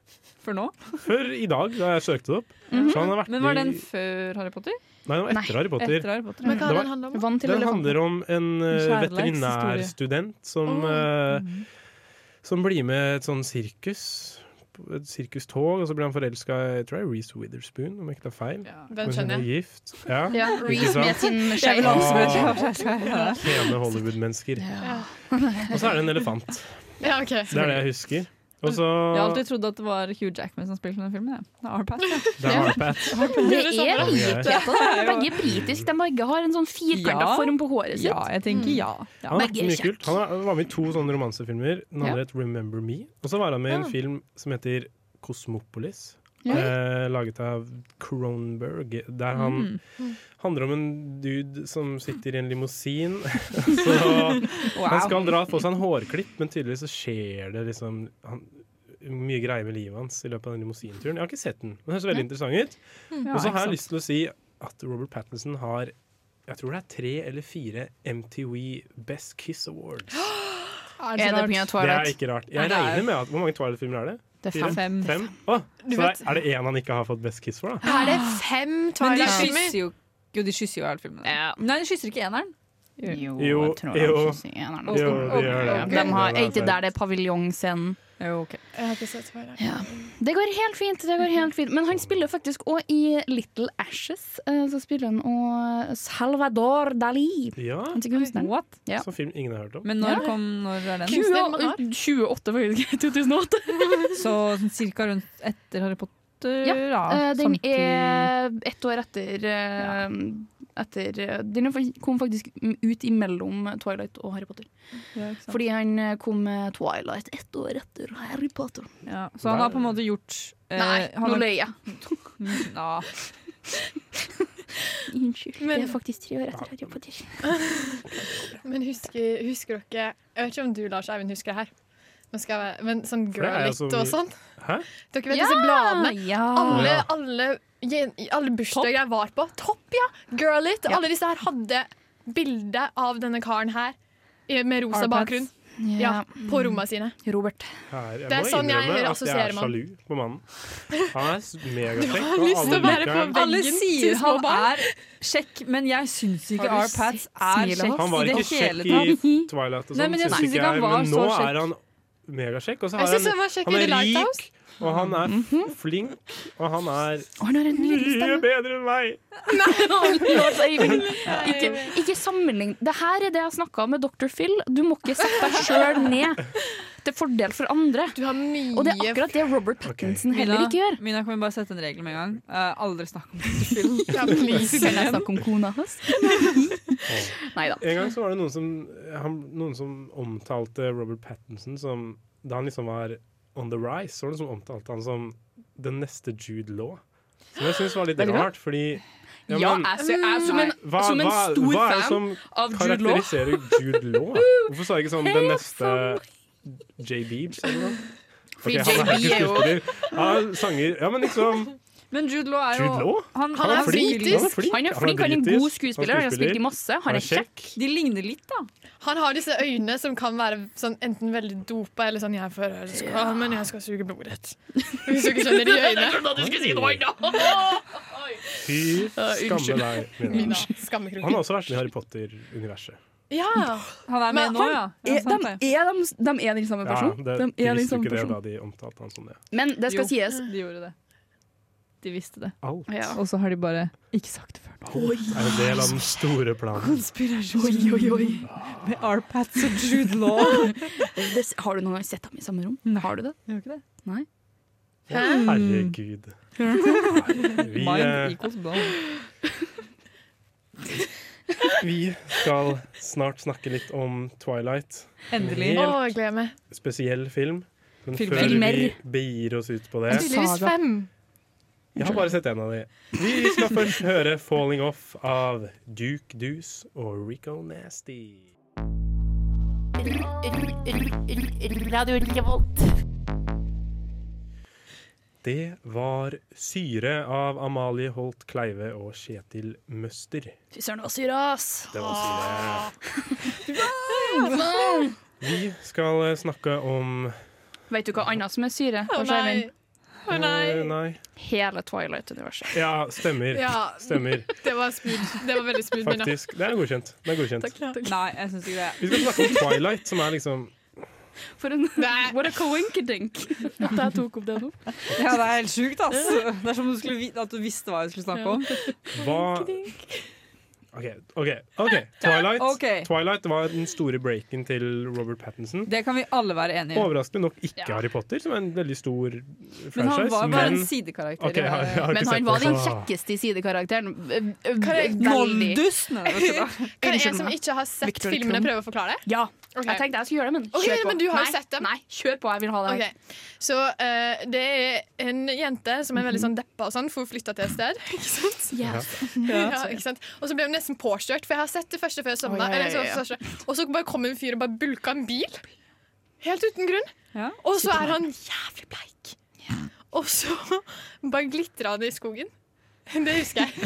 [SPEAKER 3] For nå?
[SPEAKER 1] Før i dag, da jeg søkte det opp. Så han har vært
[SPEAKER 3] Men var
[SPEAKER 1] i-
[SPEAKER 3] den før Harry Potter?
[SPEAKER 1] Nei, den var etter Harry Potter.
[SPEAKER 3] Etter Harry Potter.
[SPEAKER 1] Men hva er den Det var-
[SPEAKER 11] handler
[SPEAKER 5] om? Vann til
[SPEAKER 1] Den handler
[SPEAKER 5] elefanten.
[SPEAKER 1] om en eh,
[SPEAKER 5] En
[SPEAKER 1] veterinærstudent som, eh, som blir med et sånn sirkus. Et sirkustog, og så blir han forelska i jeg tror det er Reece Witherspoon, om jeg ikke tar feil.
[SPEAKER 11] Den
[SPEAKER 1] Mens hun
[SPEAKER 11] skjønner
[SPEAKER 1] er
[SPEAKER 11] jeg.
[SPEAKER 1] gift. Ja,
[SPEAKER 11] Ja,
[SPEAKER 1] ikke
[SPEAKER 11] Reese
[SPEAKER 1] sant?
[SPEAKER 11] med sin
[SPEAKER 1] Ah,
[SPEAKER 11] skjeve
[SPEAKER 3] Ja.
[SPEAKER 1] Pene Hollywood-mennesker. Og så er det en elefant.
[SPEAKER 3] Ja, ok.
[SPEAKER 1] Det er det jeg husker. Og så
[SPEAKER 3] Jeg har alltid trodd at det var Hugh Jackman som spilte den filmen. jeg. Det er Arpat.
[SPEAKER 1] Det er Harpat.
[SPEAKER 5] Det er
[SPEAKER 1] Ja.
[SPEAKER 5] likheter. da. De er Begge britiske. De begge har en sånn firkanta
[SPEAKER 3] Ja.
[SPEAKER 5] form på håret sitt.
[SPEAKER 3] Ja, jeg tenker ja. Ja.
[SPEAKER 1] Han, har vært
[SPEAKER 5] Begge er
[SPEAKER 1] mye kult. han har- var med i to sånne romansefilmer. Den
[SPEAKER 5] Ja.
[SPEAKER 1] andre het 'Remember Me'. Og så var han med i en
[SPEAKER 5] Ah.
[SPEAKER 1] film som heter 'Kosmopolis'.
[SPEAKER 5] Ja.
[SPEAKER 1] Eh, laget av Kronberg. Der han
[SPEAKER 12] Mm.
[SPEAKER 1] handler om en dude som sitter i en limousin. så
[SPEAKER 12] Wow.
[SPEAKER 1] Han skal dra på seg en hårklipp, men tydeligvis så skjer det liksom han, mye greier med livet hans i løpet av den limousinturen. Jeg har ikke sett den, men den høres veldig interessant ut.
[SPEAKER 12] Ja,
[SPEAKER 1] Og så
[SPEAKER 12] ikke
[SPEAKER 1] har jeg
[SPEAKER 12] sant.
[SPEAKER 1] lyst til å si at Robert Pattinson har jeg tror det er tre eller fire MTV Best Kiss Awards.
[SPEAKER 5] Er det på grunn av Twilight?
[SPEAKER 1] Det er ikke rart.
[SPEAKER 5] Nei,
[SPEAKER 1] Jeg
[SPEAKER 5] det er- Mm.
[SPEAKER 1] regner med at Hvor mange Twilight-filmer er det?
[SPEAKER 5] Det er
[SPEAKER 1] Fire?
[SPEAKER 5] fem.
[SPEAKER 1] fem? Å,
[SPEAKER 11] Du
[SPEAKER 1] så
[SPEAKER 11] vet-
[SPEAKER 1] er- er det én han ikke har fått Best Kiss for, da?
[SPEAKER 11] Er det fem
[SPEAKER 3] Men de
[SPEAKER 11] Twilight-filmer?
[SPEAKER 3] kysser jo Jo, de kysser jo i alle filmene. Nei, de kysser ikke eneren. Jo,
[SPEAKER 1] Jo, jo. Jo, de gjør det.
[SPEAKER 5] altså.
[SPEAKER 1] altså-
[SPEAKER 5] De har, er ikke der det er paviljongscenen?
[SPEAKER 11] Jeg har ikke sett Twilight.
[SPEAKER 5] Det går helt fint. det går helt fint Men han spiller faktisk òg i Little Ashes. eh, Så spiller han òg Salvador Dali.
[SPEAKER 1] Ja.
[SPEAKER 5] Han er kunstneren. Ja.
[SPEAKER 1] Sånn film ingen har hørt om.
[SPEAKER 3] Men når kom når er den?
[SPEAKER 5] 28, faktisk. 2008.
[SPEAKER 3] Så sånn cirka rundt etter Harry Potter?
[SPEAKER 5] Ja,
[SPEAKER 3] da,
[SPEAKER 5] eh, den
[SPEAKER 3] samtid-
[SPEAKER 5] er ett år etter, eh, etter eh, Den er fa- kom faktisk ut imellom Twilight og Harry Potter.
[SPEAKER 3] Ja, ikke sant.
[SPEAKER 5] Fordi han eh, kom med Twilight ett år etter Harry Potter.
[SPEAKER 3] Ja, så han har på en måte gjort eh,
[SPEAKER 5] Nei,
[SPEAKER 3] han
[SPEAKER 5] nå
[SPEAKER 3] har- Mm,
[SPEAKER 5] løy jeg.
[SPEAKER 3] Ja.
[SPEAKER 5] Unnskyld.
[SPEAKER 11] Men-
[SPEAKER 5] det er faktisk tre år etter Harry Potter.
[SPEAKER 11] Men husker, husker dere Jeg vet ikke om du, Lars Eivind, husker det her. Nå skal jeg, men sånn
[SPEAKER 1] For det er altså
[SPEAKER 11] girlette
[SPEAKER 1] jo så
[SPEAKER 11] og
[SPEAKER 1] mye-
[SPEAKER 11] sånn.
[SPEAKER 1] Hæ?
[SPEAKER 11] Dere vet
[SPEAKER 5] Ja,
[SPEAKER 11] disse bladene?
[SPEAKER 5] ja.
[SPEAKER 11] Alle,
[SPEAKER 1] Ja.
[SPEAKER 11] alle, jen- alle bursdager jeg var på. Topp, ja! Girlit. Alle disse her hadde bilde av denne karen her eh, med rosa
[SPEAKER 5] Hardpants.
[SPEAKER 11] bakgrunn. Ja,
[SPEAKER 5] Ja.
[SPEAKER 11] på rommene sine.
[SPEAKER 5] Robert.
[SPEAKER 1] Her, jeg
[SPEAKER 11] Det er
[SPEAKER 1] må
[SPEAKER 11] sånn jeg
[SPEAKER 1] innrømme at
[SPEAKER 11] assosierer
[SPEAKER 1] Jeg
[SPEAKER 11] man.
[SPEAKER 1] er sjalu på mannen. Han er s-
[SPEAKER 3] Du
[SPEAKER 1] megaslekk.
[SPEAKER 3] har
[SPEAKER 1] og
[SPEAKER 3] lyst til å
[SPEAKER 1] alle
[SPEAKER 3] være
[SPEAKER 1] liker
[SPEAKER 3] på
[SPEAKER 1] han.
[SPEAKER 3] veggen Alle sier til små han barn. er Sjekk, men jeg syns ikke
[SPEAKER 5] Har du
[SPEAKER 3] R-Pats
[SPEAKER 5] sett
[SPEAKER 3] er
[SPEAKER 5] smilet
[SPEAKER 3] kjekk
[SPEAKER 5] hans?
[SPEAKER 1] Han var
[SPEAKER 3] i det
[SPEAKER 1] ikke
[SPEAKER 3] hele
[SPEAKER 1] kjekk
[SPEAKER 3] tatt.
[SPEAKER 1] i Twilight og
[SPEAKER 3] Nei,
[SPEAKER 1] sånn,
[SPEAKER 3] men jeg
[SPEAKER 1] synes
[SPEAKER 3] synes ikke
[SPEAKER 1] ikke
[SPEAKER 3] han
[SPEAKER 1] jeg,
[SPEAKER 3] var
[SPEAKER 1] men
[SPEAKER 3] så
[SPEAKER 1] nå
[SPEAKER 3] kjekk.
[SPEAKER 1] er han megasjekk. Og så
[SPEAKER 11] Jeg
[SPEAKER 1] har
[SPEAKER 11] synes han var kjekk
[SPEAKER 1] han
[SPEAKER 11] i
[SPEAKER 1] er
[SPEAKER 11] The Lighthouse.
[SPEAKER 1] rik, og han er
[SPEAKER 5] Mhm.
[SPEAKER 1] f- flink, og han er
[SPEAKER 5] Han har en nydelig
[SPEAKER 1] mye
[SPEAKER 5] stemme.
[SPEAKER 1] bedre enn meg!
[SPEAKER 5] Lars Eivind. Ikke, ikke sammenlign. Det her er det jeg snakka om med Dr. Phil. Du må ikke sette deg sjøl ned til fordel for andre. Og det er akkurat det Robert Pattinson heller ikke gjør.
[SPEAKER 3] Mina, kan vi bare sette en regel med en gang? Eh, aldri snakk om dette film.
[SPEAKER 5] Ja, please. Kan jeg snakke om kona hans? Neida.
[SPEAKER 1] En gang så var det noen som, han, noen som omtalte Robert Pattinson som Da han liksom var on the rise, så var det noen som omtalte han som den neste Jude Law. Som jeg syns var litt
[SPEAKER 5] Veldig bra.
[SPEAKER 1] rart, fordi
[SPEAKER 5] Ja, jeg ser- jeg er som en- som en stor
[SPEAKER 1] hva er det
[SPEAKER 5] fan
[SPEAKER 1] som
[SPEAKER 5] av Jude Law.
[SPEAKER 1] karakteriserer Jude Law? Hvorfor sa jeg ikke sånn den neste J. Beebs eller noe?
[SPEAKER 3] Fordi
[SPEAKER 1] Ok, han
[SPEAKER 3] J.
[SPEAKER 1] er
[SPEAKER 3] Beebe
[SPEAKER 1] ikke
[SPEAKER 3] er jo-
[SPEAKER 1] skuespiller. Han er sanger Ja, men liksom
[SPEAKER 3] Men Jude Law er jo
[SPEAKER 1] Jude Law?
[SPEAKER 3] Han,
[SPEAKER 1] Han er flink.
[SPEAKER 3] britisk.
[SPEAKER 1] Han er flink.
[SPEAKER 5] Han er flink, han er en
[SPEAKER 1] britisk.
[SPEAKER 5] god skuespiller, han har spilt i masse, han er kjekk.
[SPEAKER 3] De ligner litt, da.
[SPEAKER 11] Han har disse øynene som kan være sånn, enten veldig dopa eller sånn 'Jeg er forelska, men jeg skal suge blodet'. Hvis du ikke skjønner de øynene.
[SPEAKER 5] Jeg trodde du skulle si noe
[SPEAKER 11] annet!
[SPEAKER 1] Fy skamme deg, Mina.
[SPEAKER 11] Skammekroken.
[SPEAKER 1] Han har også vært med i Harry Potter-universet.
[SPEAKER 15] Ja.
[SPEAKER 3] Han er med nå, ja. Ja,
[SPEAKER 15] Er,
[SPEAKER 3] sant
[SPEAKER 15] de, er, de, de er den samme
[SPEAKER 1] Ja,
[SPEAKER 15] personen.
[SPEAKER 1] det,
[SPEAKER 15] de
[SPEAKER 1] de
[SPEAKER 15] er den
[SPEAKER 1] visste jo
[SPEAKER 5] sånn
[SPEAKER 15] samme
[SPEAKER 1] ikke det
[SPEAKER 15] personen.
[SPEAKER 1] da de omtalte han som det.
[SPEAKER 15] Men det skal
[SPEAKER 3] Jo,
[SPEAKER 15] sies.
[SPEAKER 3] De gjorde det. De visste det.
[SPEAKER 1] Alt.
[SPEAKER 15] Ja.
[SPEAKER 3] Og så har de bare ikke sagt det før nå.
[SPEAKER 1] Er en del av den store planen.
[SPEAKER 15] Konspirasjon. Oi, oi, oi. Med Arpats og Jude Law. det, har du noen gang sett dem i samme rom? Har du det?
[SPEAKER 3] Gjør ikke det?
[SPEAKER 15] Nei.
[SPEAKER 1] Å, Herregud. Vi, eh,
[SPEAKER 3] Mind equals blown.
[SPEAKER 1] vi skal snart snakke litt om Twilight.
[SPEAKER 11] Endelig.
[SPEAKER 1] En
[SPEAKER 11] Å, jeg
[SPEAKER 1] helt
[SPEAKER 11] gleder meg.
[SPEAKER 1] spesiell film. Men
[SPEAKER 11] Filmer.
[SPEAKER 1] før vi
[SPEAKER 11] Filmer.
[SPEAKER 1] begir oss ut på det
[SPEAKER 11] Tydeligvis fem.
[SPEAKER 1] Jeg har bare sett en av de. Vi skal først høre 'Falling Off' av Duke Deuce og Rico Nasty.
[SPEAKER 9] Radio Revolt.
[SPEAKER 1] Det var 'Syre' av Amalie Holt Kleive og Kjetil Møster.
[SPEAKER 15] Fy søren, det var syre, ass.
[SPEAKER 1] Det var syre.
[SPEAKER 15] Wow.
[SPEAKER 1] Vi skal eh, snakke om
[SPEAKER 5] Vet du hva annet som er syre?
[SPEAKER 15] Å,
[SPEAKER 5] Lars Eivind?
[SPEAKER 15] nei.
[SPEAKER 1] Eh, nei.
[SPEAKER 5] Hele Twilight-universet.
[SPEAKER 1] Ja, stemmer.
[SPEAKER 5] Ja.
[SPEAKER 1] Stemmer.
[SPEAKER 11] Det var smooth. Det var veldig smooth. Mina.
[SPEAKER 1] Faktisk. Det er godkjent. Det er godkjent.
[SPEAKER 3] Nei, jeg syns ikke
[SPEAKER 1] Vi skal snakke om Twilight, som er liksom
[SPEAKER 5] For en, what a coinkydink at jeg tok opp det nå.
[SPEAKER 3] Ja, det er helt sjukt, ass. Det er som om du skulle vi- at du visste hva vi skulle snakke om.
[SPEAKER 1] Hva OK. ok, ok Twilight
[SPEAKER 3] Ok.
[SPEAKER 1] Twilight var den store breaken til Robert Pattinson.
[SPEAKER 3] Det kan vi alle være enige i.
[SPEAKER 1] Overraskende nok ikke
[SPEAKER 3] Ja.
[SPEAKER 1] Harry Potter, som er en veldig stor franchise.
[SPEAKER 3] Men han var bare
[SPEAKER 1] men-
[SPEAKER 3] en sidekarakter.
[SPEAKER 1] Ok, jeg har- jeg har ikke
[SPEAKER 5] Men
[SPEAKER 1] sett
[SPEAKER 5] han var
[SPEAKER 1] det.
[SPEAKER 5] den kjekkeste i sidekarakteren.
[SPEAKER 15] Eh,
[SPEAKER 5] Ø- ø-
[SPEAKER 11] Hva er
[SPEAKER 5] veldig.
[SPEAKER 11] Moldus?
[SPEAKER 5] Nei, det var ikke det.
[SPEAKER 11] Kan
[SPEAKER 5] Unnskyld
[SPEAKER 11] en som
[SPEAKER 5] meg.
[SPEAKER 11] ikke har sett
[SPEAKER 5] Victor
[SPEAKER 11] filmene,
[SPEAKER 5] Krum.
[SPEAKER 11] prøve å forklare det?
[SPEAKER 5] Ja.
[SPEAKER 11] Ok.
[SPEAKER 5] Jeg tenkte jeg skulle gjøre det, men
[SPEAKER 11] Ok,
[SPEAKER 5] kjør på.
[SPEAKER 11] men du har jo
[SPEAKER 5] nei,
[SPEAKER 11] sett dem.
[SPEAKER 5] nei, kjør på. Jeg vil ha det her.
[SPEAKER 11] Ok. Så eh, det er en jente som er veldig sånn deppa og sånn, for hun flytta til et sted. Ikke sant?
[SPEAKER 5] Ja.
[SPEAKER 11] Ja, ikke sant? Og så ble hun nesten påkjørt, for jeg har sett det første før jeg sovna.
[SPEAKER 5] Oi, oi, oi,
[SPEAKER 11] eller så-
[SPEAKER 5] ja.
[SPEAKER 11] så- så- Og så bare kom en fyr og bare bulka en bil. Helt uten grunn. Og så er han jævlig bleik. Og så bare glitra han i skogen. Det husker jeg.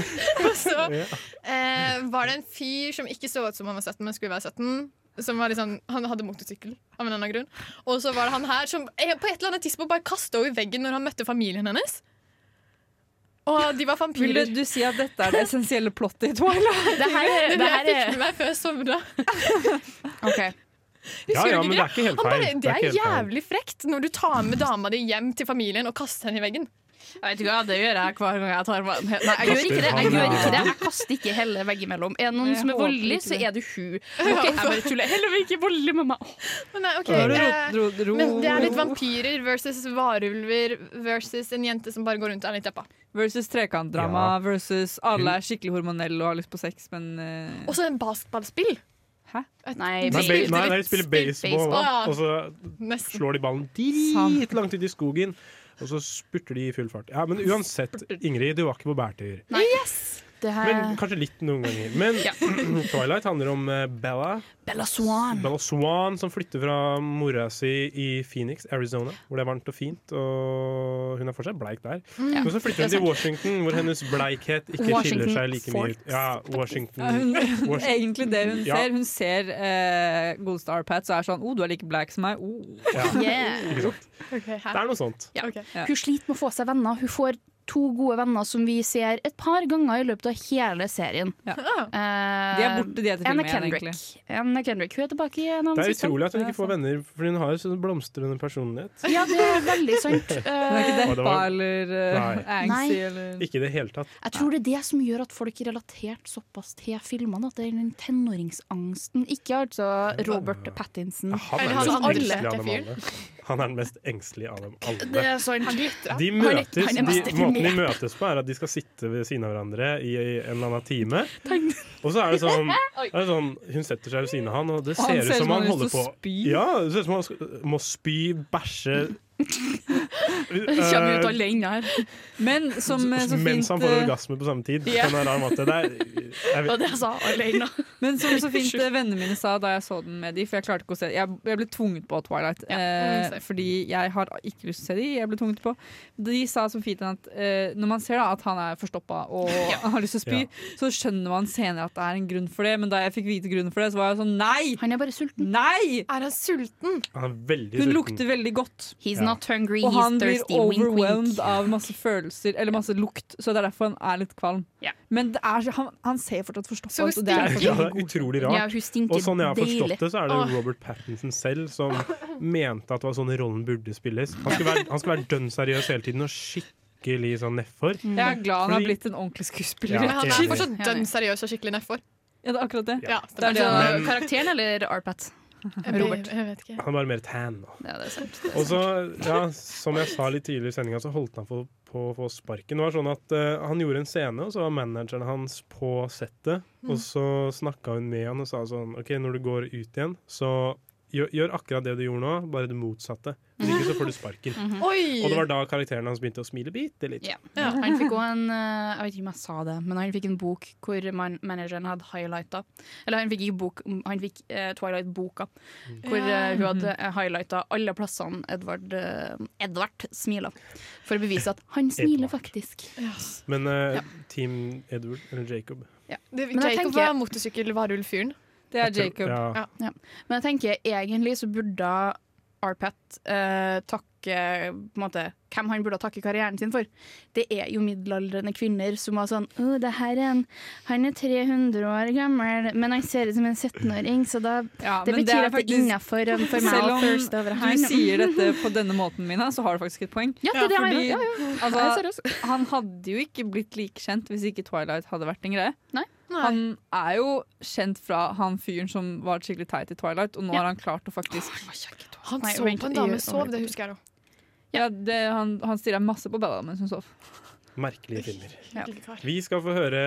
[SPEAKER 11] Og så eh, var det en fyr som ikke så ut som han var 17, men skulle være 17. Som var litt sånn, han hadde motorsykkel av en eller annen grunn. Og så var det han her som eh, på et eller annet tidspunkt bare kasta henne i veggen når han møtte familien hennes. Og de var
[SPEAKER 3] Vil
[SPEAKER 11] vampyrer.
[SPEAKER 3] du, du si at dette er det essensielle plottet i Twilight?
[SPEAKER 11] Det her er- det her er-
[SPEAKER 1] Ja, ja, men det er
[SPEAKER 11] Husker du
[SPEAKER 1] ikke helt
[SPEAKER 11] Han
[SPEAKER 1] feil.
[SPEAKER 11] bare, det er
[SPEAKER 1] helt feil.
[SPEAKER 11] jævlig frekt når du tar med dama di hjem til familien og kaster henne i veggen.
[SPEAKER 5] Jeg vet ikke hva, Det gjør jeg hver gang jeg tar meg Nei, jeg gjør
[SPEAKER 11] Kaster
[SPEAKER 5] ikke det. Jeg
[SPEAKER 11] han
[SPEAKER 5] gjør
[SPEAKER 11] av?
[SPEAKER 5] ikke det Jeg kaster ikke hele veggimellom. Er det noen
[SPEAKER 11] Jeg
[SPEAKER 5] som er
[SPEAKER 11] håper
[SPEAKER 5] voldelig,
[SPEAKER 11] ikke
[SPEAKER 5] så
[SPEAKER 11] det.
[SPEAKER 5] er det hun. Ok, jeg bare tuller. Heller ikke voldelig med meg.
[SPEAKER 11] Å, Nei, ok,
[SPEAKER 5] Ro, ro,
[SPEAKER 11] eh,
[SPEAKER 5] ro, ro, ro.
[SPEAKER 11] Men det er litt vampyrer versus varulver versus en jente som bare går rundt og er litt deppa.
[SPEAKER 3] Versus trekantdrama versus alle er skikkelig hormonelle og har lyst på sex, men eh,
[SPEAKER 11] Og så en basketballspill.
[SPEAKER 3] Hæ?
[SPEAKER 5] Nei,
[SPEAKER 1] Nei, ba- nei, nei, de spiller baseball, da. og så
[SPEAKER 11] Nesten.
[SPEAKER 1] slår de ballen dritlangt ut i skogen. Og så spurter de i full fart. Ja, Men uansett, Ingrid, du var ikke på bærtur.
[SPEAKER 5] Yes! Det her
[SPEAKER 1] Men kanskje litt noen ganger. Men
[SPEAKER 5] Eh. Ja.
[SPEAKER 1] Twilight handler om eh, Bella.
[SPEAKER 5] Bella Swan.
[SPEAKER 1] Bella Swan som flytter fra mora si i Phoenix, Arizona, hvor det er varmt og fint. Og hun er fortsatt bleik der.
[SPEAKER 5] Mm.
[SPEAKER 1] Men så flytter hun
[SPEAKER 5] Det er
[SPEAKER 1] til Washington, hvor hennes bleikhet ikke
[SPEAKER 5] Washington
[SPEAKER 1] skiller seg like mye ut. Ja,
[SPEAKER 3] Ja, hun,
[SPEAKER 1] Washington Wash-
[SPEAKER 3] egentlig det hun
[SPEAKER 1] Ja.
[SPEAKER 3] ser. Hun ser eh, Gold Star Pats og er sånn 'Å, oh, du er like black som meg'. Oh.
[SPEAKER 1] Ja.
[SPEAKER 5] Yeah.
[SPEAKER 1] Ikke sant?
[SPEAKER 11] Det
[SPEAKER 1] er noe sånt.
[SPEAKER 5] Ja.
[SPEAKER 3] Ja.
[SPEAKER 5] Hun sliter med å få seg venner. Hun får to gode venner som vi ser et par ganger i løpet av hele serien. Eh,
[SPEAKER 3] De er borte, de etter
[SPEAKER 5] Anna
[SPEAKER 3] filmen igjen,
[SPEAKER 5] Kendrick. Anna Kendrick. Hun er tilbake i en annen
[SPEAKER 1] Det er
[SPEAKER 5] sesong.
[SPEAKER 1] utrolig at hun ikke får venner, for hun har jo sånn blomstrende personlighet.
[SPEAKER 5] Ja, det er veldig sant.
[SPEAKER 3] Hun er
[SPEAKER 1] Og
[SPEAKER 3] ikke
[SPEAKER 1] det
[SPEAKER 3] deppa
[SPEAKER 1] var-
[SPEAKER 3] eller
[SPEAKER 1] Nei.
[SPEAKER 3] eh, angsty
[SPEAKER 5] Nei.
[SPEAKER 3] eller
[SPEAKER 1] Ikke i det hele tatt.
[SPEAKER 5] Jeg tror det er det som gjør at folk relaterte såpass til filmene. At det er den tenåringsangsten. Ikke altså Robert Pattinson.
[SPEAKER 1] Han er,
[SPEAKER 5] Som
[SPEAKER 1] den mest engstelige
[SPEAKER 5] alle-
[SPEAKER 1] av dem alle. han er den mest engstelige av dem
[SPEAKER 5] Det
[SPEAKER 1] alle.
[SPEAKER 5] er sant.
[SPEAKER 1] De
[SPEAKER 5] Han er-
[SPEAKER 1] møtes,
[SPEAKER 5] han
[SPEAKER 1] de,
[SPEAKER 5] er mest
[SPEAKER 1] måten de
[SPEAKER 5] deprimert.
[SPEAKER 1] møtes på, er at de skal sitte ved siden av hverandre i, i en eller annen time. Og så er det sånn,
[SPEAKER 5] Oi.
[SPEAKER 1] det er sånn Hun setter seg ved siden av han, og det
[SPEAKER 3] Og han
[SPEAKER 1] ser ut
[SPEAKER 3] ser
[SPEAKER 1] som
[SPEAKER 3] ut som
[SPEAKER 1] han
[SPEAKER 3] han har
[SPEAKER 1] holder
[SPEAKER 3] lyst
[SPEAKER 1] på
[SPEAKER 3] til å spy.
[SPEAKER 1] Ja, det ser ut som han sk- må spy, bæsje
[SPEAKER 5] Kommer ut
[SPEAKER 1] eh,
[SPEAKER 5] alene her.
[SPEAKER 3] Men som eh, så
[SPEAKER 1] Mens
[SPEAKER 3] fint
[SPEAKER 1] han får
[SPEAKER 3] eh,
[SPEAKER 1] orgasme på samme tid.
[SPEAKER 3] Ja.
[SPEAKER 1] På en rar måte. Det er, jeg
[SPEAKER 5] Og
[SPEAKER 1] vet,
[SPEAKER 5] det
[SPEAKER 11] altså,
[SPEAKER 5] jeg sa alene.
[SPEAKER 3] Men som så fint eh, vennene mine sa da jeg så den med de, for jeg klarte ikke å se Jeg, jeg ble tvunget på Twilight.
[SPEAKER 11] Ja,
[SPEAKER 3] eh,
[SPEAKER 11] same.
[SPEAKER 3] fordi jeg har ikke lyst til å se de, jeg ble tvunget på. De sa så fint at eh, når man ser da at han er forstoppa og har lyst til å spy,
[SPEAKER 5] Ja.
[SPEAKER 3] så skjønner man senere at det er en grunn for det, men da jeg fikk vite grunnen for det, så var jeg sånn nei!
[SPEAKER 5] Han er bare sulten.
[SPEAKER 3] Nei!
[SPEAKER 11] Er han sulten?
[SPEAKER 1] han er veldig
[SPEAKER 3] Hun
[SPEAKER 1] sulten.
[SPEAKER 3] lukter veldig godt.
[SPEAKER 5] He's
[SPEAKER 15] not hungry,
[SPEAKER 3] Og
[SPEAKER 15] he's
[SPEAKER 3] han blir
[SPEAKER 15] thirsty, wink, wink.
[SPEAKER 3] overwhelmed av masse følelser eller masse lukt, så det er derfor han er litt kvalm. Men det er, så- han, han ser fortsatt forstoppa ut. og det er fortsatt
[SPEAKER 1] Ja, det
[SPEAKER 3] veldig
[SPEAKER 1] er
[SPEAKER 3] god.
[SPEAKER 1] utrolig rart.
[SPEAKER 3] Ja, hun stinker
[SPEAKER 1] og sånn jeg har
[SPEAKER 3] deilig.
[SPEAKER 1] forstått det, så er det
[SPEAKER 3] Åh.
[SPEAKER 1] jo Robert Pattinson selv som mente at det var sånn rollen burde spilles. Han skal være, han skal være dønn seriøs hele tiden og skikkelig sånn nedfor.
[SPEAKER 3] Jeg er glad han har
[SPEAKER 1] Fordi-
[SPEAKER 3] blitt en ordentlig skuespiller.
[SPEAKER 1] Ja,
[SPEAKER 11] Men Mm. han
[SPEAKER 1] enig.
[SPEAKER 11] er fortsatt dønn seriøs og skikkelig nedfor.
[SPEAKER 3] Ja, det er akkurat det.
[SPEAKER 11] Ja,
[SPEAKER 5] Det er
[SPEAKER 11] det
[SPEAKER 5] altså
[SPEAKER 1] Men-
[SPEAKER 5] karakteren eller Arpat? Robert.
[SPEAKER 11] Jeg vet ikke.
[SPEAKER 1] Han er bare mer tan nå.
[SPEAKER 5] Ja, det er sant.
[SPEAKER 1] Og så, ja, som jeg sa litt tidligere i sendinga, så holdt han på, på å få sparken. Det var sånn at eh, Han gjorde en scene, og så var manageren hans på settet.
[SPEAKER 12] Mm.
[SPEAKER 1] Og så snakka hun med han og sa sånn OK, når du går ut igjen, så gjør, gjør akkurat det du gjorde nå, bare det motsatte. Hvis ikke så får du sparken.
[SPEAKER 3] Mm.
[SPEAKER 5] Mhm. Oi!
[SPEAKER 1] Og det var da karakteren hans begynte å smile bitte litt.
[SPEAKER 5] Ja. Han fikk også en eh, Jeg vet ikke om jeg sa det, men han fikk en bok hvor man manageren hadde highlighta Eller han fikk ikke bok, han fikk eh, Twilight-boka, hvor eh, hun hadde highlighta alle plassene Edvard, eh, Edvard smila, for å bevise at han smiler faktisk.
[SPEAKER 1] Men eh, Team Edward, eller Jacob
[SPEAKER 11] Det,
[SPEAKER 5] Men jeg
[SPEAKER 11] Jacob
[SPEAKER 5] tenker-
[SPEAKER 11] var motorsykkelvarulv-fyren.
[SPEAKER 5] Det
[SPEAKER 1] er Jeg tror- Jacob. ja.
[SPEAKER 5] Ja. Men jeg tenker egentlig så burde Arpet eh, takke på en måte, hvem han burde takke karrieren sin for. Det er jo middelaldrende kvinner som var sånn Å, det her er en Han er 300 år gammel, men han ser ut som en 17-åring, så da Det
[SPEAKER 3] men
[SPEAKER 5] betyr at det er innafor for meg
[SPEAKER 3] Selv
[SPEAKER 5] å
[SPEAKER 3] om
[SPEAKER 5] thirste over han.
[SPEAKER 3] du sier dette på denne måten, Mina, så har du faktisk et poeng.
[SPEAKER 5] Ja, det er det
[SPEAKER 3] Fordi,
[SPEAKER 5] jeg- ja, ja.
[SPEAKER 3] Altså,
[SPEAKER 5] Jeg ser det
[SPEAKER 3] han hadde jo ikke blitt like kjent hvis ikke Twilight hadde vært en greie.
[SPEAKER 5] Nei.
[SPEAKER 3] Han er jo kjent fra han fyren som var skikkelig teit i Twilight, og nå
[SPEAKER 11] Ja.
[SPEAKER 3] har han klart å faktisk
[SPEAKER 11] Han sov på en dame, sov, det husker jeg da.
[SPEAKER 3] Ja, det, han, han stirra masse på Bella mens hun sov.
[SPEAKER 1] Merkelige filmer.
[SPEAKER 3] Ja.
[SPEAKER 1] Vi skal få høre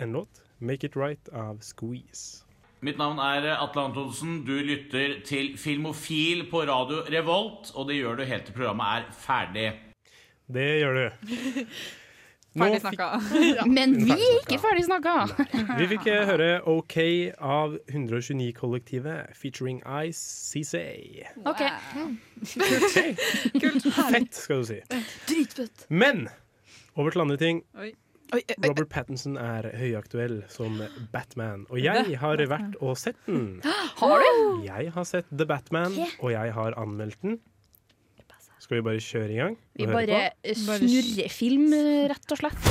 [SPEAKER 1] en låt, 'Make It Right' av Squeeze.
[SPEAKER 16] Mitt navn er eh, Atle Antonsen. Du lytter til Filmofil på radio Revolt, og det gjør du helt til programmet er ferdig.
[SPEAKER 1] Det gjør du.
[SPEAKER 5] Ferdig snakka. Men vi er ikke ferdig snakka!
[SPEAKER 1] Vi fikk eh, høre OK av 129-kollektivet featuring Ice CC.
[SPEAKER 5] OK.
[SPEAKER 1] Fett, skal du si.
[SPEAKER 5] Dritfett.
[SPEAKER 1] Men over til andre ting.
[SPEAKER 3] Oi.
[SPEAKER 5] eh,
[SPEAKER 1] Robert Pattinson er høyaktuell som Batman, og jeg har vært og sett den.
[SPEAKER 5] Har du?
[SPEAKER 1] Jeg har sett The Batman, og jeg har anmeldt den. Skal vi bare kjøre i gang? og
[SPEAKER 5] Vi
[SPEAKER 1] høre
[SPEAKER 5] bare
[SPEAKER 1] på?
[SPEAKER 5] eh, snurrer film, eh, rett og slett.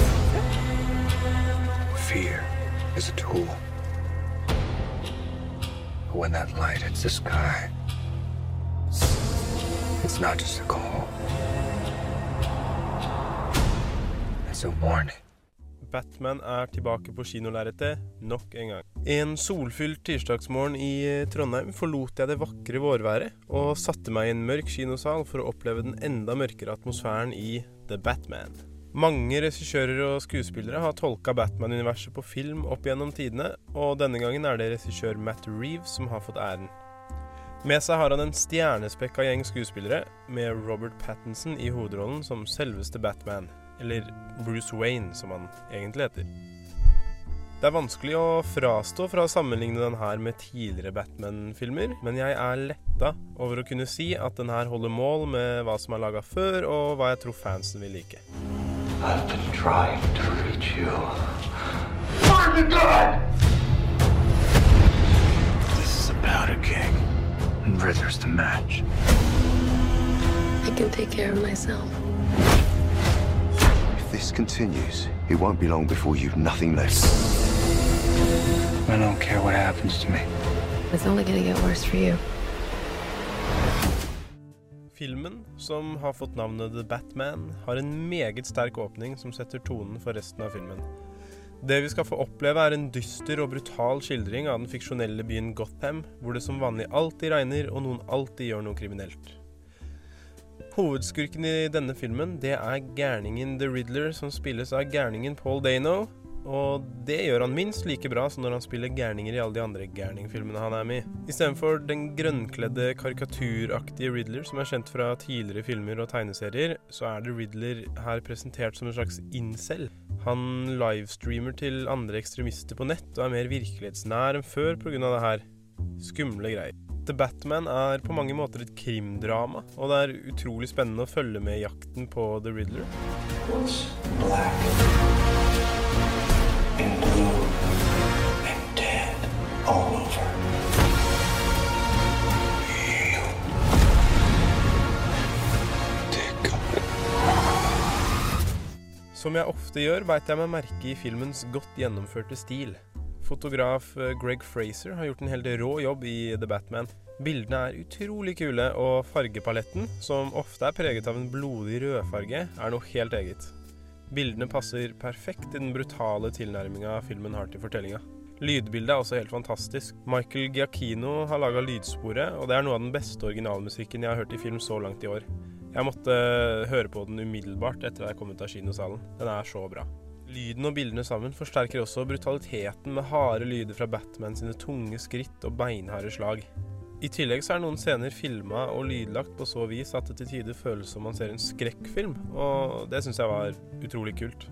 [SPEAKER 17] Fear is a tool. But when that light hits the sky, it's not just a call, it's a warning.
[SPEAKER 1] Batman er tilbake på kinolerretet nok en gang. En solfylt tirsdagsmorgen i eh, Trondheim forlot jeg det vakre vårværet og satte meg i en mørk kinosal for å oppleve den enda mørkere atmosfæren i The Batman. Mange regissører og skuespillere har tolka Batman-universet på film opp gjennom tidene, og denne gangen er det regissør Matt Reeve som har fått æren. Med seg har han en stjernespekka gjeng skuespillere, med Robert Pattinson i hovedrollen som selveste Batman, eller Bruce Wayne, som han egentlig heter. Det er vanskelig å frastå fra å sammenligne den her med tidligere Batman-filmer, men jeg er letta over å kunne si at den her holder mål med hva som er laga før, og hva jeg tror fansen vil like.
[SPEAKER 17] I've been trying to reach you.
[SPEAKER 12] Find the gun!
[SPEAKER 17] This is about a king, and Riddler's the match.
[SPEAKER 18] I can take care of myself.
[SPEAKER 19] If this continues, it won't be long before you've nothing left.
[SPEAKER 17] I don't care what happens to me.
[SPEAKER 18] It's only gonna get worse for you.
[SPEAKER 1] Filmen, som har fått navnet The Batman, har en meget sterk åpning som setter tonen for resten av filmen. Det vi skal få oppleve, er en dyster og brutal skildring av den fiksjonelle byen Gotham, hvor det som vanlig alltid regner, og noen alltid gjør noe kriminelt. Hovedskurken i denne filmen, det er gærningen The Riddler, som spilles av gærningen Paul Dano. Og det gjør han minst like bra som når han spiller gærninger i alle de andre gærningfilmene han er med i. Istedenfor den grønnkledde, karikaturaktige Riddler som er kjent fra tidligere filmer og tegneserier, så er det Riddler her presentert som en slags incel. Han livestreamer til andre ekstremister på nett og er mer virkelighetsnær enn før pga. det her. Skumle greier. The Batman er på mange måter et krimdrama, og det er utrolig spennende å følge med i jakten på The Riddler.
[SPEAKER 17] What's black and blue and dead all over? You.
[SPEAKER 20] Som jeg ofte gjør, beit jeg meg merke i filmens godt gjennomførte stil. Fotograf eh, Greg Fraser har gjort en helt rå jobb i The Batman. Bildene er utrolig kule, og fargepaletten, som ofte er preget av en blodig rødfarge, er noe helt eget. Bildene passer perfekt i den brutale tilnærminga filmen har til fortellinga. Lydbildet er også helt fantastisk. Michael Giacchino har laga lydsporet, og det er noe av den beste originalmusikken jeg har hørt i film så langt i år. Jeg måtte høre på den umiddelbart etter at jeg kom ut av kinosalen. Den er så bra. Lyden og bildene sammen forsterker også brutaliteten med harde lyder fra Batman sine tunge skritt og beinharde slag. I tillegg så er noen scener filma og lydlagt på så vis at det til tider føles som man ser en skrekkfilm, og det syns jeg var utrolig kult.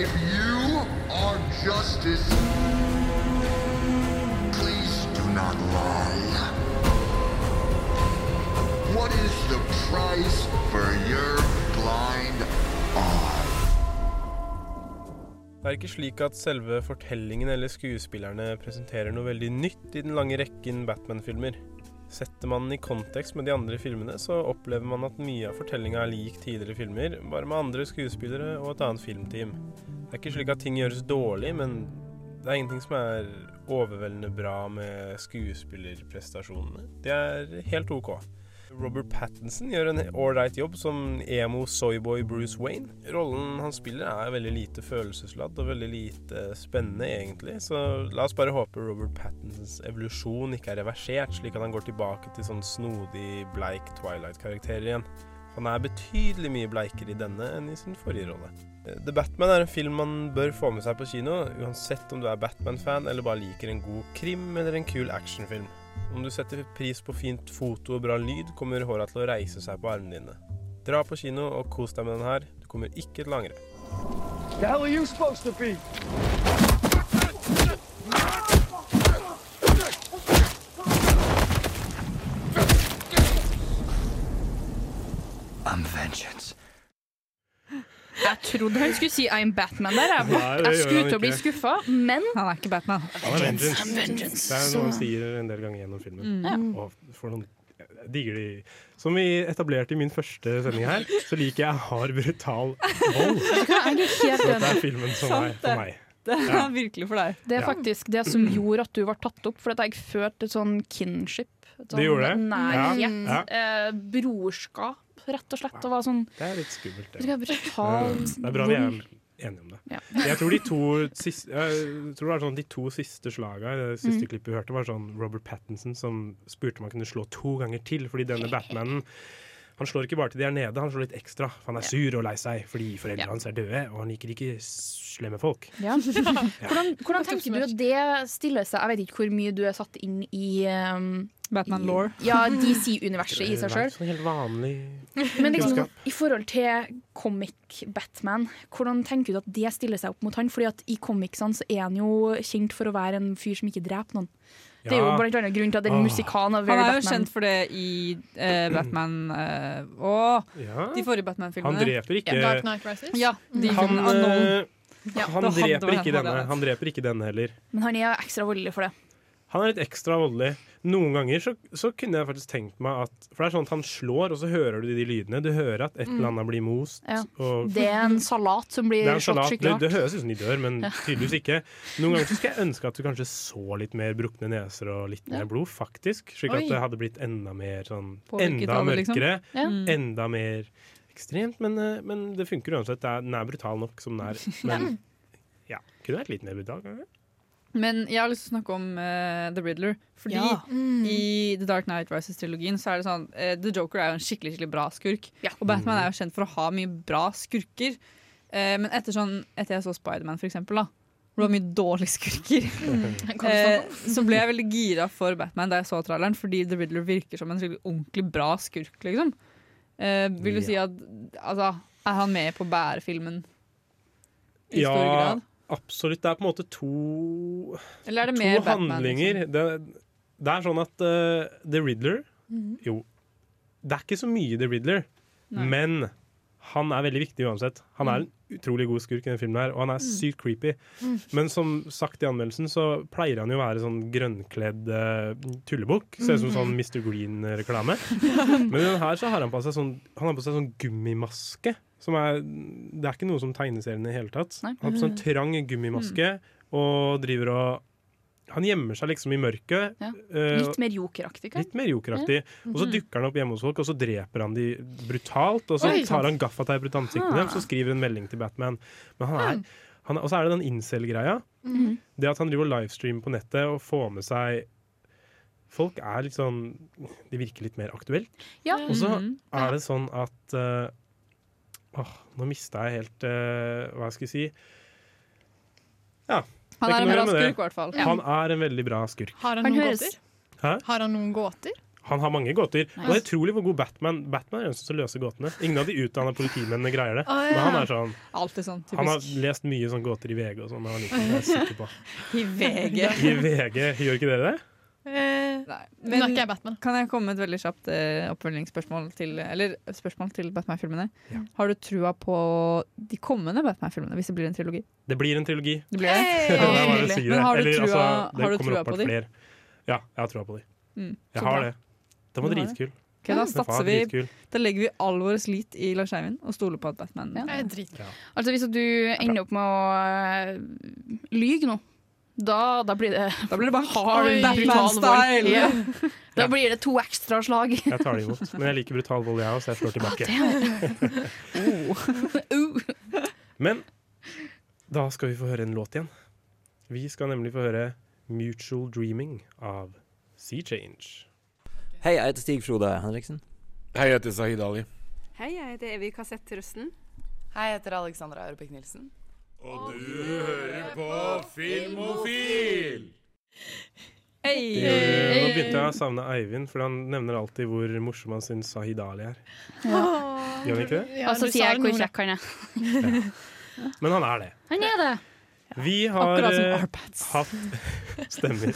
[SPEAKER 21] If you are justice, please do not lie. What is the price for your blind eye?
[SPEAKER 20] Det er ikke slik at selve fortellingen eller skuespillerne presenterer noe veldig nytt i den lange rekken Batman-filmer. Setter man den i kontekst med de andre filmene, så opplever man at mye av fortellinga er lik tidligere filmer, bare med andre skuespillere og et annet filmteam. Det er ikke slik at ting gjøres dårlig, men det er ingenting som er overveldende bra med skuespillerprestasjonene. De er helt ok. Robert Pattinson gjør en ålreit jobb som emo soyboy Bruce Wayne. Rollen han spiller er veldig lite følelsesladd og veldig lite spennende, egentlig, så la oss bare håpe Robert Pattinsons evolusjon ikke er reversert, slik at han går tilbake til sånn snodig, bleik Twilight-karakter igjen. Han er betydelig mye bleikere i denne enn i sin forrige rolle. The Batman er en film man bør få med seg på kino, uansett om du er Batman-fan eller bare liker en god krim eller en kul actionfilm. Om du setter pris på fint foto og bra lyd, kommer håra til å reise seg på armene dine. Dra på kino og kos deg med den her. Du kommer ikke til å angre.
[SPEAKER 21] I'm vengeance.
[SPEAKER 5] Jeg trodde han skulle si 'I'm Batman' der. Jeg,
[SPEAKER 1] Nei, det
[SPEAKER 5] jeg
[SPEAKER 1] gjør
[SPEAKER 5] skulle
[SPEAKER 1] han
[SPEAKER 5] til å bli
[SPEAKER 1] ikke.
[SPEAKER 5] skuffa, men
[SPEAKER 3] Han er ikke Batman.
[SPEAKER 1] Han er vengeance. Det er
[SPEAKER 5] Så-
[SPEAKER 1] noe han sier en del ganger gjennom filmen.
[SPEAKER 5] Mm. Ja.
[SPEAKER 1] Og for noen jeg digger de Som vi etablerte i min første sending her, så liker jeg hard, brutal vold.
[SPEAKER 5] Jeg er helt
[SPEAKER 1] Så dette er
[SPEAKER 5] enig.
[SPEAKER 1] filmen som
[SPEAKER 5] Sant
[SPEAKER 1] er for
[SPEAKER 5] det.
[SPEAKER 1] meg.
[SPEAKER 3] Det er
[SPEAKER 1] Ja.
[SPEAKER 3] virkelig for deg.
[SPEAKER 5] Det er
[SPEAKER 1] Ja.
[SPEAKER 5] faktisk det som gjorde at du ble tatt opp, for at jeg følte et sånn kinship. Et sånn
[SPEAKER 1] Du gjorde det?
[SPEAKER 5] Nærhet.
[SPEAKER 1] Ja.
[SPEAKER 5] Eh, brorskap, rett og slett. Og var sånn
[SPEAKER 1] Det er litt skummelt,
[SPEAKER 5] Det skal være brutalt.
[SPEAKER 1] Det er bra vi er enige om det. Jeg tror de to siste, jeg tror det var sånn de to siste slaga i det siste
[SPEAKER 5] Mm.
[SPEAKER 1] klippet vi hørte, var sånn Robert Pattinson som spurte om han kunne slå to ganger til, fordi denne Batmanen han slår ikke bare til de er nede, han slår litt ekstra. for Han er sur og lei seg fordi foreldrene hans er døde, og han liker ikke slemme folk.
[SPEAKER 5] Ja. Hvordan, hvordan tenker du at det stiller seg? Jeg vet ikke hvor mye du er satt inn i
[SPEAKER 3] Batman
[SPEAKER 5] law. Ja, DC-universet i seg sjøl.
[SPEAKER 1] Sånn helt vanlig
[SPEAKER 5] Men liksom,
[SPEAKER 1] kunnskap.
[SPEAKER 5] i forhold til comic Batman, hvordan tenker du at det stiller seg opp mot han? Fordi at i comicsene så er han jo kjent for å være en fyr som ikke dreper noen. Det er jo
[SPEAKER 3] Ja.
[SPEAKER 5] blant annet grunnen til at det er en
[SPEAKER 3] Åh.
[SPEAKER 5] musikan av
[SPEAKER 3] Han
[SPEAKER 5] Very
[SPEAKER 3] er jo
[SPEAKER 5] Batman.
[SPEAKER 3] kjent for det i eh, Batman eh, Åh,
[SPEAKER 1] Ja.
[SPEAKER 3] de forrige Batman-filmene.
[SPEAKER 1] Han dreper ikke
[SPEAKER 3] Ja,
[SPEAKER 11] Dark Knight Rises?
[SPEAKER 3] Ja, de
[SPEAKER 1] Han,
[SPEAKER 3] filmene av noen.
[SPEAKER 1] eh,
[SPEAKER 3] Ja,
[SPEAKER 1] han
[SPEAKER 3] det
[SPEAKER 1] dreper
[SPEAKER 3] hadde vært
[SPEAKER 1] ikke
[SPEAKER 3] noe
[SPEAKER 1] denne.
[SPEAKER 3] annet.
[SPEAKER 1] Han dreper ikke denne heller.
[SPEAKER 5] Men han er ekstra voldelig for det.
[SPEAKER 1] Han er litt ekstra voldelig. Noen ganger så, så kunne jeg faktisk tenkt meg at For det er sånn at han slår, og så hører du de lydene. Du hører at et
[SPEAKER 5] Mm.
[SPEAKER 1] eller annet blir most.
[SPEAKER 5] Ja.
[SPEAKER 1] Og
[SPEAKER 5] Det er en salat som
[SPEAKER 1] det
[SPEAKER 5] blir
[SPEAKER 1] er en
[SPEAKER 5] slått
[SPEAKER 1] salat. Det,
[SPEAKER 5] skikkelig
[SPEAKER 1] det
[SPEAKER 5] hardt.
[SPEAKER 1] høres ut som de dør, men
[SPEAKER 5] Ja.
[SPEAKER 1] tydeligvis ikke. Noen ganger så skulle jeg ønske at du kanskje så litt mer brukne neser og litt mer blod, faktisk. Slik
[SPEAKER 3] Oi.
[SPEAKER 1] at det hadde blitt enda mer sånn
[SPEAKER 3] Påvirket
[SPEAKER 1] Enda
[SPEAKER 3] av det, liksom.
[SPEAKER 1] mørkere.
[SPEAKER 3] Ja. Mm.
[SPEAKER 1] Enda mer ekstremt. Men, eh, men det funker uansett. Det er- Den er brutal nok som den er. Men ja, kunne vært litt mer brutal. kanskje.
[SPEAKER 3] Men jeg har lyst til å snakke om eh, The Riddler. Fordi
[SPEAKER 1] Ja. Mm.
[SPEAKER 3] i The Dark Knight Rises-trilogien så er det sånn eh, The Joker er jo en skikkelig skikkelig bra skurk. Og Batman er jo kjent for å ha mye bra skurker. Eh, men etter, sånn, etter jeg så Spiderman, for eksempel, da, hvor det var mye dårlige skurker,
[SPEAKER 5] Kan
[SPEAKER 3] eh,
[SPEAKER 5] du
[SPEAKER 11] sånn.
[SPEAKER 5] snakke om?
[SPEAKER 3] så ble jeg veldig gira for Batman da jeg så traileren, fordi The Riddler virker som en skikkelig ordentlig bra skurk, liksom. Eh, vil du si at altså, Er han med på å bære filmen? I
[SPEAKER 1] ja,
[SPEAKER 3] stor grad?
[SPEAKER 1] absolutt. Det er på en måte to
[SPEAKER 3] Eller er det
[SPEAKER 1] to
[SPEAKER 3] mer Batman? liksom?
[SPEAKER 1] handlinger. Det, det er sånn at eh, The Riddler
[SPEAKER 3] Mhm.
[SPEAKER 1] Jo, det er ikke så mye The Riddler,
[SPEAKER 3] Nei.
[SPEAKER 1] men han er veldig viktig uansett. Han er en utrolig god skurk i denne filmen, her, og han er
[SPEAKER 3] Mm.
[SPEAKER 1] sykt creepy.
[SPEAKER 3] Mm.
[SPEAKER 1] Men som sagt i anmeldelsen, så pleier han jo å være sånn grønnkledd eh, tullebukk. Ser
[SPEAKER 3] Mm.
[SPEAKER 1] ut som sånn Mr. Green-reklame. Men i den her så har han på seg sånn, han har på seg sånn gummimaske Som er, det er ikke noe som tegneseriene i hele tatt. Han har på sånn
[SPEAKER 3] Mm.
[SPEAKER 1] trang gummimaske og driver og han gjemmer seg liksom i mørket.
[SPEAKER 5] Ja.
[SPEAKER 1] eh,
[SPEAKER 5] Litt mer jokeraktig,
[SPEAKER 1] Litt mer jokeraktig.
[SPEAKER 5] Ja.
[SPEAKER 1] Og
[SPEAKER 11] Mm-hmm.
[SPEAKER 1] så dukker han opp hjemme hos folk, og så dreper han de brutalt. Og så
[SPEAKER 5] Oi.
[SPEAKER 1] tar han gaffateip rundt ansiktet
[SPEAKER 5] Ah.
[SPEAKER 1] dem, så skriver en melding til Batman. Men han
[SPEAKER 11] Hmm.
[SPEAKER 1] er, han er, og så er det den incel-greia.
[SPEAKER 11] Mm-hmm.
[SPEAKER 5] Mhm.
[SPEAKER 1] Det at han driver og livestreamer på nettet og får med seg Folk er litt sånn Det virker litt mer aktuelt.
[SPEAKER 5] Ja.
[SPEAKER 1] Og så
[SPEAKER 11] Mm-hmm.
[SPEAKER 5] Mhm.
[SPEAKER 1] er det sånn at eh, Åh, nå mista jeg helt eh, hva jeg skulle si. Ja. det
[SPEAKER 11] Han
[SPEAKER 1] ikke
[SPEAKER 11] er en
[SPEAKER 1] noe å
[SPEAKER 11] bra
[SPEAKER 1] gjøre med det.
[SPEAKER 11] skurk, i hvert fall.
[SPEAKER 1] Han er en veldig bra skurk.
[SPEAKER 11] Har han,
[SPEAKER 5] Han
[SPEAKER 11] noen
[SPEAKER 5] høres-
[SPEAKER 11] gåter?
[SPEAKER 1] Hæ?
[SPEAKER 11] Har han noen gåter?
[SPEAKER 1] Han har mange gåter.
[SPEAKER 11] Nei.
[SPEAKER 1] Og det er utrolig hvor god Batman Batman er den som løser gåtene. Ingen av de utdanna politimennene greier det.
[SPEAKER 11] Å, ja.
[SPEAKER 1] Men han er sånn
[SPEAKER 3] Alltid sånn, typisk.
[SPEAKER 1] Han har lest mye sånn gåter i VG og sånn. da han gikk, det er jeg sikker på.
[SPEAKER 3] I VG.
[SPEAKER 1] I VG, gjør ikke dere det?
[SPEAKER 3] Nei. Men kan jeg komme med et veldig kjapt eh, oppfølgingsspørsmål til, eller spørsmål til Batman-filmene? Har du trua på de kommende Batman-filmene, hvis det blir en trilogi?
[SPEAKER 1] Det blir en trilogi.
[SPEAKER 3] Det blir det.
[SPEAKER 1] Det var bare å si det.
[SPEAKER 3] Men har du
[SPEAKER 1] Eller,
[SPEAKER 3] trua,
[SPEAKER 1] altså, det
[SPEAKER 3] har
[SPEAKER 1] kommer
[SPEAKER 3] du trua på
[SPEAKER 1] åpenbart
[SPEAKER 3] de?
[SPEAKER 1] flere. Ja, jeg har trua på de.
[SPEAKER 3] Mm, så
[SPEAKER 1] jeg har
[SPEAKER 3] bra.
[SPEAKER 1] det. Den var
[SPEAKER 3] Du har det.
[SPEAKER 1] dritkul.
[SPEAKER 3] Ok, da
[SPEAKER 1] Den var
[SPEAKER 3] satser vi.
[SPEAKER 1] dritkul.
[SPEAKER 3] Da legger vi all vår lit i Lars Eivind og stoler på at Batman
[SPEAKER 5] Ja.
[SPEAKER 3] eh,
[SPEAKER 5] Altså Hvis du ender opp med å øh, lyge nå, da, da blir det
[SPEAKER 3] Da blir det bare
[SPEAKER 5] hard
[SPEAKER 3] Batman
[SPEAKER 5] brutal vold.
[SPEAKER 3] style.
[SPEAKER 5] Ja. Da blir det to ekstra slag.
[SPEAKER 1] Jeg tar det imot. Men jeg liker brutal vold, jeg òg, så jeg slår tilbake.
[SPEAKER 5] Oh.
[SPEAKER 1] Men da skal vi få høre en låt igjen. Vi skal nemlig få høre 'Mutual Dreaming' av Sea Change.
[SPEAKER 4] Hei, jeg heter Stig Frode Henriksen. Hei, jeg heter Sahid Ali.
[SPEAKER 22] Hei, jeg heter Evy Kassett Rusten.
[SPEAKER 23] Hei, jeg heter Alexandra Aurebekk Nilsen.
[SPEAKER 17] Og du hører på Filmofil!
[SPEAKER 1] Det- Nå begynte jeg å savne Eivind, for han nevner alltid hvor morsom han syns Sahid Ali er.
[SPEAKER 5] Ja.
[SPEAKER 1] Gjør han ikke det?
[SPEAKER 5] og så sier jeg hvor kjekk han er.
[SPEAKER 1] Men han er det.
[SPEAKER 5] Han er det.
[SPEAKER 1] Vi har
[SPEAKER 5] Akkurat som
[SPEAKER 1] eh,
[SPEAKER 5] Arpads.
[SPEAKER 1] hatt Stemmer.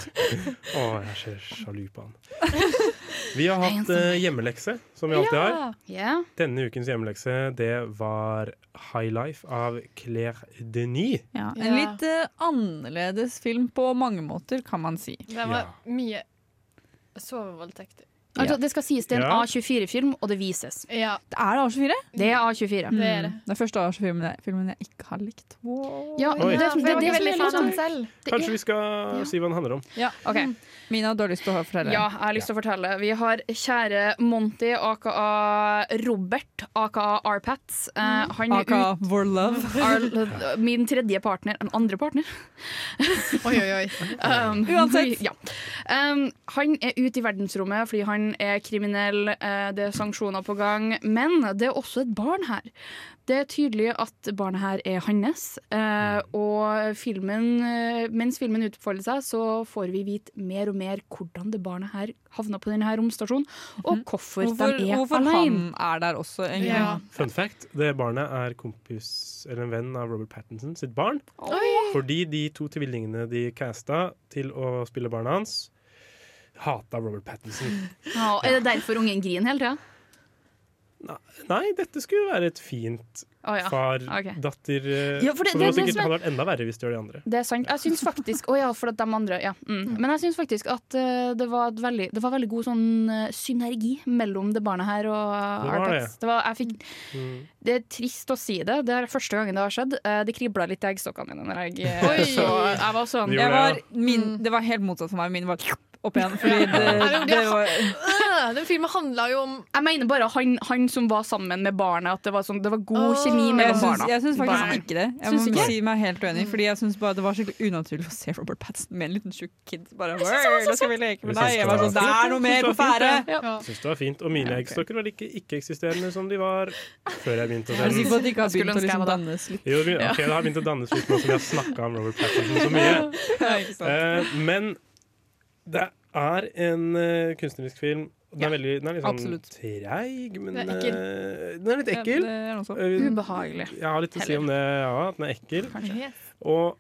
[SPEAKER 1] Å, jeg er så sjalu på han. Vi har hatt eh, hjemmelekse, som vi alltid
[SPEAKER 11] Ah,
[SPEAKER 1] har.
[SPEAKER 5] Ja.
[SPEAKER 1] Denne ukens hjemmelekse det var High Life av Claire Denis.
[SPEAKER 3] Ja, en litt eh, annerledes film på mange måter, kan man si.
[SPEAKER 11] Det var mye sovevoldtekter.
[SPEAKER 5] Altså, det skal sies det er en
[SPEAKER 3] Ja.
[SPEAKER 5] A24-film, og det vises.
[SPEAKER 11] Ja.
[SPEAKER 3] Det er det A24?
[SPEAKER 5] Det er A24.
[SPEAKER 3] Mm. Det er første A24-filmen jeg, filmen jeg ikke har likt. Wow.
[SPEAKER 5] Ja,
[SPEAKER 1] Oi.
[SPEAKER 5] det, det, det, det, som er litt sånn- det
[SPEAKER 1] Kanskje
[SPEAKER 5] er-
[SPEAKER 1] vi skal si hva den handler om.
[SPEAKER 5] Ja,
[SPEAKER 11] Mm.
[SPEAKER 5] ok.
[SPEAKER 3] Mina, du har lyst til å høre fortelle?
[SPEAKER 5] Ja, jeg har lyst til å fortelle. Vi har kjære Monty, aka Robert, aka Arpats. Eh, han er
[SPEAKER 3] Aka
[SPEAKER 5] ut-
[SPEAKER 3] Vår Love.
[SPEAKER 5] Our- min tredje partner. En andre partner.
[SPEAKER 11] Oi, oi, oi.
[SPEAKER 5] Um,
[SPEAKER 11] Uansett.
[SPEAKER 5] Ja. Um, han er ute i verdensrommet fordi han er kriminell, eh, det er sanksjoner på gang. Men det er også et barn her. Det er tydelig at barnet her er hans. eh, og filmen, eh, mens filmen utfolder seg, så får vi vite mer og mer hvordan det barnet her havna på denne her romstasjonen, og Mhm. hvorfor,
[SPEAKER 3] Hvorfor,
[SPEAKER 5] de er
[SPEAKER 3] hvorfor han
[SPEAKER 5] alene.
[SPEAKER 3] er der også, egentlig.
[SPEAKER 5] Ja.
[SPEAKER 1] Fun fact, det barnet er kompis eller en venn av Robert Pattinson sitt barn. Fordi de to tvillingene de casta til å spille barna hans, hata Robert Pattinson.
[SPEAKER 5] Ja, er det derfor ungen griner hele tida?
[SPEAKER 1] Nei, dette skulle være et fint
[SPEAKER 5] Å ja, ok.
[SPEAKER 1] far-datter eh,
[SPEAKER 5] Ja, for det-
[SPEAKER 1] Så det
[SPEAKER 5] det er
[SPEAKER 1] hadde
[SPEAKER 5] det
[SPEAKER 1] sikkert
[SPEAKER 5] som er-
[SPEAKER 1] hadde vært enda verre hvis de gjør de andre.
[SPEAKER 5] Det er sant. Jeg syns faktisk Å ja, for at de andre ja. mm. Men jeg syns faktisk at eh, det, var et veldig, det var veldig god sånn eh, synergi mellom det barnet her og
[SPEAKER 24] Det
[SPEAKER 5] uh,
[SPEAKER 24] var
[SPEAKER 5] Arpax.
[SPEAKER 24] det.
[SPEAKER 5] Det, var, jeg fikk,
[SPEAKER 1] Mm.
[SPEAKER 5] det er trist å si det. Det er første gangen det har skjedd. Eh, det kribla litt i eggstokkene mine når jeg eh,
[SPEAKER 3] Oi.
[SPEAKER 5] så jeg var sånn.
[SPEAKER 3] Jeg var, min, det var helt motsatt for meg. Min var opp igjen. Fordi det,
[SPEAKER 11] Nei, men det-
[SPEAKER 3] det var
[SPEAKER 11] Øh, Den filmen handla jo om
[SPEAKER 5] Jeg mener bare han, han som var sammen med barnet, at det var, sånn, det var god
[SPEAKER 11] Åh.
[SPEAKER 5] kjemi
[SPEAKER 3] Jeg
[SPEAKER 5] mellom
[SPEAKER 3] syns,
[SPEAKER 5] barna.
[SPEAKER 3] jeg syns faktisk
[SPEAKER 5] Barna.
[SPEAKER 3] ikke Mm. det. Jeg
[SPEAKER 5] Syns
[SPEAKER 3] må
[SPEAKER 5] ikke?
[SPEAKER 3] si meg helt uenig. Fordi jeg syns bare det var skikkelig unaturlig å se Robert Pattinson med en liten tjukk kid. Bare,
[SPEAKER 5] Jeg syns han var
[SPEAKER 3] «Word,
[SPEAKER 5] så
[SPEAKER 3] nå skal vi
[SPEAKER 5] søt!»
[SPEAKER 3] leke med
[SPEAKER 1] Jeg syns
[SPEAKER 3] deg.
[SPEAKER 1] det
[SPEAKER 3] Jeg var
[SPEAKER 1] var fint,
[SPEAKER 3] sånn, Det
[SPEAKER 1] jeg
[SPEAKER 3] er noe
[SPEAKER 1] syns det
[SPEAKER 3] mer
[SPEAKER 1] var
[SPEAKER 3] på
[SPEAKER 1] fint,
[SPEAKER 3] ferde!
[SPEAKER 1] jeg. Syns det var fint. Og mine eggstokker var ikke ikke-eksisterende som de var før jeg begynte å
[SPEAKER 3] Jeg er sikker på at de ikke har begynt å
[SPEAKER 5] Skulle ønske jeg
[SPEAKER 3] liksom
[SPEAKER 5] var da.
[SPEAKER 3] dannes litt.
[SPEAKER 1] Jo, det begyn- ok, det har begynt å dannes litt nå som vi har snakka om Robert Pattinson så mye.
[SPEAKER 3] Ja, ikke sant.
[SPEAKER 1] Eh, men det er en eh, kunstnerisk film. Den er, veldig, den er litt sånn
[SPEAKER 3] absolutt.
[SPEAKER 1] treig, men
[SPEAKER 3] Den er ekkel.
[SPEAKER 1] eh, den er litt
[SPEAKER 3] Ja,
[SPEAKER 1] ekkel.
[SPEAKER 3] det er noe sånt.
[SPEAKER 1] Eh,
[SPEAKER 5] Ubehagelig.
[SPEAKER 1] Jeg har litt å si om det, ja, at den er ekkel. Og,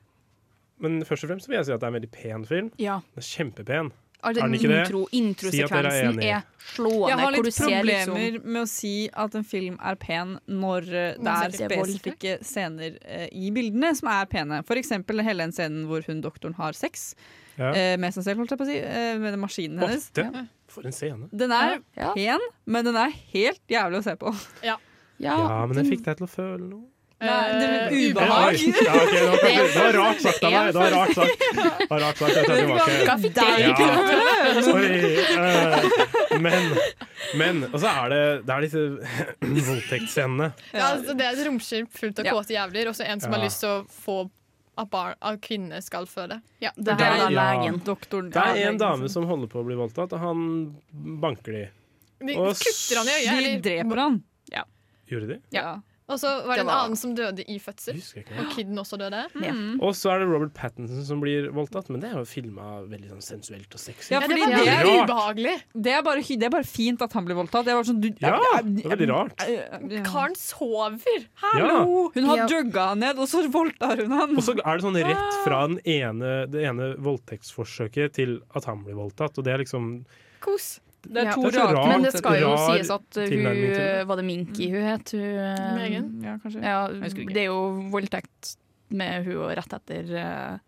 [SPEAKER 1] men først og fremst vil jeg si at det er en veldig pen film.
[SPEAKER 5] Ja.
[SPEAKER 1] Den er kjempepen.
[SPEAKER 5] Altså,
[SPEAKER 1] er den ikke
[SPEAKER 5] intro,
[SPEAKER 1] det? Si at dere er
[SPEAKER 5] Introsekvensen
[SPEAKER 1] enig.
[SPEAKER 5] er slående.
[SPEAKER 3] Jeg har
[SPEAKER 5] hvor du
[SPEAKER 3] litt
[SPEAKER 5] ser liksom-
[SPEAKER 3] problemer med å si at en film er pen når eh, det
[SPEAKER 5] Man
[SPEAKER 3] er
[SPEAKER 5] ser ikke vold.
[SPEAKER 3] spesifikke scener eh, i bildene som er pene. For eksempel hele den scenen hvor hun doktoren har sex
[SPEAKER 1] Ja.
[SPEAKER 3] eh, med seg selv, holdt jeg på å si, eh, med den maskinen hennes.
[SPEAKER 1] Åtte. For en scene.
[SPEAKER 3] Den er
[SPEAKER 5] Ja.
[SPEAKER 3] pen, men den er helt jævlig å se på.
[SPEAKER 1] Ja, men jeg fikk deg til å føle noe.
[SPEAKER 3] Nei, det er
[SPEAKER 1] Eh,
[SPEAKER 3] ubehag.
[SPEAKER 1] oi, Ja, ok, det, var kanskje, det var rart sagt av meg. Det var rart sagt. Det var rart sagt, jeg tar
[SPEAKER 3] Hva
[SPEAKER 1] tilbake.
[SPEAKER 3] fikk deg til å
[SPEAKER 1] Ja.
[SPEAKER 3] føle?
[SPEAKER 1] Sorry. eh, Men, men Og så er det, det er disse voldtektsscenene.
[SPEAKER 11] Ja, altså, det er et romskip fullt av
[SPEAKER 1] Ja.
[SPEAKER 11] kåte jævler, og så en som
[SPEAKER 1] Ja.
[SPEAKER 11] har lyst til å få at barn av kvinner skal føde. Ja,
[SPEAKER 1] Det er da Ja. legen,
[SPEAKER 3] doktoren.
[SPEAKER 1] Det er en dame som holder på å bli voldtatt, og han banker de.
[SPEAKER 11] De
[SPEAKER 1] Og
[SPEAKER 11] kutter han i øyet.
[SPEAKER 3] De
[SPEAKER 11] eller-
[SPEAKER 3] dreper han. Ja.
[SPEAKER 1] Gjorde de?
[SPEAKER 11] Og så var det en
[SPEAKER 1] Det var-
[SPEAKER 11] annen som døde i fødsel. Og kiden også døde. Mm.
[SPEAKER 1] Og så er det Robert Pattinson som blir voldtatt, men det er jo filma veldig sånn sensuelt og sexy.
[SPEAKER 3] Ja, fordi
[SPEAKER 1] Veldig
[SPEAKER 3] det er
[SPEAKER 1] rart.
[SPEAKER 11] ubehagelig.
[SPEAKER 3] Det er bare, hy- det er bare fint at han blir voldtatt. Det var sånn, du,
[SPEAKER 1] Ja, det er veldig rart.
[SPEAKER 11] Karen sover!
[SPEAKER 1] Hallo!
[SPEAKER 3] Hun har jugga han ned, og så voldtar hun han.
[SPEAKER 1] Og så er det sånn rett fra den ene, det ene voldtektsforsøket til at han blir voldtatt, og det er liksom
[SPEAKER 11] Kos.
[SPEAKER 1] Det er to
[SPEAKER 5] så
[SPEAKER 1] rare-
[SPEAKER 5] Men det skal jo
[SPEAKER 1] rar
[SPEAKER 5] sies at uh, hun
[SPEAKER 1] tilnærming til det.
[SPEAKER 5] Var det Minky hun het? Hun, uh,
[SPEAKER 11] Megan?
[SPEAKER 5] Ja, det er jo voldtekt med hun og rett etter uh,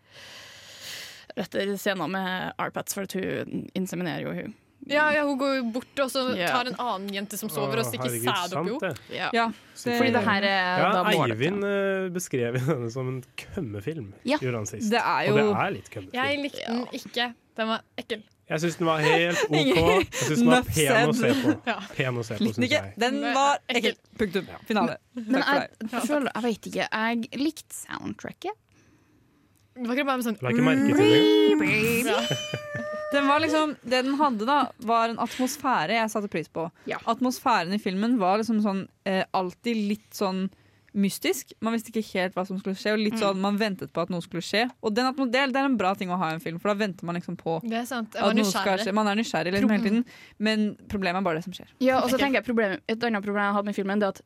[SPEAKER 5] Rett etter scenen med Arpats, for at hun inseminerer jo hun.
[SPEAKER 11] Ja, ja, hun går jo bort og så
[SPEAKER 5] Ja.
[SPEAKER 11] tar en annen jente som sover,
[SPEAKER 1] Å,
[SPEAKER 11] og stikker
[SPEAKER 1] herregud,
[SPEAKER 11] sæd opp i
[SPEAKER 1] sant det.
[SPEAKER 11] henne.
[SPEAKER 5] Ja. Fordi det her er
[SPEAKER 1] ja,
[SPEAKER 5] da målet.
[SPEAKER 1] Eivind eh, beskrev denne som en kømmefilm,
[SPEAKER 11] Ja,
[SPEAKER 1] gjorde han sist.
[SPEAKER 11] det er
[SPEAKER 1] Og
[SPEAKER 11] jo-
[SPEAKER 1] det er litt kømmefilm.
[SPEAKER 11] Jeg likte den ikke. Den var ekkel.
[SPEAKER 1] Jeg syns den var helt OK. Jeg syns den var
[SPEAKER 3] Enough
[SPEAKER 1] pen å se
[SPEAKER 3] said.
[SPEAKER 1] på.
[SPEAKER 11] Ja.
[SPEAKER 1] Pen å se på,
[SPEAKER 3] Likte
[SPEAKER 1] syns
[SPEAKER 3] ikke.
[SPEAKER 1] jeg.
[SPEAKER 3] Den var ekkel. Punktum. Finale. Takk
[SPEAKER 5] Men
[SPEAKER 3] for
[SPEAKER 5] jeg,
[SPEAKER 3] deg.
[SPEAKER 5] jeg føler, jeg vet ikke. Jeg likte soundtracket.
[SPEAKER 11] Det var ikke bare med sånn mm,
[SPEAKER 1] La ikke merke til det.
[SPEAKER 11] Ja.
[SPEAKER 3] Den var liksom, det den hadde, da, var en atmosfære jeg satte pris på. Atmosfæren i filmen var liksom sånn eh, alltid litt sånn mystisk. Man visste ikke helt hva som skulle skje, og
[SPEAKER 11] Mm.
[SPEAKER 3] litt sånn man ventet på at noe skulle skje. Og den atmo- det, er- det er en bra ting å ha i en film, for da venter man liksom på
[SPEAKER 11] Det er sant. Jeg
[SPEAKER 3] at
[SPEAKER 11] var
[SPEAKER 3] noe skal skje.
[SPEAKER 11] nysgjerrig.
[SPEAKER 3] Man er nysgjerrig liksom, hele tiden, men problemet er bare det som skjer.
[SPEAKER 5] Ja, og så tenker jeg problem, Et annet problem jeg hadde med filmen, Det er at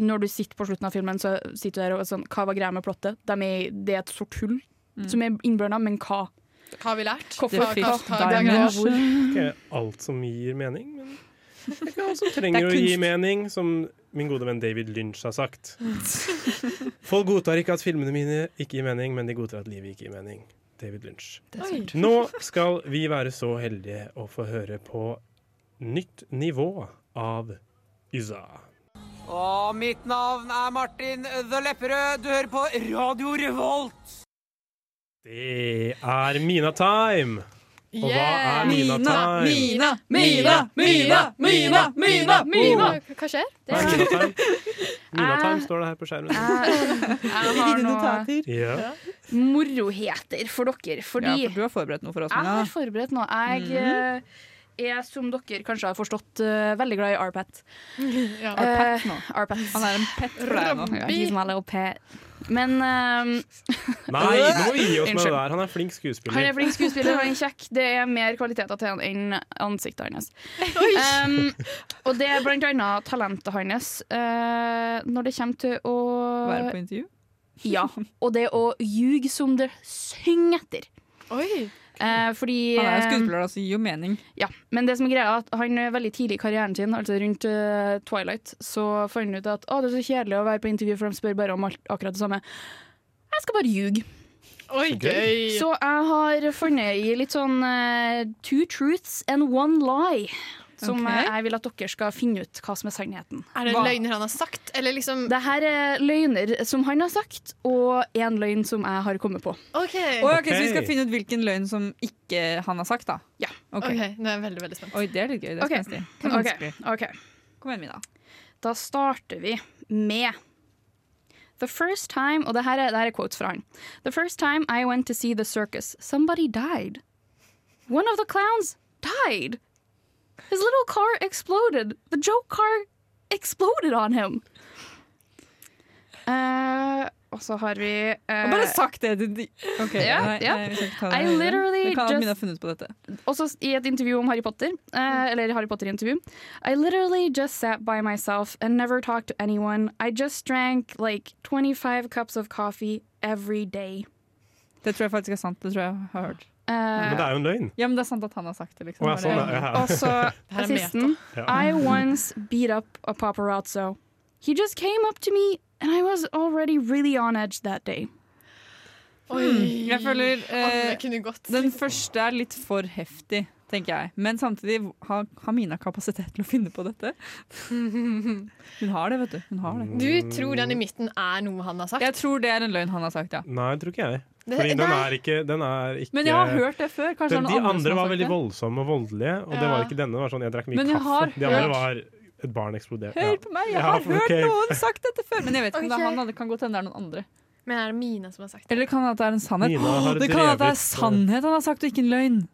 [SPEAKER 5] når du sitter på slutten av filmen, så sitter du der og er sånn Hva var greia med plottet? De er, det er et sort hull som er innbørna, men hva?
[SPEAKER 11] Hva har vi lært?
[SPEAKER 5] Hvorfor
[SPEAKER 11] Hva- hva-
[SPEAKER 5] fikk
[SPEAKER 11] hva-
[SPEAKER 5] Diamond
[SPEAKER 11] hva-
[SPEAKER 5] hvor?
[SPEAKER 1] Ikke alt som gir mening, men det er ikke alt som trenger å gi mening, som min gode venn David Lynch har sagt. Folk godtar ikke at filmene mine ikke gir mening, men de godtar at livet ikke gir mening. David Lynch.
[SPEAKER 5] Det er sant.
[SPEAKER 1] Nå skal vi være så heldige å få høre på nytt nivå av Yza.
[SPEAKER 2] Og mitt navn er Martin The Lepperød. Du hører på Radio Revolt.
[SPEAKER 1] Det er Mina time! Og hva
[SPEAKER 11] Yeah!
[SPEAKER 1] er Mina time?
[SPEAKER 11] Mina, Mina, Mina, Mina, Mina!
[SPEAKER 1] Oh.
[SPEAKER 11] Hva skjer? Det
[SPEAKER 1] Hva er Mina time? Mina time står det her på skjermen.
[SPEAKER 5] Jeg har
[SPEAKER 11] eh,
[SPEAKER 5] noe
[SPEAKER 1] Ja.
[SPEAKER 5] moroheter for dere, fordi
[SPEAKER 3] ja, for du har forberedt noe for oss,
[SPEAKER 5] Jeg
[SPEAKER 3] Mina.
[SPEAKER 5] har forberedt noe. Jeg
[SPEAKER 3] Mhm.
[SPEAKER 5] eh, er, som dere kanskje har forstått, eh, veldig glad i Arpat.
[SPEAKER 3] Ja. Arpat nå.
[SPEAKER 5] Eh, Arpat.
[SPEAKER 3] Han er en pet for deg nå.
[SPEAKER 5] Ja, he's my little pet. Men eh,
[SPEAKER 1] Nei, nå må vi gi oss med det
[SPEAKER 5] Unnskyld.
[SPEAKER 1] der. Han er flink skuespiller.
[SPEAKER 5] Han er flink skuespiller, han er kjekk. Det er mer kvaliteter til han enn ansiktet hans. Um, og det er blant annet talentet hans eh, når det kommer til å
[SPEAKER 3] Være på intervju.
[SPEAKER 5] Ja. Og det å ljuge som det synger etter.
[SPEAKER 11] Oi.
[SPEAKER 5] Eh, fordi
[SPEAKER 3] Han er jo skuespiller, da, så gir jo mening.
[SPEAKER 5] ja, men det som er greia er at han er veldig tidlig i karrieren sin, altså rundt eh, Twilight, så fant han ut at å, det er så kjedelig å være på intervju, for de spør bare om alt, akkurat det samme. Jeg skal bare ljuge.
[SPEAKER 11] Oi, gøy!
[SPEAKER 5] Så jeg har funnet i litt sånn eh, two truths and one lie. Som
[SPEAKER 11] Ok.
[SPEAKER 5] eh, jeg vil at dere skal finne ut hva som er sannheten.
[SPEAKER 11] Er det løgner han har sagt, eller liksom
[SPEAKER 5] Det her er løgner som han har sagt, og én løgn som jeg har kommet på.
[SPEAKER 11] OK.
[SPEAKER 5] Eh,
[SPEAKER 3] Oi, ok, Så vi skal finne ut hvilken løgn som ikke han har sagt, da?
[SPEAKER 5] Ja.
[SPEAKER 3] Ok.
[SPEAKER 11] Ok, Nå er jeg veldig veldig spent.
[SPEAKER 3] Oi, det er litt gøy. Det er
[SPEAKER 5] Ok.
[SPEAKER 3] spenstig. Det er
[SPEAKER 5] Ok,
[SPEAKER 3] vanskelig.
[SPEAKER 5] ok.
[SPEAKER 3] Kom igjen, Mina.
[SPEAKER 5] Da starter vi med The first time, og det her er, det her er quotes fra han. The first time I went to see the circus, somebody died. One of the clowns died. His little car exploded. The joke car exploded on him. Eh, og så har vi eh,
[SPEAKER 3] Og bare sagt det til de Ok,
[SPEAKER 5] Ja,
[SPEAKER 3] nei,
[SPEAKER 5] ja.
[SPEAKER 3] nei, vi skal ikke ta det
[SPEAKER 5] I
[SPEAKER 3] videre.
[SPEAKER 5] literally
[SPEAKER 3] det kan
[SPEAKER 5] just-
[SPEAKER 3] at Mina har funnet på dette.
[SPEAKER 5] Også i et intervju om Harry Potter,
[SPEAKER 3] Mm.
[SPEAKER 5] eh, eller Harry Potter-intervju. I literally just sat by myself and never talked to anyone. I just drank like 25 cups of coffee every day.
[SPEAKER 3] Det tror jeg faktisk er sant. Det tror jeg jeg har hørt.
[SPEAKER 5] Eh,
[SPEAKER 1] Men det er jo en løgn.
[SPEAKER 3] Ja, men det er sant at han har sagt det, liksom.
[SPEAKER 1] Å, ja, sånn, er, ja, ja.
[SPEAKER 5] Og så
[SPEAKER 3] Det her er
[SPEAKER 5] sisten.
[SPEAKER 1] meta. Ja.
[SPEAKER 5] I once beat up a paparazzo. He just came up to me and I was already really on edge that day.
[SPEAKER 3] Hmm, Jeg føler eh,
[SPEAKER 11] Alle kunne gått.
[SPEAKER 3] den første er litt for heftig. tenker jeg. Men samtidig, har, har Mina kapasitet til å finne på dette? Hun har det, vet du. Hun
[SPEAKER 1] Mm.
[SPEAKER 3] har det.
[SPEAKER 11] Du tror den i midten er noe han har sagt?
[SPEAKER 3] Jeg tror det er en løgn han har sagt, ja.
[SPEAKER 1] Nei, det tror ikke jeg.
[SPEAKER 3] Det-
[SPEAKER 1] Fordi den
[SPEAKER 3] nei.
[SPEAKER 1] er, ikke, den er ikke
[SPEAKER 3] Men jeg har hørt det før. Kanskje
[SPEAKER 1] Den, De
[SPEAKER 3] det er noen
[SPEAKER 1] andre
[SPEAKER 3] som har
[SPEAKER 1] var
[SPEAKER 3] sagt
[SPEAKER 1] veldig
[SPEAKER 3] det.
[SPEAKER 1] voldsomme og voldelige, og det var
[SPEAKER 3] Ja.
[SPEAKER 1] ikke denne. Det var sånn, jeg drakk mye
[SPEAKER 3] Men jeg har
[SPEAKER 1] kaffe. De andre
[SPEAKER 3] hørt-
[SPEAKER 1] var et barn eksploderte.
[SPEAKER 3] Hør på meg, jeg har hørt noen sagt dette før! Men jeg vet ikke om det
[SPEAKER 11] Ok.
[SPEAKER 3] er han, det kan godt hende det er noen andre.
[SPEAKER 11] Men er det Mina som har sagt det?
[SPEAKER 3] Eller kan det at det er en sannhet?
[SPEAKER 1] Mina har
[SPEAKER 3] Åh, det kan at det
[SPEAKER 1] drevet, eh,
[SPEAKER 3] er sannhet han har sagt, og ikke en løgn!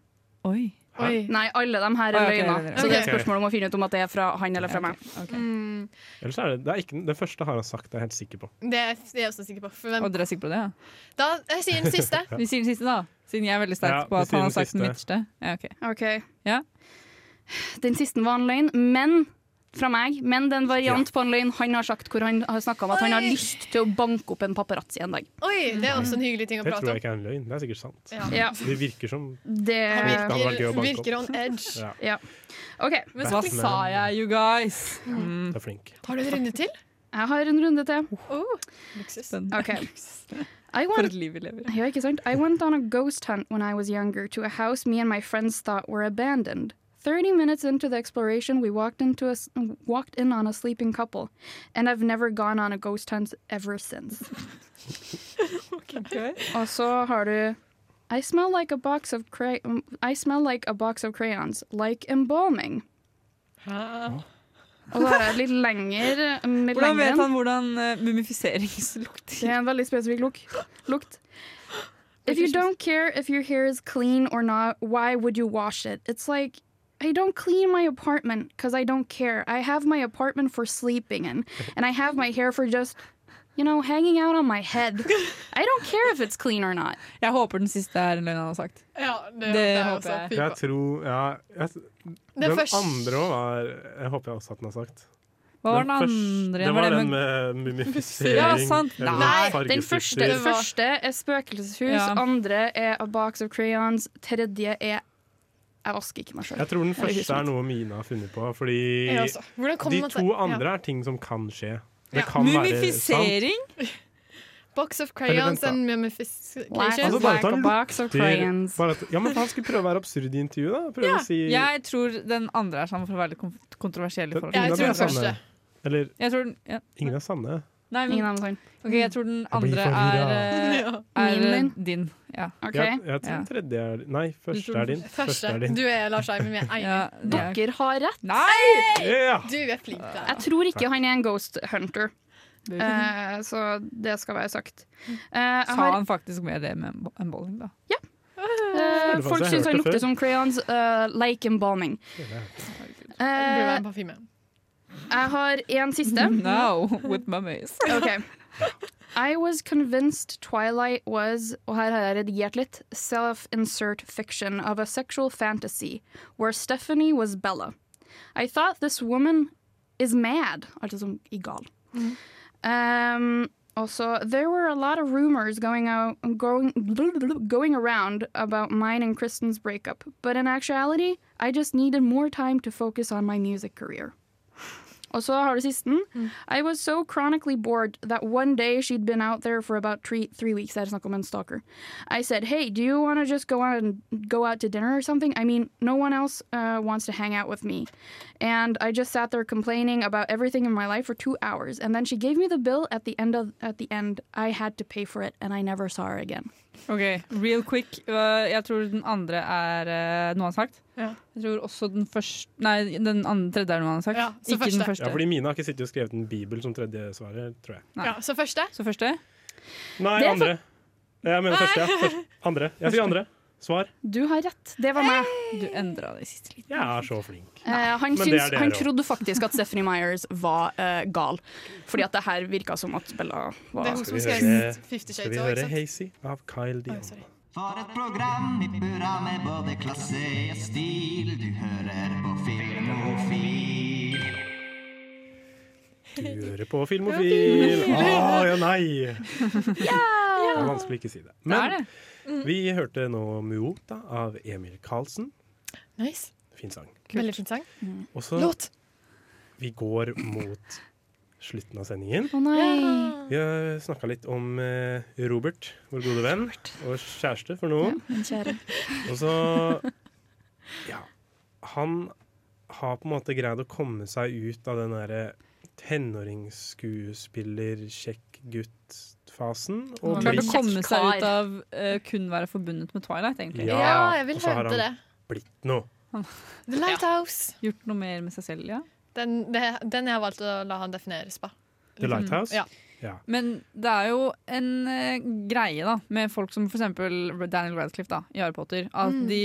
[SPEAKER 3] Oi.
[SPEAKER 11] Oi.
[SPEAKER 5] Nei, alle de her
[SPEAKER 3] Å,
[SPEAKER 5] er
[SPEAKER 3] ja, ok,
[SPEAKER 5] løgner.
[SPEAKER 3] det er
[SPEAKER 5] Så det er
[SPEAKER 1] det.
[SPEAKER 5] et spørsmål om å finne ut om at det er fra han eller fra meg.
[SPEAKER 11] Mm,
[SPEAKER 1] Ellers er det, det, er ikke, det første har han sagt, det er jeg helt sikker på.
[SPEAKER 11] det er det er jeg også sikker på. For hvem?
[SPEAKER 3] Og dere er sikre på det, ja?
[SPEAKER 11] Da jeg sier den siste.
[SPEAKER 3] Vi sier den siste, da. Siden jeg er veldig sterk
[SPEAKER 1] Ja,
[SPEAKER 3] på
[SPEAKER 1] vi
[SPEAKER 3] at
[SPEAKER 1] sier
[SPEAKER 3] han
[SPEAKER 1] den
[SPEAKER 3] har sagt den midterste.
[SPEAKER 1] siste.
[SPEAKER 3] Ja, ok.
[SPEAKER 5] Ok.
[SPEAKER 3] Ja.
[SPEAKER 5] Den siste var en løgn, men fra meg, men det er en variant på en løgn han har sagt, hvor han har snakka om at han har
[SPEAKER 11] Oi.
[SPEAKER 5] lyst til å banke opp en paparazzi en dag.
[SPEAKER 11] Oi, det er også en hyggelig ting å
[SPEAKER 1] Det tror
[SPEAKER 11] prate
[SPEAKER 1] jeg
[SPEAKER 11] om.
[SPEAKER 1] ikke er en løgn. Det er sikkert sant.
[SPEAKER 11] Ja.
[SPEAKER 5] Ja.
[SPEAKER 1] Det virker som
[SPEAKER 5] Det
[SPEAKER 1] Han virker- Det hadde vært gøy å banke opp.
[SPEAKER 11] virker on edge.
[SPEAKER 1] ja,
[SPEAKER 5] Ja. OK.
[SPEAKER 11] Men
[SPEAKER 3] Hva
[SPEAKER 11] så
[SPEAKER 1] Batman.
[SPEAKER 3] sa jeg, you guys? Mm.
[SPEAKER 1] Du er flink.
[SPEAKER 11] Har du en runde til?
[SPEAKER 5] Jeg har en runde til.
[SPEAKER 11] Oh, luksus.
[SPEAKER 5] OK. I
[SPEAKER 3] For
[SPEAKER 5] want
[SPEAKER 3] et liv vi lever.
[SPEAKER 5] Ja, ikke sant? I went on a ghost hunt when I was younger to a house me and my friends thought were abandoned. 30 minutes into the exploration, we walked into a s walked in on a sleeping couple, and I've never gone on a ghost hunt ever since. Og så har du I smell like a box of cray um, I smell like a box of crayons, like embalming. Og så har jeg et litt lengre litt
[SPEAKER 3] Hvordan
[SPEAKER 5] lengre
[SPEAKER 3] vet
[SPEAKER 5] en.
[SPEAKER 3] han hvordan eh, mumifiseringslukter?
[SPEAKER 5] Det er en veldig spesifikk luk lukt. If you don't care if your hair is clean or not, why would you wash it? It's like, I don't clean my apartment because I don't care. I have my apartment for sleeping in, and I have my hair for just, you know, hanging out on my head. I don't care if it's clean or not.
[SPEAKER 3] Jeg håper den siste er en løgn han har sagt.
[SPEAKER 11] Ja, det,
[SPEAKER 3] Det
[SPEAKER 11] det er
[SPEAKER 3] håper
[SPEAKER 11] også.
[SPEAKER 3] jeg.
[SPEAKER 11] Fy
[SPEAKER 1] Jeg
[SPEAKER 11] faen.
[SPEAKER 1] tror ja, jeg,
[SPEAKER 11] Den
[SPEAKER 1] Den
[SPEAKER 11] første-
[SPEAKER 1] andre òg var Jeg håper jeg også at den har sagt.
[SPEAKER 3] Hva var den andre
[SPEAKER 1] første-
[SPEAKER 3] igjen?
[SPEAKER 1] Det
[SPEAKER 3] Var
[SPEAKER 1] var
[SPEAKER 3] det
[SPEAKER 1] den med mumifisering.
[SPEAKER 3] Ja, sant.
[SPEAKER 1] eller
[SPEAKER 3] Nei,
[SPEAKER 5] Den
[SPEAKER 1] fargestifter.
[SPEAKER 5] første, den første er spøkelseshus,
[SPEAKER 3] Ja.
[SPEAKER 5] andre er a box of crayons, tredje er Jeg vasker ikke meg sjøl.
[SPEAKER 1] Jeg tror den første er noe Mina har funnet på, fordi
[SPEAKER 11] Jeg også. Hvordan kommer
[SPEAKER 1] de
[SPEAKER 11] man seg-
[SPEAKER 1] to
[SPEAKER 11] Ja.
[SPEAKER 1] andre er ting som kan skje.
[SPEAKER 11] Ja.
[SPEAKER 1] Det kan være sant.
[SPEAKER 3] Mumifisering?
[SPEAKER 11] Box of
[SPEAKER 1] Eller vent
[SPEAKER 11] crayons
[SPEAKER 1] da.
[SPEAKER 11] and
[SPEAKER 1] Altså,
[SPEAKER 11] mummification.
[SPEAKER 1] bare at han
[SPEAKER 5] Like a box of
[SPEAKER 1] lukter-
[SPEAKER 5] crayons.
[SPEAKER 1] bare at- Ja, men faen, skulle prøve å være absurd i intervjuet, da. Prøve
[SPEAKER 11] Ja,
[SPEAKER 1] å si
[SPEAKER 3] Jeg tror den andre er sånn for å være litt kon- kontroversiell. i forhold til-
[SPEAKER 11] Jeg
[SPEAKER 1] Ingen av
[SPEAKER 11] tror
[SPEAKER 1] de er
[SPEAKER 11] den første.
[SPEAKER 1] sanne. Eller
[SPEAKER 3] Jeg tror den, ja.
[SPEAKER 1] ingen er sanne.
[SPEAKER 3] Nei,
[SPEAKER 5] Ingen
[SPEAKER 3] men,
[SPEAKER 5] annen sang.
[SPEAKER 3] ok, jeg tror den
[SPEAKER 1] Jeg blir
[SPEAKER 3] andre er, eh,
[SPEAKER 11] Ja.
[SPEAKER 3] er
[SPEAKER 5] Min,
[SPEAKER 3] eh,
[SPEAKER 5] din?
[SPEAKER 3] din. Ja.
[SPEAKER 5] Ok.
[SPEAKER 1] Jeg, jeg tror
[SPEAKER 3] Ja.
[SPEAKER 1] den tredje er Nei, første er din. Første er din.
[SPEAKER 11] Du er Lars Eivind, men jeg er
[SPEAKER 3] ja
[SPEAKER 11] enig.
[SPEAKER 3] det er-
[SPEAKER 5] Dere har rett.
[SPEAKER 3] Nei!
[SPEAKER 5] Eh,
[SPEAKER 1] Ja!
[SPEAKER 11] Du er flink der.
[SPEAKER 5] Jeg tror ikke han er en ghost hunter,
[SPEAKER 3] Det-
[SPEAKER 5] eh, så det skal være sagt. Eh, jeg
[SPEAKER 3] Sa
[SPEAKER 5] har,
[SPEAKER 3] han faktisk med det med en bo- en bowling, da?
[SPEAKER 5] eh,
[SPEAKER 1] faktisk
[SPEAKER 5] folk
[SPEAKER 1] jeg
[SPEAKER 5] syns
[SPEAKER 1] hørte
[SPEAKER 5] han lukter
[SPEAKER 1] før.
[SPEAKER 5] som crayons, eh, like embalming.
[SPEAKER 11] Det burde være
[SPEAKER 5] Eh,
[SPEAKER 11] en parfyme.
[SPEAKER 5] jeg har en siste.
[SPEAKER 3] Mm, No, with mummies.
[SPEAKER 5] Ok. I was convinced Twilight was, og her har jeg redigert litt, self-insert fiction of a sexual fantasy, where Stephanie was Bella. I thought this woman is mad, altså som i gal. Um, also, there were a lot of rumors going out, going, going around about mine and Kristen's breakup, but in actuality, I just needed more time to focus on my music career. Og så har du sisten. I was so chronically bored that one day she'd been out there for about three, three weeks. Det er snakk om en stalker. I said, hey, do you want to just go out and go out to dinner or something? I mean, no one else uh, wants to hang out with me. And I just sat there complaining about everything in my life for two hours. And then she gave me the bill at the end. Of, at the end, I had to pay for it, and I never saw her again.
[SPEAKER 3] Ok, Real quick. eh, Jeg tror den andre er eh, noe han har sagt.
[SPEAKER 11] Ja.
[SPEAKER 3] Jeg tror også den første Nei, den andre, tredje er noe han har sagt.
[SPEAKER 11] Ja, så
[SPEAKER 3] ikke den
[SPEAKER 11] første.
[SPEAKER 3] første.
[SPEAKER 1] Ja, fordi Mina har ikke sittet og skrevet en bibel som tredje svaret, tror jeg.
[SPEAKER 3] Nei.
[SPEAKER 11] Ja, så første.
[SPEAKER 3] Så første?
[SPEAKER 1] Nei,
[SPEAKER 5] Det er
[SPEAKER 1] andre. Jeg mener første, ja. Først. Andre. Jeg sier andre. Svar.
[SPEAKER 5] Du har rett. Det var meg.
[SPEAKER 3] Du endra det i siste liten.
[SPEAKER 1] Jeg er så flink.
[SPEAKER 5] Eh, han,
[SPEAKER 1] Men det er
[SPEAKER 5] syns,
[SPEAKER 1] dere
[SPEAKER 5] han
[SPEAKER 1] også.
[SPEAKER 5] trodde faktisk at Stephanie Myers var eh, gal, fordi at det her virka som at Bella
[SPEAKER 11] Det er
[SPEAKER 5] var
[SPEAKER 11] hun
[SPEAKER 1] Skal
[SPEAKER 11] som
[SPEAKER 1] vi
[SPEAKER 11] skrev
[SPEAKER 1] høre,
[SPEAKER 11] Fifty
[SPEAKER 1] skal
[SPEAKER 11] Shades
[SPEAKER 1] vi
[SPEAKER 11] òg, ikke
[SPEAKER 1] høre
[SPEAKER 11] sant?
[SPEAKER 1] Hazy av Kyle
[SPEAKER 11] Oi,
[SPEAKER 1] Dion?
[SPEAKER 11] sorry.
[SPEAKER 17] For et program i burra med både klasse og stil. Du hører på Filmofil.
[SPEAKER 1] Du hører på Filmofil! Å Ah, ja, nei! Det er vanskelig å ikke si det. Men
[SPEAKER 3] det er det.
[SPEAKER 1] vi hørte nå Muota av Emil Karlsen.
[SPEAKER 11] Nice.
[SPEAKER 1] Fin sang.
[SPEAKER 11] Veldig fin sang.
[SPEAKER 1] Og så
[SPEAKER 11] Låt.
[SPEAKER 1] vi går mot slutten av sendingen.
[SPEAKER 5] Å nei.
[SPEAKER 1] Vi har snakka litt om eh, Robert, vår gode venn, og kjæreste for noen.
[SPEAKER 5] Min kjære.
[SPEAKER 1] Og så Han har på en måte greid å komme seg ut av den eh, derre tenåringsskuespiller-sjekk-gutt-fasen.
[SPEAKER 3] Og
[SPEAKER 1] blitt-
[SPEAKER 3] klarte å komme seg ut av eh, kun være forbundet med Twilight, egentlig.
[SPEAKER 1] Ja, jeg vil og så har hevde han- blitt noe.
[SPEAKER 11] The Lighthouse.
[SPEAKER 3] Gjort noe mer med seg selv, ja.
[SPEAKER 11] Den, det, den jeg har valgt å la han defineres på.
[SPEAKER 1] The Lighthouse?
[SPEAKER 11] Ja.
[SPEAKER 1] Ja.
[SPEAKER 3] Men det er jo en eh, greie da med folk som for eksempel Daniel Radcliffe da, i Harry Potter. At
[SPEAKER 11] Mm.
[SPEAKER 3] de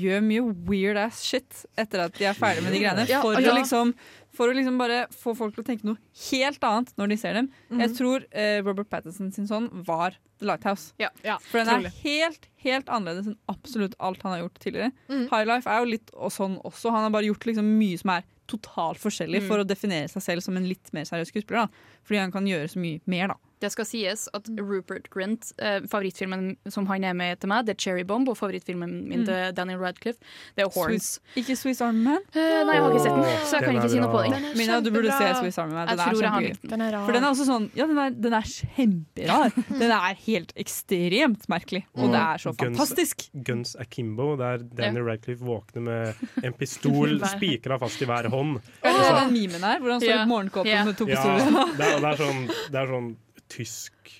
[SPEAKER 3] gjør mye weird ass shit etter at de er ferdig med de greiene.
[SPEAKER 11] Ja,
[SPEAKER 3] for,
[SPEAKER 11] ja.
[SPEAKER 3] Å liksom, for å liksom bare få folk til å tenke noe helt annet når de ser dem.
[SPEAKER 11] Mm.
[SPEAKER 3] Jeg tror eh, Robert Pattinson sin sånn var The Lighthouse. for den er
[SPEAKER 11] trolig.
[SPEAKER 3] helt, helt annerledes enn absolutt alt han har gjort tidligere.
[SPEAKER 11] Mm.
[SPEAKER 3] High Life er jo litt og sånn også. Han har bare gjort liksom mye som er totalt forskjellig
[SPEAKER 5] Mm.
[SPEAKER 3] for å definere seg selv som en litt mer seriøs skuespiller. Da. Fordi han kan gjøre så mye mer, da.
[SPEAKER 5] Det skal sies at
[SPEAKER 3] Mm.
[SPEAKER 5] Rupert Grint, eh, favorittfilmen som han er med til meg, det er 'Cherry Bomb', og favorittfavorittfilmen min
[SPEAKER 3] Mm.
[SPEAKER 5] til Daniel Radcliffe, det er 'Horns'. Eh,
[SPEAKER 3] Swiss- ikke Swiss Army Man?
[SPEAKER 5] nei, jeg har ikke sett den, så jeg
[SPEAKER 3] Åh,
[SPEAKER 5] kan
[SPEAKER 3] er
[SPEAKER 5] ikke si noe
[SPEAKER 3] bra. Mm.
[SPEAKER 5] på den. Den er
[SPEAKER 3] Mina, du burde se
[SPEAKER 5] kjempebra.
[SPEAKER 3] Swiss Army Man.
[SPEAKER 5] Jeg
[SPEAKER 3] Den er
[SPEAKER 5] tror jeg har
[SPEAKER 3] kjempegøy.
[SPEAKER 5] likt den. Den er rar.
[SPEAKER 3] For den er også sånn Ja, den er, den er kjemperar. Den er helt ekstremt merkelig, og det er så fantastisk.
[SPEAKER 1] Guns akimbo, der Daniel Radcliffe våkner med en pistol
[SPEAKER 3] Hver-
[SPEAKER 1] spikra fast i hver hånd.
[SPEAKER 3] Er
[SPEAKER 1] Og
[SPEAKER 3] det
[SPEAKER 1] så-
[SPEAKER 3] den memen her, hvor han står i
[SPEAKER 5] Ja.
[SPEAKER 3] morgenkåpen
[SPEAKER 5] Ja.
[SPEAKER 3] med to
[SPEAKER 1] Ja,
[SPEAKER 3] pistoler?
[SPEAKER 1] det er, det er, sånn, det er sånn tysk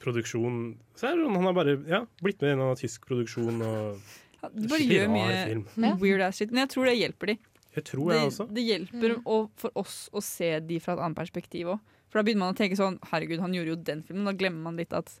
[SPEAKER 1] produksjon Så er det sånn, Han har bare ja, blitt med i en eller annen tysk produksjon og
[SPEAKER 3] Du bare
[SPEAKER 1] Skikkelig
[SPEAKER 3] gjør
[SPEAKER 1] rar film.
[SPEAKER 3] mye weird ass shit. Men jeg tror det hjelper de.
[SPEAKER 1] Jeg tror jeg
[SPEAKER 3] det,
[SPEAKER 1] også.
[SPEAKER 3] det hjelper å- for oss å se de fra et annet perspektiv òg. For da begynner man å tenke sånn Herregud, han gjorde jo den filmen. Da glemmer man litt at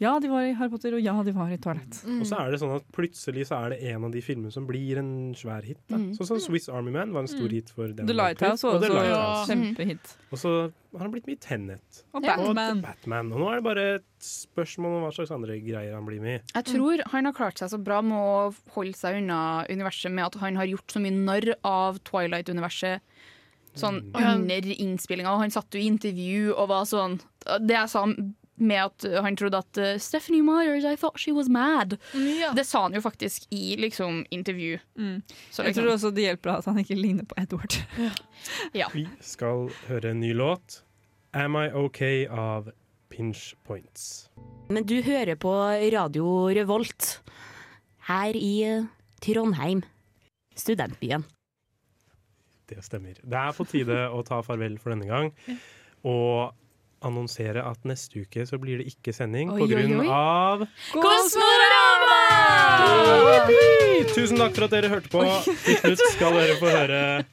[SPEAKER 3] ja, de var i Harry Potter, og ja, de var i Twilight.
[SPEAKER 1] Og så er det sånn at plutselig så er det en av de filmene som blir en svær hit. Da.
[SPEAKER 3] Mm.
[SPEAKER 1] Sånn som Swiss Army Man var en stor
[SPEAKER 3] Mm.
[SPEAKER 1] hit for den.
[SPEAKER 3] The Lighthouse var
[SPEAKER 1] og The
[SPEAKER 3] også
[SPEAKER 1] Lighthouse.
[SPEAKER 3] kjempehit.
[SPEAKER 1] Og så har han blitt med i Tenet.
[SPEAKER 3] Og Batman.
[SPEAKER 1] Og, Batman. og nå er det bare et spørsmål om hva slags andre greier han blir med i.
[SPEAKER 5] Jeg tror han har klart seg så bra med å holde seg unna universet med at han har gjort så mye narr av Twilight-universet sånn
[SPEAKER 3] Mm.
[SPEAKER 5] under innspillinga. Og han satt jo i intervju og var sånn Det jeg sa med at han trodde at eh, Stephanie Myers, I thought she was mad.
[SPEAKER 11] Mm.
[SPEAKER 5] Det sa han jo faktisk i liksom intervju. Så
[SPEAKER 3] Mm. Jeg
[SPEAKER 5] liksom-
[SPEAKER 3] tror også det hjelper at han ikke ligner på Edward.
[SPEAKER 1] Vi skal høre en ny låt. Am I OK av Pinch Points.
[SPEAKER 17] Men du hører på Radio Revolt her i eh, Trondheim, studentbyen.
[SPEAKER 1] Det stemmer. Det er på tide å ta farvel for denne gang. Og annonsere at neste uke så blir det ikke sending
[SPEAKER 25] Oi,
[SPEAKER 1] på
[SPEAKER 25] oi,
[SPEAKER 1] grunn
[SPEAKER 25] oi.
[SPEAKER 1] av Yippee! Tusen takk for at dere hørte på. Til slutt skal dere få høre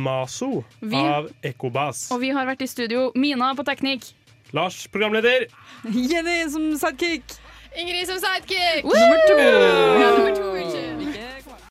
[SPEAKER 1] Maso
[SPEAKER 5] Vi-
[SPEAKER 1] av Ekobas.
[SPEAKER 5] Og vi har vært i studio. Mina på teknikk.
[SPEAKER 1] Lars, programleder.
[SPEAKER 3] Jenny som sidekick.
[SPEAKER 11] Ingrid som sidekick!
[SPEAKER 5] Nummer to.
[SPEAKER 11] Ja, nummer to.